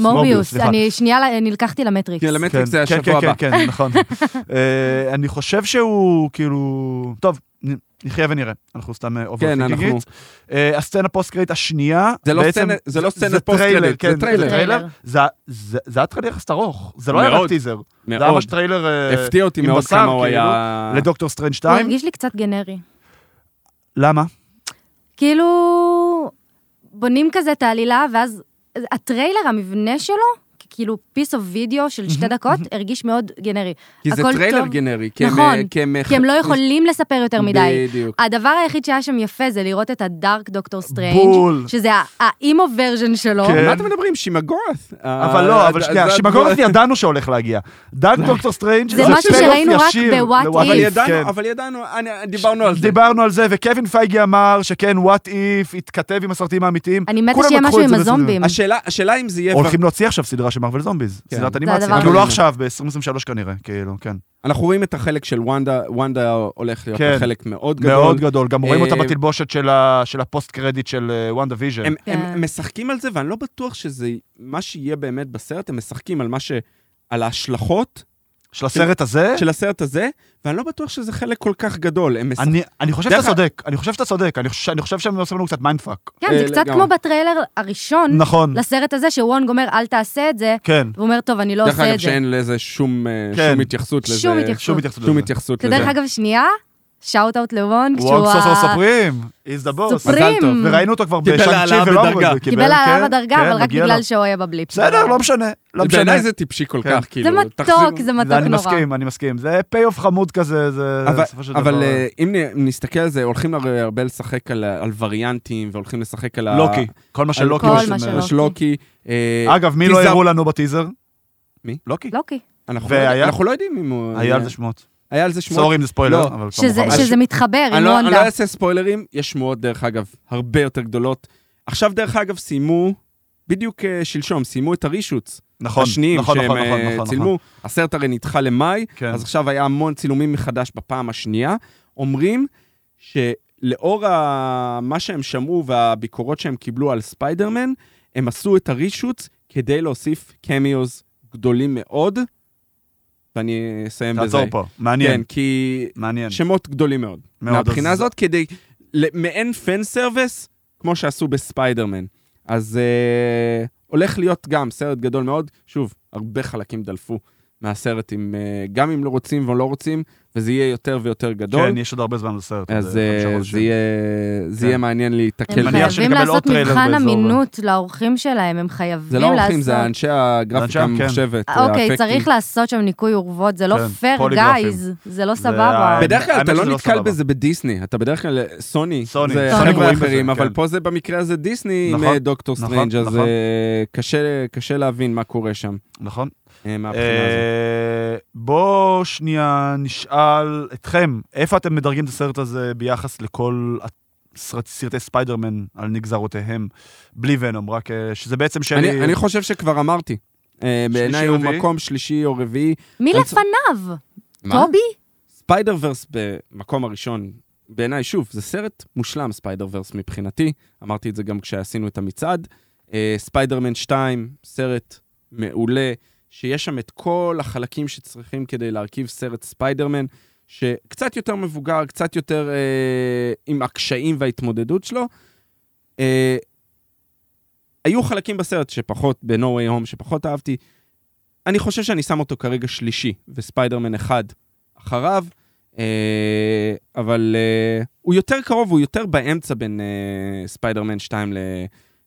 Speaker 1: מורביוס,
Speaker 2: מורביוס,
Speaker 1: סליחה.
Speaker 2: אני שנייה ל- נלקחתי למטריקס.
Speaker 3: כן, למטריקס זה
Speaker 1: כן,
Speaker 3: השבוע
Speaker 1: כן,
Speaker 3: הבא.
Speaker 1: כן, כן, נכון. אה, אני חושב שהוא כאילו... טוב, נ- נחיה ונראה. אנחנו סתם אה, אובר
Speaker 3: כן, אנחנו...
Speaker 1: פיקינגית. אה, הסצנה פוסט-קרדיט השנייה...
Speaker 3: זה לא
Speaker 1: בעצם-
Speaker 3: סצנה- זה לא סצנת
Speaker 1: טריילר,
Speaker 3: פוסט-קרדיט,
Speaker 1: כן,
Speaker 3: זה טריילר.
Speaker 2: טריילר.
Speaker 1: זה- זה זה היה טריילר יחסית ארוך, זה לא היה רק
Speaker 3: מאוד.
Speaker 1: טיזר. זה היה
Speaker 3: מאוד.
Speaker 1: ממש טריילר... אה,
Speaker 3: הפתיע אותי
Speaker 1: עם
Speaker 3: מאוד
Speaker 1: בשר,
Speaker 3: כמה הוא
Speaker 1: כאילו,
Speaker 3: היה...
Speaker 1: לדוקטור סטרנג'
Speaker 2: הוא
Speaker 1: 2.
Speaker 2: הרגיש לי קצת גנרי.
Speaker 1: למה?
Speaker 2: כאילו, בונים כזה את העלילה, ואז הטריילר, המבנה שלו, כאילו piece of video של שתי דקות, הרגיש מאוד גנרי.
Speaker 3: כי זה
Speaker 2: הכל
Speaker 3: טריילר
Speaker 2: טוב.
Speaker 3: גנרי. כי הם,
Speaker 2: נכון,
Speaker 3: אה,
Speaker 2: כי הם לא יכולים לספר יותר מדי.
Speaker 3: בדיוק.
Speaker 2: הדבר היחיד שהיה שם יפה זה לראות את הדארק דוקטור סטרנג',
Speaker 1: בול.
Speaker 2: שזה ה- האימו ורז'ן שלו.
Speaker 1: כן.
Speaker 3: על מה אתם מדברים? אה, שימגורת.
Speaker 1: אבל לא, אבל שנייה, שימגורת ידענו שהולך להגיע. דאג דוקטור סטרנג'
Speaker 2: זה משהו
Speaker 1: פייל-אוף
Speaker 2: שראינו רק
Speaker 1: ישיר
Speaker 2: ב-What
Speaker 1: ל-What
Speaker 2: If.
Speaker 3: אבל
Speaker 2: If,
Speaker 1: כן.
Speaker 3: ידענו, אבל ידענו, אני- דיברנו על זה.
Speaker 1: דיברנו על זה, וקווין פייגי אמר שכן, what if, התכתב עם הסרטים האמיתיים.
Speaker 2: אני מתה
Speaker 1: כולם
Speaker 2: שיהיה
Speaker 1: לקחו
Speaker 2: משהו
Speaker 1: את זה
Speaker 2: עם
Speaker 1: ברצינות.
Speaker 2: הזומבים.
Speaker 3: השאלה השאלה אם זה יהיה...
Speaker 1: הולכים להוציא עכשיו סדרה של מרוויל זומביז,
Speaker 3: כן.
Speaker 1: סדרת
Speaker 3: זה
Speaker 1: אנימציה.
Speaker 2: הדבר
Speaker 1: כאילו לא
Speaker 3: הזה.
Speaker 1: עכשיו, ב-2023 כנראה, כאילו, כן.
Speaker 3: אנחנו רואים את החלק של וונדה, וונדה הולך להיות
Speaker 1: כן.
Speaker 3: חלק מאוד גדול.
Speaker 1: מאוד גדול, גם רואים אותה
Speaker 3: אה,
Speaker 1: בתלבושת של ה- של הפוסט קרדיט של אה, וונדה ויז'ן.
Speaker 3: הם,
Speaker 2: כן.
Speaker 3: כן. הם משחקים על זה, ואני לא בטוח שזה מה שיהיה באמת בסרט, הם משחקים על מה ש... על ההשלכות
Speaker 1: של הסרט הזה,
Speaker 3: של הסרט הזה, ואני לא בטוח שזה חלק כל כך גדול. הם משחק...
Speaker 1: אני- אני חושב שאתה
Speaker 3: דרך ה-
Speaker 1: צודק, אני חושב שאתה צודק, אני חושב- אני חושב שהם עושים לנו קצת מיינדפאק.
Speaker 2: כן, זה
Speaker 3: אה,
Speaker 2: קצת כמו
Speaker 3: לגמרי.
Speaker 2: בטריילר הראשון
Speaker 1: נכון,
Speaker 2: לסרט הזה, שוונג אומר, אל תעשה את זה,
Speaker 1: כן.
Speaker 2: והוא אומר, טוב, אני לא
Speaker 3: דרך
Speaker 2: עושה
Speaker 3: אגב,
Speaker 2: את זה.
Speaker 3: שאין לזה שום, אה,
Speaker 1: כן.
Speaker 3: שום התייחסות לזה.
Speaker 2: שום התייחסות.
Speaker 1: שום התייחסות
Speaker 3: שום
Speaker 1: לזה.
Speaker 3: התייחסות
Speaker 2: זה
Speaker 3: לזה.
Speaker 2: דרך אגב, שנייה, שאוט אאוט לוונג, שהוא
Speaker 1: וונג סוסר
Speaker 2: ה-
Speaker 1: סופרים, איז דה בוס.
Speaker 2: סופרים.
Speaker 3: מזל טוב.
Speaker 1: וראינו אותו כבר
Speaker 3: קיבל
Speaker 1: בשאנצ'י
Speaker 3: העלאה
Speaker 1: ולא אמרו את
Speaker 3: בדרגה.
Speaker 1: זה.
Speaker 2: קיבל העלאה
Speaker 1: כן,
Speaker 2: בדרגה,
Speaker 1: כן,
Speaker 2: אבל רק
Speaker 1: מגיע
Speaker 2: בגלל
Speaker 1: לו.
Speaker 2: שהוא היה בבליפ.
Speaker 1: בסדר, לא משנה, לא משנה.
Speaker 3: בעיניי זה טיפשי כל
Speaker 1: כן.
Speaker 3: כך,
Speaker 2: זה
Speaker 3: כאילו.
Speaker 2: מתוק,
Speaker 3: תחזירו-
Speaker 2: זה מתוק
Speaker 1: ואני
Speaker 2: נורא.
Speaker 1: מסכים, אני מסכים. זה פי-אוף חמוד כזה, זה
Speaker 3: אבל,
Speaker 1: בסופו של דבר...
Speaker 3: אבל אה, אם נ- נסתכל על זה, הולכים הרי הרבה לשחק על, על וריאנטים, והולכים לשחק על ה-
Speaker 1: לוקי, כל מה
Speaker 3: על
Speaker 1: שלוקי.
Speaker 2: כל
Speaker 1: עושים,
Speaker 2: מה
Speaker 1: אה,
Speaker 2: שלוקי.
Speaker 3: של לוקי. אה,
Speaker 1: אגב, מי לא
Speaker 3: טיזר.
Speaker 1: הראו לנו בטיזר?
Speaker 3: מי?
Speaker 1: לוקי.
Speaker 2: לוקי.
Speaker 3: אנחנו,
Speaker 1: והיה?
Speaker 3: לא, יודע- אנחנו לא יודעים אם הוא...
Speaker 1: היה על זה שמועות.
Speaker 3: היה על זה שמועות.
Speaker 1: סורי אם זה ספוילר,
Speaker 3: לא.
Speaker 1: אבל
Speaker 2: שזה,
Speaker 1: כמובן.
Speaker 2: שזה מתחבר עם
Speaker 3: אני לא, אני לא
Speaker 2: וונדה.
Speaker 3: אעשה ספוילרים, יש שמועות דרך אגב, הרבה יותר גדולות. עכשיו דרך אגב סיימו, בדיוק אה, שלשום, סיימו את הרישוץ.
Speaker 1: נכון,
Speaker 3: השניים
Speaker 1: נכון,
Speaker 3: שהם
Speaker 1: נכון,
Speaker 3: אה,
Speaker 1: נכון, נכון.
Speaker 3: צילמו.
Speaker 1: נכון.
Speaker 3: הסרט הרי נדחה למאי,
Speaker 1: כן.
Speaker 3: אז עכשיו היה המון צילומים מחדש בפעם השנייה. אומרים שלאור ה... מה שהם שמעו והביקורות שהם קיבלו על ספיידרמן, הם עשו את הרישוץ כדי להוסיף קמיוז גדולים מאוד, ואני אסיים בזה.
Speaker 1: תעצור פה,
Speaker 3: כן,
Speaker 1: מעניין,
Speaker 3: כי
Speaker 1: מעניין.
Speaker 3: שמות גדולים מאוד.
Speaker 1: כן. מאוד,
Speaker 3: מהבחינה
Speaker 1: אז-
Speaker 3: הזאת, כדי... ל- מעין פן סרוויס, כמו שעשו בספיידרמן. אז אה, הולך להיות גם סרט גדול מאוד. שוב, הרבה חלקים דלפו מהסרט, עם, אה, גם אם לא רוצים ולא רוצים, וזה יהיה יותר ויותר גדול.
Speaker 1: כן, יש עוד הרבה זמן לסרט.
Speaker 3: אז
Speaker 1: עוד
Speaker 3: אה,
Speaker 1: חמישה חודשים.
Speaker 3: זה יהיה, זה
Speaker 1: כן.
Speaker 3: יהיה מעניין להיתקל.
Speaker 1: אני
Speaker 2: הם
Speaker 1: מניח
Speaker 3: בזה.
Speaker 2: חייבים
Speaker 1: שנקבל עוד
Speaker 2: לעשות
Speaker 1: טריילר
Speaker 2: מבחן
Speaker 1: באזור ב-
Speaker 2: אמינות לאורחים שלהם, הם חייבים
Speaker 3: זה
Speaker 2: לעשות...
Speaker 3: לא אורחים, זה אנשי הגרפיקה
Speaker 1: אנשי- כן.
Speaker 3: הממוחשבת.
Speaker 2: אוקיי,
Speaker 3: האפקטים.
Speaker 2: צריך לעשות שם ניקוי אורוות, זה לא
Speaker 1: כן,
Speaker 2: פייר,
Speaker 1: פוליגרפים.
Speaker 2: גייז, זה לא
Speaker 1: זה
Speaker 2: סבבה.
Speaker 1: ה-
Speaker 3: בדרך כלל
Speaker 1: האמת
Speaker 3: אתה לא
Speaker 1: שזה לא
Speaker 3: נתקל
Speaker 1: סבבה.
Speaker 3: בזה בדיסני, אתה בדרך כלל אה, סוני,
Speaker 1: סוני,
Speaker 3: זה
Speaker 2: סוני
Speaker 3: חבר'ה
Speaker 1: רואים בזה,
Speaker 3: אחרים, אבל
Speaker 1: כן.
Speaker 3: פה זה במקרה הזה דיסני עם
Speaker 1: נכון,
Speaker 3: אה, דוקטור
Speaker 1: נכון,
Speaker 3: סטרנג', אז
Speaker 1: נכון.
Speaker 3: אה, קשה- קשה להבין מה קורה שם
Speaker 1: נכון.
Speaker 3: אה, מהבחינה הזאת.
Speaker 1: אה, בואו שנייה נשאל אתכם, איפה אתם מדרגים את הסרט הזה ביחס לכל הסרט- סרטי ספיידרמן על נגזרותיהם, בלי ונום, רק אה, שזה בעצם
Speaker 3: אני
Speaker 1: שלי...
Speaker 3: אני חושב שכבר אמרתי, אה, בעיניי
Speaker 1: או
Speaker 3: הוא
Speaker 1: רביעי?
Speaker 3: מקום שלישי או רביעי.
Speaker 2: מי
Speaker 3: אני-
Speaker 2: לפניו?
Speaker 3: מה?
Speaker 2: טובי?
Speaker 3: ספיידר ורס במקום הראשון, בעיניי, שוב, זה סרט מושלם, ספיידר ורס מבחינתי. אמרתי את זה גם כשעשינו את המצעד. אה, ספיידרמן 2, סרט מעולה, שיש שם את כל החלקים שצריכים כדי להרכיב סרט ספיידרמן, שקצת יותר מבוגר, קצת יותר אה, עם הקשיים וההתמודדות שלו. אה, היו חלקים בסרט שפחות, ב-No way home, שפחות אהבתי. אני חושב שאני שם אותו כרגע שלישי, וספיידרמן 1 אחריו, אה, אבל אה, הוא יותר קרוב, הוא יותר באמצע בין אה, ספיידרמן 2 ל...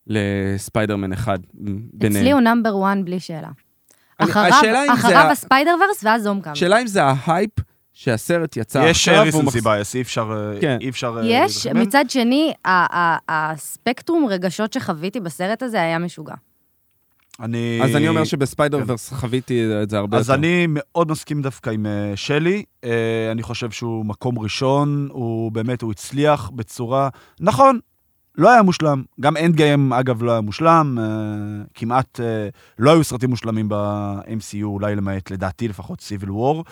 Speaker 3: לספיידרמן 1 ביניהם.
Speaker 2: אצלי הוא נאמבר 1 בלי שאלה.
Speaker 3: אני-
Speaker 2: אחריו-
Speaker 3: השאלה אם זה
Speaker 2: אחריו
Speaker 3: ה-
Speaker 2: הספיידר ורס ואז זום קאם.
Speaker 3: השאלה אם זה ההייפ שהסרט יצא
Speaker 1: יש
Speaker 3: עכשיו, והוא
Speaker 1: ריסנסי
Speaker 3: מחזיק-
Speaker 1: בייס, אי אפשר... אה,
Speaker 3: כן.
Speaker 1: אי אפשר... אה,
Speaker 2: יש,
Speaker 1: להתרחמן.
Speaker 2: מצד שני, ה- ה- הספקטרום רגשות שחוויתי בסרט הזה היה משוגע.
Speaker 1: אני...
Speaker 3: אז אני אומר שבספיידר ורס חוויתי את זה הרבה
Speaker 1: כן. אז
Speaker 3: יותר.
Speaker 1: אני מאוד מסכים דווקא עם אה, שלי. אה, אני חושב שהוא מקום ראשון, הוא באמת, הוא הצליח בצורה... נכון, לא היה מושלם. גם אנד גיים, אגב, לא היה מושלם. אה, כמעט אה, לא היו סרטים מושלמים ב-MCU, אולי למעט, לדעתי לפחות, סיביל וור.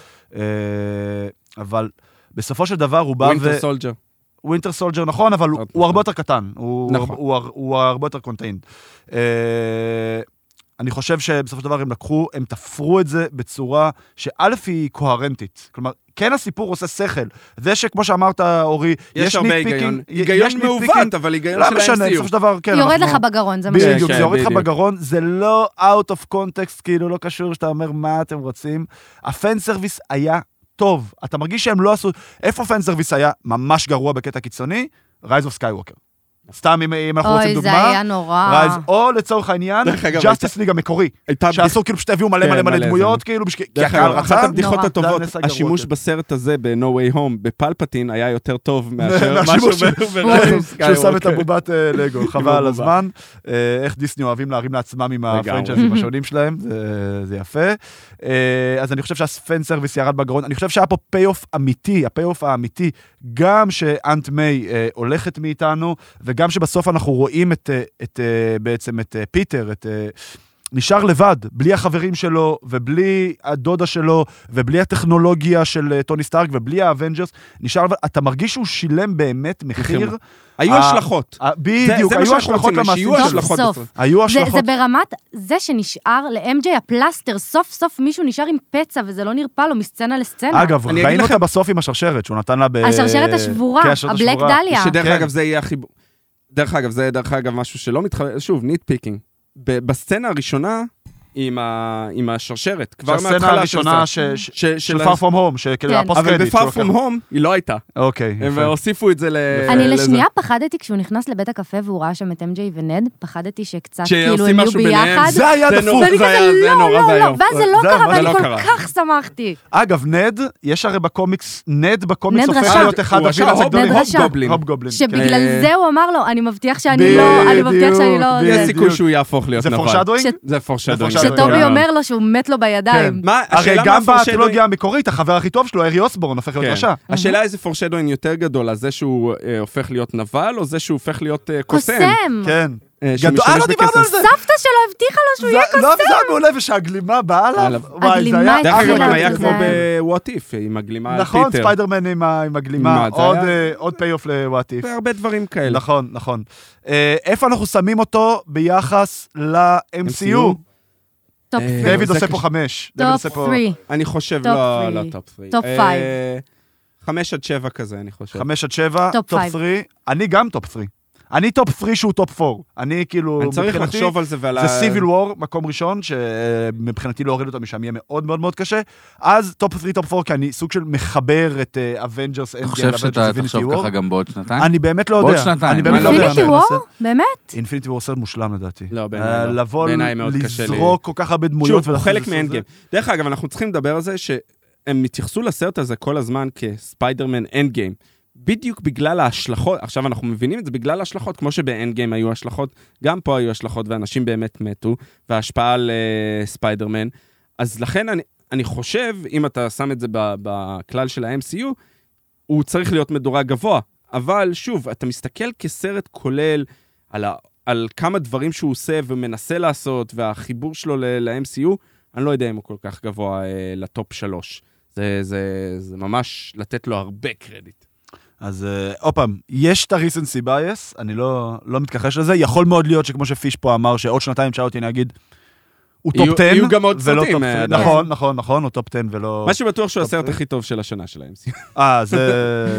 Speaker 1: אבל בסופו של דבר הוא בא ו...
Speaker 3: ווינטר סולג'ר.
Speaker 1: ווינטר סולג'ר נכון, אבל הוא,
Speaker 3: עוד
Speaker 1: הוא הרבה
Speaker 3: נכון.
Speaker 1: יותר קטן, הוא,
Speaker 3: נכון.
Speaker 1: נכון. הוא, הר- הוא הרבה יותר קונטיינד. Uh, אני חושב שבסופו של דבר הם לקחו, הם תפרו את זה בצורה שא' היא קוהרנטית. כלומר, כן הסיפור עושה שכל. זה שכמו שאמרת, אורי, יש,
Speaker 3: יש הרבה
Speaker 1: nitpicking,
Speaker 3: היגיון.
Speaker 1: י-
Speaker 3: היגיון
Speaker 1: יש
Speaker 3: מעוות,
Speaker 1: nitpicking.
Speaker 3: אבל היגיון
Speaker 1: לא
Speaker 3: של
Speaker 1: משנה,
Speaker 3: ה-MCU.
Speaker 1: בסופו של דבר, כן.
Speaker 2: יורד
Speaker 1: אנחנו-
Speaker 2: לך בגרון, זה מה
Speaker 3: כן,
Speaker 1: בדיוק,
Speaker 3: כן,
Speaker 1: זה יורד לך
Speaker 3: בדיוק.
Speaker 1: בגרון, זה לא out of context, כאילו לא קשור שאתה אומר מה אתם רוצים. הפן סרוויס היה טוב, אתה מרגיש שהם לא עשו... איפה פן סרוויס היה ממש גרוע בקטע קיצוני? Rise of Skywalker. סתם אם, אם אנחנו רוצים
Speaker 2: אוי, זה
Speaker 1: דוגמה,
Speaker 2: היה נורא.
Speaker 1: Rise, או לצורך העניין,
Speaker 3: דרך אגב,
Speaker 1: Justice League המקורי,
Speaker 3: הייתה
Speaker 1: שעשו כאילו פשוט הביאו מלא
Speaker 3: כן,
Speaker 1: מלא
Speaker 3: מלא
Speaker 1: מלא
Speaker 3: זה,
Speaker 1: דמויות, כאילו, בשק- כי
Speaker 3: דרך
Speaker 1: הקהל
Speaker 3: אגב, אחת
Speaker 1: רצה, לא,
Speaker 3: הבדיחות
Speaker 2: נורא.
Speaker 3: הטובות,
Speaker 1: זה הנס הגרוע,
Speaker 3: השימוש
Speaker 1: כן.
Speaker 3: בסרט הזה ב-No way home, בפלפטין, היה יותר טוב מאשר משהו
Speaker 1: מהשימוש
Speaker 3: ב- ב-
Speaker 1: שהוא שם את
Speaker 3: Skywalker.
Speaker 1: הבובת אה, לגו, חבל על
Speaker 3: הבובה.
Speaker 1: הזמן. אה, איך דיסני אוהבים להרים לעצמם עם
Speaker 3: לגמרי.
Speaker 1: הפרנצ'ייזים השונים שלהם, זה- זה יפה. אה, אז אני חושב שהפן סרוויס ירד בגרון, אני חושב שהיה פה פי-אוף אמיתי, הפי-אוף האמיתי, גם שאנט מיי אה, הולכת מאיתנו, וגם שבסוף אנחנו רואים את, אה, את, אה, בעצם את אה, פיטר, את... אה, נשאר לבד, בלי החברים שלו, ובלי הדודה שלו, ובלי הטכנולוגיה של אה, טוני סטארק, ובלי האבנג'רס, נשאר לבד. אתה מרגיש שהוא שילם באמת מחיר
Speaker 3: מחיר. היו
Speaker 1: אה,
Speaker 3: השלכות.
Speaker 1: אה,
Speaker 3: זה-
Speaker 1: בדיוק,
Speaker 3: זה מה
Speaker 1: היו
Speaker 3: שאנחנו
Speaker 1: השלכות
Speaker 3: רוצים,
Speaker 1: למעשים
Speaker 3: שיהיו
Speaker 2: סוף
Speaker 1: שלו.
Speaker 3: השלכות
Speaker 2: סוף.
Speaker 3: בסוף.
Speaker 1: היו
Speaker 2: זה, זה
Speaker 1: השלכות.
Speaker 2: ברמת זה שנשאר ל-MJ הפלסטר, סוף סוף מישהו נשאר עם פצע וזה לא נרפא לו מסצנה לסצנה.
Speaker 1: אגב,
Speaker 3: אני אגיד
Speaker 1: ראינו
Speaker 3: לכם-
Speaker 1: אותה בסוף עם השרשרת, שהוא נתן לה ב...
Speaker 2: השרשרת השבורה,
Speaker 1: כן, השרשרת
Speaker 2: הבלק
Speaker 1: השבורה.
Speaker 2: דליה.
Speaker 3: שדרך
Speaker 1: כן.
Speaker 3: אגב, זה יהיה החיבור. דרך אגב, זה דרך אגב משהו שלא מתחבר, שוב, ניט פיקינג. בסצנה הראשונה, עם ה- עם השרשרת, כבר מההתחלה של
Speaker 1: שהסצנה הראשונה
Speaker 3: הסרט.
Speaker 1: ש- ש-
Speaker 3: ש-
Speaker 1: של
Speaker 3: ה-
Speaker 1: far from home, שכאילו
Speaker 2: כן.
Speaker 1: הפוסט
Speaker 3: אבל
Speaker 1: קרדיט.
Speaker 3: בפאר
Speaker 1: שהוא
Speaker 3: פרום
Speaker 1: לקח.
Speaker 3: הום היא לא הייתה.
Speaker 1: אוקיי,
Speaker 3: הם
Speaker 1: יפה.
Speaker 3: הוסיפו את זה ל...
Speaker 2: אני
Speaker 3: אה, לזה.
Speaker 2: לשנייה פחדתי כשהוא נכנס לבית הקפה והוא ראה שם את MJ ונד, פחדתי שקצת
Speaker 3: שעושים
Speaker 2: כאילו הם יהיו
Speaker 3: משהו ביניהם.
Speaker 2: ביחד.
Speaker 1: זה היה
Speaker 3: זה
Speaker 1: דפוק.
Speaker 3: נורא.
Speaker 2: ואני כזה,
Speaker 3: היה- זה
Speaker 2: לא,
Speaker 3: נורא
Speaker 2: לא, לא,
Speaker 3: ואיום.
Speaker 2: ואז זה לא
Speaker 1: זה
Speaker 2: קרה,
Speaker 1: ממש
Speaker 2: ואני
Speaker 3: לא
Speaker 2: כל
Speaker 3: קרה.
Speaker 2: כך שמחתי.
Speaker 1: אגב, נד, יש הרי בקומיקס, נד בקומיקס
Speaker 2: נד
Speaker 1: הופך
Speaker 2: רשע.
Speaker 1: להיות אחד
Speaker 3: הוא רשע,
Speaker 1: הפילאס
Speaker 3: הופ-
Speaker 1: הגדולים.
Speaker 2: נד רשע.
Speaker 3: הופגובלין.
Speaker 1: הופגובלין. כן.
Speaker 2: שבגלל
Speaker 3: אה,
Speaker 2: זה הוא אמר לו, אני מבטיח שאני לא, אני מבטיח שאני לא...
Speaker 1: בדיוק,
Speaker 2: זה."
Speaker 3: יש סיכוי
Speaker 1: בדיוק.
Speaker 3: שהוא יהפוך להיות
Speaker 1: זה
Speaker 3: נבל.
Speaker 1: פורשדווינג?
Speaker 2: ש-
Speaker 3: זה פורשדווינג.
Speaker 1: זה foreshadowing.
Speaker 2: שטובי
Speaker 1: כן.
Speaker 2: אומר לו שהוא מת לו בידיים.
Speaker 3: כן. מה,
Speaker 1: הרי
Speaker 3: השאלה
Speaker 1: גם
Speaker 3: מה foreshadowing-
Speaker 1: בטרילוגיה המקורית, החבר הכי טוב שלו, ארי אוסבורן, הופך להיות
Speaker 3: כן.
Speaker 1: רשע.
Speaker 2: אה,
Speaker 3: השאלה איזה פורשדווין יותר גדול, על זה שהוא אה, הופך להיות נבל, או זה שהוא הופך להיות אה, קוסם?
Speaker 2: קוסם.
Speaker 1: כן.
Speaker 3: אה,
Speaker 1: גדול,
Speaker 3: שמשתמש
Speaker 1: אה, לא דיברנו
Speaker 3: בכסף.
Speaker 1: על זה.
Speaker 2: סבתא שלו הבטיחה לו שהוא
Speaker 1: זה-
Speaker 2: יהיה
Speaker 1: לא,
Speaker 2: קוסם.
Speaker 1: זה היה מעולה, ושהגלימה באה עליו.
Speaker 3: עליו.
Speaker 1: וואי, זה
Speaker 2: הגלימה
Speaker 1: היה...
Speaker 3: דרך אגב,
Speaker 2: התחילה,
Speaker 3: גם היה
Speaker 2: זה
Speaker 3: כמו
Speaker 2: היה-
Speaker 3: ב-What If, עם הגלימה על אה, פיטר.
Speaker 1: נכון, ספיידרמן עם ה- עם הגלימה,
Speaker 3: מה, זה
Speaker 1: עוד,
Speaker 3: היה-
Speaker 1: אה, עוד פי-אוף ל-What If.
Speaker 3: והרבה דברים כאלה.
Speaker 1: נכון, נכון. אה, איפה אנחנו שמים אותו ביחס ל-MCU?
Speaker 3: MCU?
Speaker 2: טופ
Speaker 3: אה,
Speaker 2: three.
Speaker 1: דוד
Speaker 3: זה
Speaker 1: עושה
Speaker 3: קשה.
Speaker 1: פה חמש. דוד עושה
Speaker 2: טופ
Speaker 1: פה
Speaker 2: 3.
Speaker 3: אני חושב
Speaker 2: Top
Speaker 3: לא
Speaker 2: three.
Speaker 3: לא טופ 3.
Speaker 2: Top five.
Speaker 3: 5 עד 7 כזה, אני חושב.
Speaker 1: חמש עד שבע,
Speaker 2: טופ
Speaker 1: טופ
Speaker 2: פייב.
Speaker 1: 3. אני גם טופ 3. אני טופ פרי שהוא טופ 4. אני כאילו,
Speaker 3: אני צריך
Speaker 1: מבחינתי,
Speaker 3: לחשוב על זה ועל
Speaker 1: זה סיביל וור, מקום ראשון, שמבחינתי להוריד אותו משם יהיה מאוד מאוד מאוד קשה. אז טופ 3, טופ 4, כי אני סוג של מחבר את אה, אבנג'רס
Speaker 4: אתה חושב שאתה תחשוב ככה גם בעוד שנתיים?
Speaker 1: אני באמת לא
Speaker 4: בעוד
Speaker 1: יודע.
Speaker 4: שנתיים,
Speaker 1: אני
Speaker 4: מה
Speaker 1: באמת לא
Speaker 4: לא
Speaker 1: יודע.
Speaker 2: אינפיניטי
Speaker 1: אני
Speaker 2: וור?
Speaker 1: אנסה-
Speaker 2: באמת?
Speaker 1: אינפיניטי וור סרט מושלם לדעתי.
Speaker 3: לא, בעיניי
Speaker 1: אה,
Speaker 3: לא.
Speaker 1: לבוא,
Speaker 3: בעיניי מאוד קשה לי.
Speaker 1: לזרוק כל כך הרבה דמויות.
Speaker 3: שוב, הוא
Speaker 1: ולעשות
Speaker 3: חלק
Speaker 1: את זה-
Speaker 3: מאנד גיים. דרך אגב, אנחנו צריכים לדבר על זה שהם התייחסו לסרט הזה כל הזמן כספיידרמן אנד גיים. בדיוק בגלל ההשלכות, עכשיו אנחנו מבינים את זה בגלל ההשלכות, כמו שבאנד גיים היו השלכות, גם פה היו השלכות ואנשים באמת מתו, וההשפעה על אה, ספיידרמן. אז לכן אני, אני חושב, אם אתה שם את זה ב- בכלל של ה-MCU, הוא צריך להיות מדורג גבוה. אבל שוב, אתה מסתכל כסרט כולל על, ה, על כמה דברים שהוא עושה ומנסה לעשות, והחיבור שלו ל- ל-MCU, אני לא יודע אם הוא כל כך גבוה אה, לטופ שלוש. זה, זה, זה ממש לתת לו הרבה קרדיט.
Speaker 1: אז אה, עוד פעם, יש את ה-recency bias, אני לא לא מתכחש לזה. יכול מאוד להיות שכמו שפיש פה אמר, שעוד שנתיים תשאל אותי, אני אגיד, הוא
Speaker 3: יהיו-
Speaker 1: טופ 10.
Speaker 3: יהיו גם עוד
Speaker 1: ולא
Speaker 3: סרטים,
Speaker 1: טופ
Speaker 3: אה,
Speaker 1: 3.
Speaker 3: אדם.
Speaker 1: נכון, נכון, נכון, הוא טופ 10 ולא...
Speaker 3: מה שבטוח שהוא הסרט
Speaker 1: אוקיי.
Speaker 3: הכי טוב של השנה של ה-MCU.
Speaker 1: אה, זה,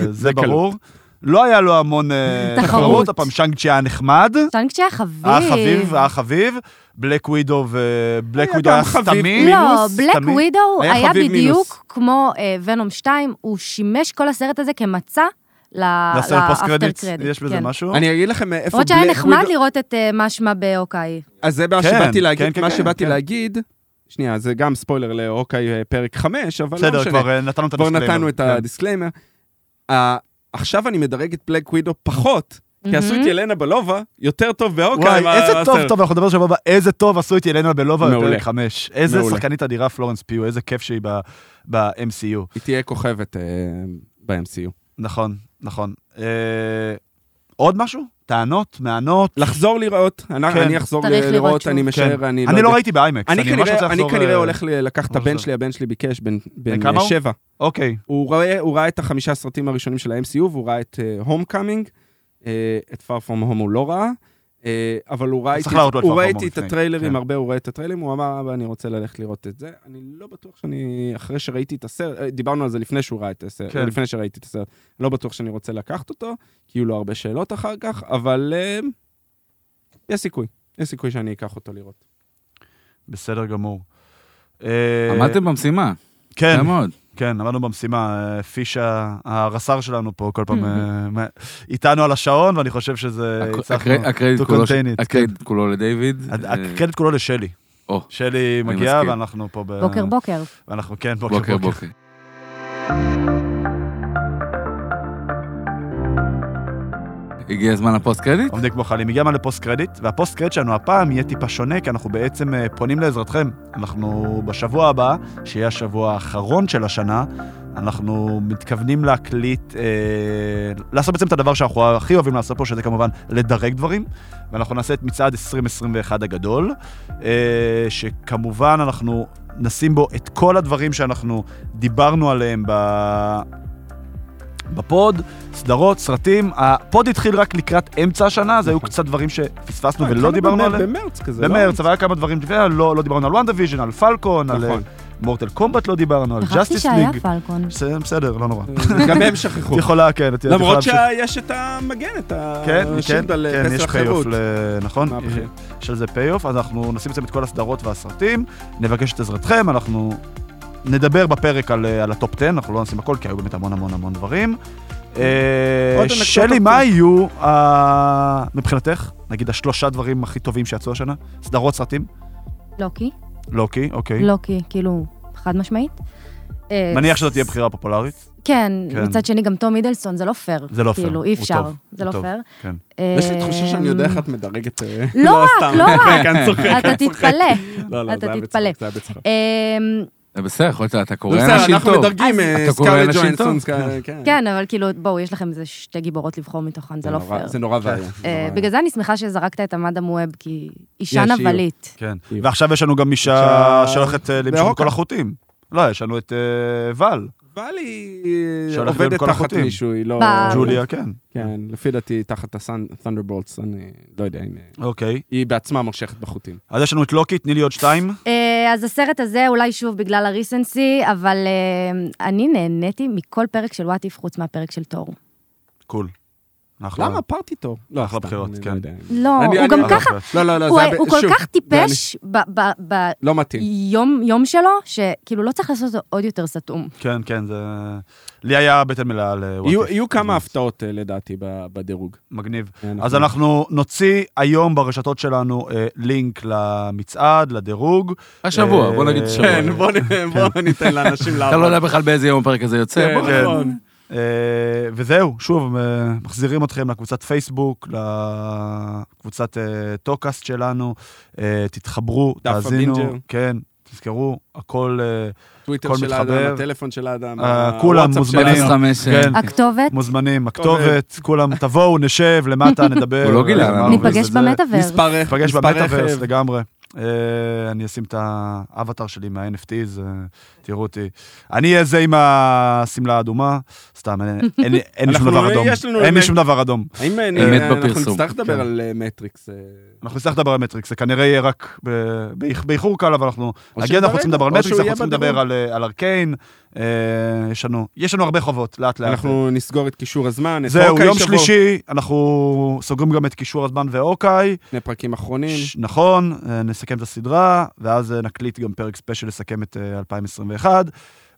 Speaker 1: זה
Speaker 3: זה
Speaker 1: ברור. לא היה לו המון אה,
Speaker 2: תחרות.
Speaker 1: תחרות, הפעם שאנג צ'י היה נחמד.
Speaker 2: טנק שהיה חביב. לא,
Speaker 1: היה אה, חביב, היה חביב. בלק ווידו ובלק
Speaker 3: היה
Speaker 1: ווידו
Speaker 3: גם
Speaker 1: היה
Speaker 3: חביב.
Speaker 1: סתמי.
Speaker 2: לא,
Speaker 1: אה, מינוס,
Speaker 2: בלק
Speaker 1: סתמי.
Speaker 2: ווידו
Speaker 3: היה
Speaker 2: היה
Speaker 3: חביב מינוס.
Speaker 2: בדיוק כמו אה, ונום 2, הוא שימש כל הסרט הזה כמצע ל-
Speaker 1: זה הסרט פוסט
Speaker 2: לאפטר
Speaker 1: קרדיט,
Speaker 2: קרדיט.
Speaker 1: יש בזה
Speaker 2: לא, כן.
Speaker 1: משהו?
Speaker 3: אני אגיד לכם איפה...
Speaker 2: למרות שהיה
Speaker 3: בלק
Speaker 2: נחמד
Speaker 3: ווידו-
Speaker 2: לראות את אה, משמע בהוקאי.
Speaker 3: אז זה
Speaker 1: כן,
Speaker 3: מה שבאתי
Speaker 1: כן,
Speaker 3: להגיד,
Speaker 1: כן,
Speaker 3: מה
Speaker 1: כן,
Speaker 3: שבאתי
Speaker 1: כן.
Speaker 3: להגיד, שנייה, זה גם ספוילר לאוקיי אה, פרק 5, אבל לא משנה.
Speaker 1: בסדר, כבר אה, נתנו את
Speaker 3: כבר
Speaker 1: הדיסקליימר.
Speaker 3: נתנו את
Speaker 1: כן.
Speaker 3: הדיסקליימר. אה, עכשיו אני מדרג את בלק ווידו פחות,
Speaker 2: Mhm.
Speaker 3: כי עשו את ילנה בלובה יותר טוב בהוקאי. מה-
Speaker 1: וואי, אוקיי, איזה
Speaker 3: מה-
Speaker 1: טוב,
Speaker 3: הסרט.
Speaker 1: טוב, אנחנו נדבר שבוע הבא, איזה טוב עשו את ילנה בלובה
Speaker 3: מעולה.
Speaker 1: בפרק 5. איזה
Speaker 3: מעולה.
Speaker 1: שחקנית אדירה פלורנס פיו, איזה כיף שהיא ב- ב-MCU.
Speaker 3: היא תהיה כוכבת אה, ב-MCU.
Speaker 1: נכון, נכון. אה, עוד משהו? טענות? מענות?
Speaker 3: לחזור לראות, אני-
Speaker 1: כן.
Speaker 3: אני אחזור
Speaker 2: צריך לראות
Speaker 3: לראות,
Speaker 2: שוב.
Speaker 3: אני
Speaker 1: כן.
Speaker 3: משער, אני לא
Speaker 1: אני
Speaker 3: יודע.
Speaker 1: לא ראיתי באיימקס,
Speaker 3: אני
Speaker 1: אני ממש רוצה
Speaker 3: כנראה- אני
Speaker 1: לחזור...
Speaker 3: כנראה
Speaker 1: אה,
Speaker 3: הולך ל- לקח את
Speaker 1: ממש
Speaker 3: הבן
Speaker 1: זה.
Speaker 3: שלי, הבן שלי ביקש, בן בן,
Speaker 1: כמה
Speaker 3: אה,
Speaker 1: הוא?
Speaker 3: שבע.
Speaker 1: אוקיי.
Speaker 3: הוא ראה- הוא ראה את החמישה הסרטים הראשונים של ה-MCU, והוא ראה את הום קאמינג, את Far From Home הוא לא ראה, אה, אבל הוא ראה
Speaker 1: אז
Speaker 3: איתי-
Speaker 1: צריך להראות לו את Far
Speaker 3: הוא ראה
Speaker 1: From
Speaker 3: איתי
Speaker 1: Home
Speaker 3: את
Speaker 1: לפני,
Speaker 3: הטריילרים,
Speaker 1: כן.
Speaker 3: הרבה הוא ראה את הטריילרים, הוא אמר, אבא, אני רוצה ללכת לראות את זה. אני לא בטוח שאני, אחרי שראיתי את הסרט, אה, דיברנו על זה לפני שהוא ראה את הסרט,
Speaker 1: כן.
Speaker 3: לפני שראיתי את הסרט, לא בטוח שאני רוצה לקחת אותו, כי יהיו לו הרבה שאלות אחר כך, אבל אה, יש סיכוי, יש סיכוי שאני אקח אותו לראות.
Speaker 1: בסדר גמור. אה,
Speaker 4: עמדתם במשימה,
Speaker 1: כן,
Speaker 4: יפה מאוד.
Speaker 1: כן, עמדנו במשימה. אה, פיש ה- הרס"ר שלנו פה כל פעם אה, מה- איתנו על השעון, ואני חושב שזה...
Speaker 4: הק-
Speaker 1: אה, הצלחנו
Speaker 4: הקר- הקרדיט
Speaker 1: to
Speaker 4: כולו-
Speaker 1: contain it, כן.
Speaker 4: הקרדיט כולו לדיוויד.
Speaker 1: הד-
Speaker 4: אה,
Speaker 1: הקרדיט כולו לשלי.
Speaker 4: או.
Speaker 1: שלי
Speaker 4: אני
Speaker 1: מגיעה,
Speaker 4: מסכים.
Speaker 1: ואנחנו פה ב...
Speaker 2: בוקר בוקר.
Speaker 1: ואנחנו, כן,
Speaker 4: בוקר בוקר. הגיע הזמן לפוסט קרדיט?
Speaker 1: עומדים כמו חיילים. הגיע מה לפוסט קרדיט, והפוסט קרדיט שלנו הפעם יהיה טיפה שונה, כי אנחנו בעצם אה, פונים לעזרתכם. אנחנו בשבוע הבא, שיהיה השבוע האחרון של השנה, אנחנו מתכוונים להקליט, אה, לעשות בעצם את הדבר שאנחנו הכי אוהבים לעשות פה, שזה כמובן לדרג דברים, ואנחנו נעשה את מצעד 2021 הגדול, אה, שכמובן אנחנו נשים בו את כל הדברים שאנחנו דיברנו עליהם ב... בפוד, סדרות, סרטים. הפוד התחיל רק לקראת אמצע השנה, אז היו
Speaker 3: נכון.
Speaker 1: קצת דברים שפספסנו
Speaker 3: אה, כמה
Speaker 1: ולא דיברנו
Speaker 3: במ-
Speaker 1: עליהם.
Speaker 3: במרץ כזה, לא?
Speaker 1: במרץ, אבל היה כמה דברים לפני, לא לא דיברנו על וואן דיוויז'ן, על פלקון, על
Speaker 3: נכון.
Speaker 1: מורטל קומבט לא דיברנו, על
Speaker 2: שכחתי
Speaker 1: ג'סטיס
Speaker 2: שהיה
Speaker 1: ליג.
Speaker 2: פלקון.
Speaker 1: בסדר, לא נורא.
Speaker 3: אה, גם הם
Speaker 1: את
Speaker 3: שכחו.
Speaker 1: יכולה, כן, את יכולה
Speaker 3: נכון. למרות אה,
Speaker 1: להמשיך.
Speaker 3: שיש את המגן, את
Speaker 1: כן, כן,
Speaker 3: השילד על
Speaker 1: כן, יש
Speaker 3: פסל
Speaker 1: פי-אוף,
Speaker 3: החירות.
Speaker 1: ל- נכון?
Speaker 3: מה הבחירה?
Speaker 1: יש על זה פי-אוף, אז אנחנו נשים בעצם את כל הסדרות והסרטים, נבקש את עזרתכם, אנחנו נדבר בפרק על, אה, על הטופ 10, אנחנו לא נשים הכל, כי היו באמת המון המון המון דברים. אה,
Speaker 3: עוד אנקדוטות.
Speaker 1: שלי, מה יהיו, אה, מבחינתך, נגיד השלושה דברים הכי טובים שיצאו השנה? סדרות, סרטים?
Speaker 2: לוקי.
Speaker 1: לוקי, אוקיי.
Speaker 2: לוקי, כאילו, חד משמעית. אה,
Speaker 1: מניח שזאת תהיה בחירה פופולרית,
Speaker 2: כן,
Speaker 1: כן.
Speaker 2: מצד שני גם תום מידלסון, זה לא פייר.
Speaker 1: זה לא פייר,
Speaker 2: כאילו, אי
Speaker 1: הוא
Speaker 2: אפשר.
Speaker 1: טוב,
Speaker 2: זה
Speaker 1: הוא
Speaker 2: לא
Speaker 1: טוב.
Speaker 2: פייר.
Speaker 1: כן.
Speaker 3: יש לי תחושה שאני יודע איך
Speaker 2: אה,
Speaker 3: את מדרגת... אה,
Speaker 2: לא רק,
Speaker 3: סתם.
Speaker 2: לא רק.
Speaker 3: כן, צוחק.
Speaker 2: אתה תתפלא.
Speaker 3: לא, לא,
Speaker 2: אתה
Speaker 3: זה היה
Speaker 2: תתפלא.
Speaker 3: בצחוק, זה היה בצחוק.
Speaker 2: אה,
Speaker 4: זה בסדר, יכול להיות אתה קורא
Speaker 3: זה בסדר,
Speaker 4: אנשים
Speaker 3: אנחנו
Speaker 4: טוב.
Speaker 3: מדרגים אה,
Speaker 4: אתה קורא
Speaker 3: סקארלט
Speaker 4: לאנשים
Speaker 3: ג'ואנסון.
Speaker 4: טוב?
Speaker 3: סקארלט- כן.
Speaker 2: כן, אבל כאילו, בואו, יש לכם איזה שתי גיבורות לבחור מתוכן, זה לא
Speaker 3: נורא-
Speaker 2: פייר.
Speaker 3: זה נורא ואיום.
Speaker 2: אה, בגלל זה אני שמחה שזרקת את עמדה מואב, כי אישה
Speaker 3: יש, יהיו.
Speaker 2: נבלית.
Speaker 1: כן.
Speaker 3: יהיו.
Speaker 1: ועכשיו יש לנו גם אישה
Speaker 3: עכשיו-
Speaker 1: שהולכת אה, למשוך את
Speaker 3: בהוקה.
Speaker 1: כל החוטים. לא, יש לנו את אה, בל,
Speaker 3: ואלי
Speaker 1: שהולך
Speaker 3: עובדת
Speaker 1: בכל
Speaker 3: תחת
Speaker 1: החוטים.
Speaker 3: מישהו, היא לא...
Speaker 2: ב-
Speaker 1: ג'וליה, כן.
Speaker 3: כן, לפי דעתי תחת ה-Thunderbolts, אני לא יודע אם... אה,
Speaker 1: אוקיי.
Speaker 3: היא בעצמה מושכת בחוטים.
Speaker 1: אז יש לנו את לוקי, תני לי עוד שתיים.
Speaker 2: אה, אז הסרט הזה, אולי שוב בגלל הריסנסי, אבל אה, אני נהניתי מכל פרק של וואט איף חוץ מהפרק של תור.
Speaker 1: קול. אחלה.
Speaker 3: למה פארטי טוב? לא,
Speaker 1: אחלה
Speaker 3: סתם,
Speaker 1: בחירות,
Speaker 3: אני לא
Speaker 1: כן.
Speaker 3: יודע.
Speaker 2: לא,
Speaker 3: אני-
Speaker 2: הוא
Speaker 3: אני-
Speaker 2: גם
Speaker 3: לא,
Speaker 2: ככה,
Speaker 3: לא, לא, לא,
Speaker 2: הוא
Speaker 3: זה
Speaker 2: הוא כל
Speaker 3: שוב,
Speaker 2: כך
Speaker 3: ואני-
Speaker 2: טיפש ב- ב-
Speaker 3: לא מתאים.
Speaker 2: ביום-יום שלו, שכאילו לא צריך לעשות אותו עוד יותר סתום.
Speaker 1: כן, כן, זה... לי היה בטן מלאה על אה, What
Speaker 3: יהיו- אה,
Speaker 1: If.
Speaker 3: יהיו כמה
Speaker 1: אז
Speaker 3: הפתעות אה, לדעתי ב- בדירוג.
Speaker 1: מגניב.
Speaker 3: אנחנו-
Speaker 1: אז אנחנו נוציא היום ברשתות שלנו אה, לינק למצעד, לדירוג.
Speaker 4: השבוע, בוא נגיד
Speaker 1: אה,
Speaker 4: שבוע.
Speaker 3: כן, בוא נ- בוא ניתן לאנשים
Speaker 4: אתה לא
Speaker 3: לעבוד.
Speaker 4: יודע בכלל באיזה יום הפרק הזה יוצא.
Speaker 3: כן,
Speaker 4: בוא-
Speaker 3: נכון.
Speaker 1: אה, וזהו, שוב, אה, מחזירים אתכם לקבוצת פייסבוק, לקבוצת אה, טוקאסט שלנו. אה, תתחברו,
Speaker 3: דף
Speaker 1: תאזינו.
Speaker 3: הבינג'ר.
Speaker 1: כן, תזכרו, הכל אה,
Speaker 3: טוויטר
Speaker 1: הכל
Speaker 3: של האדם,
Speaker 1: מתחבר.
Speaker 3: הטלפון של האדם,
Speaker 1: אה, כולם
Speaker 3: הוואטסאפ של
Speaker 1: מוזמנים.
Speaker 4: אפס
Speaker 3: האדם.
Speaker 4: חמש, אה,
Speaker 3: אוקיי.
Speaker 1: כן.
Speaker 2: הכתובת,
Speaker 1: מוזמנים, הכתובת, כולם תבואו, נשב, למטה, נדבר.
Speaker 4: הוא לא גילה,
Speaker 1: אה,
Speaker 4: אבל
Speaker 1: נרגיז
Speaker 2: ניפגש
Speaker 1: את זה.
Speaker 2: במטאוורס.
Speaker 3: מספר רכב,
Speaker 1: ניפגש
Speaker 3: מספר
Speaker 1: במטאוורס
Speaker 3: רכב.
Speaker 1: לגמרי. אה, אני אשים את האבטר שלי מה-NFTs, אה, תראו אותי. אני אהיה זה עם השמלה האדומה, סתם, אין- אין- אין לי שום
Speaker 3: אנחנו-
Speaker 1: דבר אדום.
Speaker 3: יש לנו
Speaker 1: אין לי
Speaker 3: אמת.
Speaker 1: שום דבר אדום.
Speaker 3: האם אה,
Speaker 4: אמת
Speaker 3: נראה- אנחנו
Speaker 4: בפרסום,
Speaker 3: נצטרך
Speaker 1: כן.
Speaker 3: לדבר על אה, מטריקס? אה,
Speaker 1: אנחנו נצטרך לדבר על מטריקס, זה כנראה יהיה רק ב- באיח- באיחור קל, אבל אנחנו
Speaker 3: או
Speaker 1: נגיד
Speaker 3: שנדבר-
Speaker 1: אנחנו צריכים לדבר על
Speaker 3: או
Speaker 1: מטריקס,
Speaker 3: שהוא
Speaker 1: אנחנו
Speaker 3: יהיה
Speaker 1: צריכים לדבר
Speaker 3: בדירוג.
Speaker 1: על אה, על ארקיין, אה, יש לנו- יש לנו הרבה חובות, לאט לאט.
Speaker 3: אנחנו נסגור את קישור הזמן, את
Speaker 1: זהו,
Speaker 3: אוקיי
Speaker 1: יום
Speaker 3: שבוע,
Speaker 1: שלישי, אנחנו סוגרים גם את קישור הזמן ואוקיי,
Speaker 3: שני פרקים אחרונים.
Speaker 1: ש- נכון, אה, נסכם את הסדרה, ואז אה, נקליט גם פרק ספיישל לסכם את אה, 2021.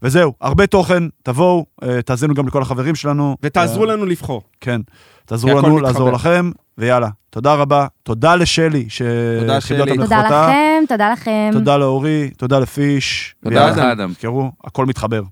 Speaker 1: וזהו, הרבה תוכן, תבואו, אה, תאזינו גם לכל החברים שלנו.
Speaker 3: ותעזרו
Speaker 1: אה,
Speaker 3: לנו לבחור.
Speaker 1: כן,
Speaker 3: כי
Speaker 1: תעזרו
Speaker 3: הכל
Speaker 1: לנו לעזור
Speaker 3: מתחבר.
Speaker 1: לכם, ויאללה, תודה רבה. תודה לשלי,
Speaker 3: תודה,
Speaker 1: שכיבדה
Speaker 3: שלי.
Speaker 1: אותנו
Speaker 2: תודה
Speaker 1: לכבודה.
Speaker 2: לכם, תודה לכם.
Speaker 1: תודה לאורי, תודה לפיש.
Speaker 4: תודה לך,
Speaker 1: ויאללה,
Speaker 4: אדם.
Speaker 1: תזכרו, הכל מתחבר.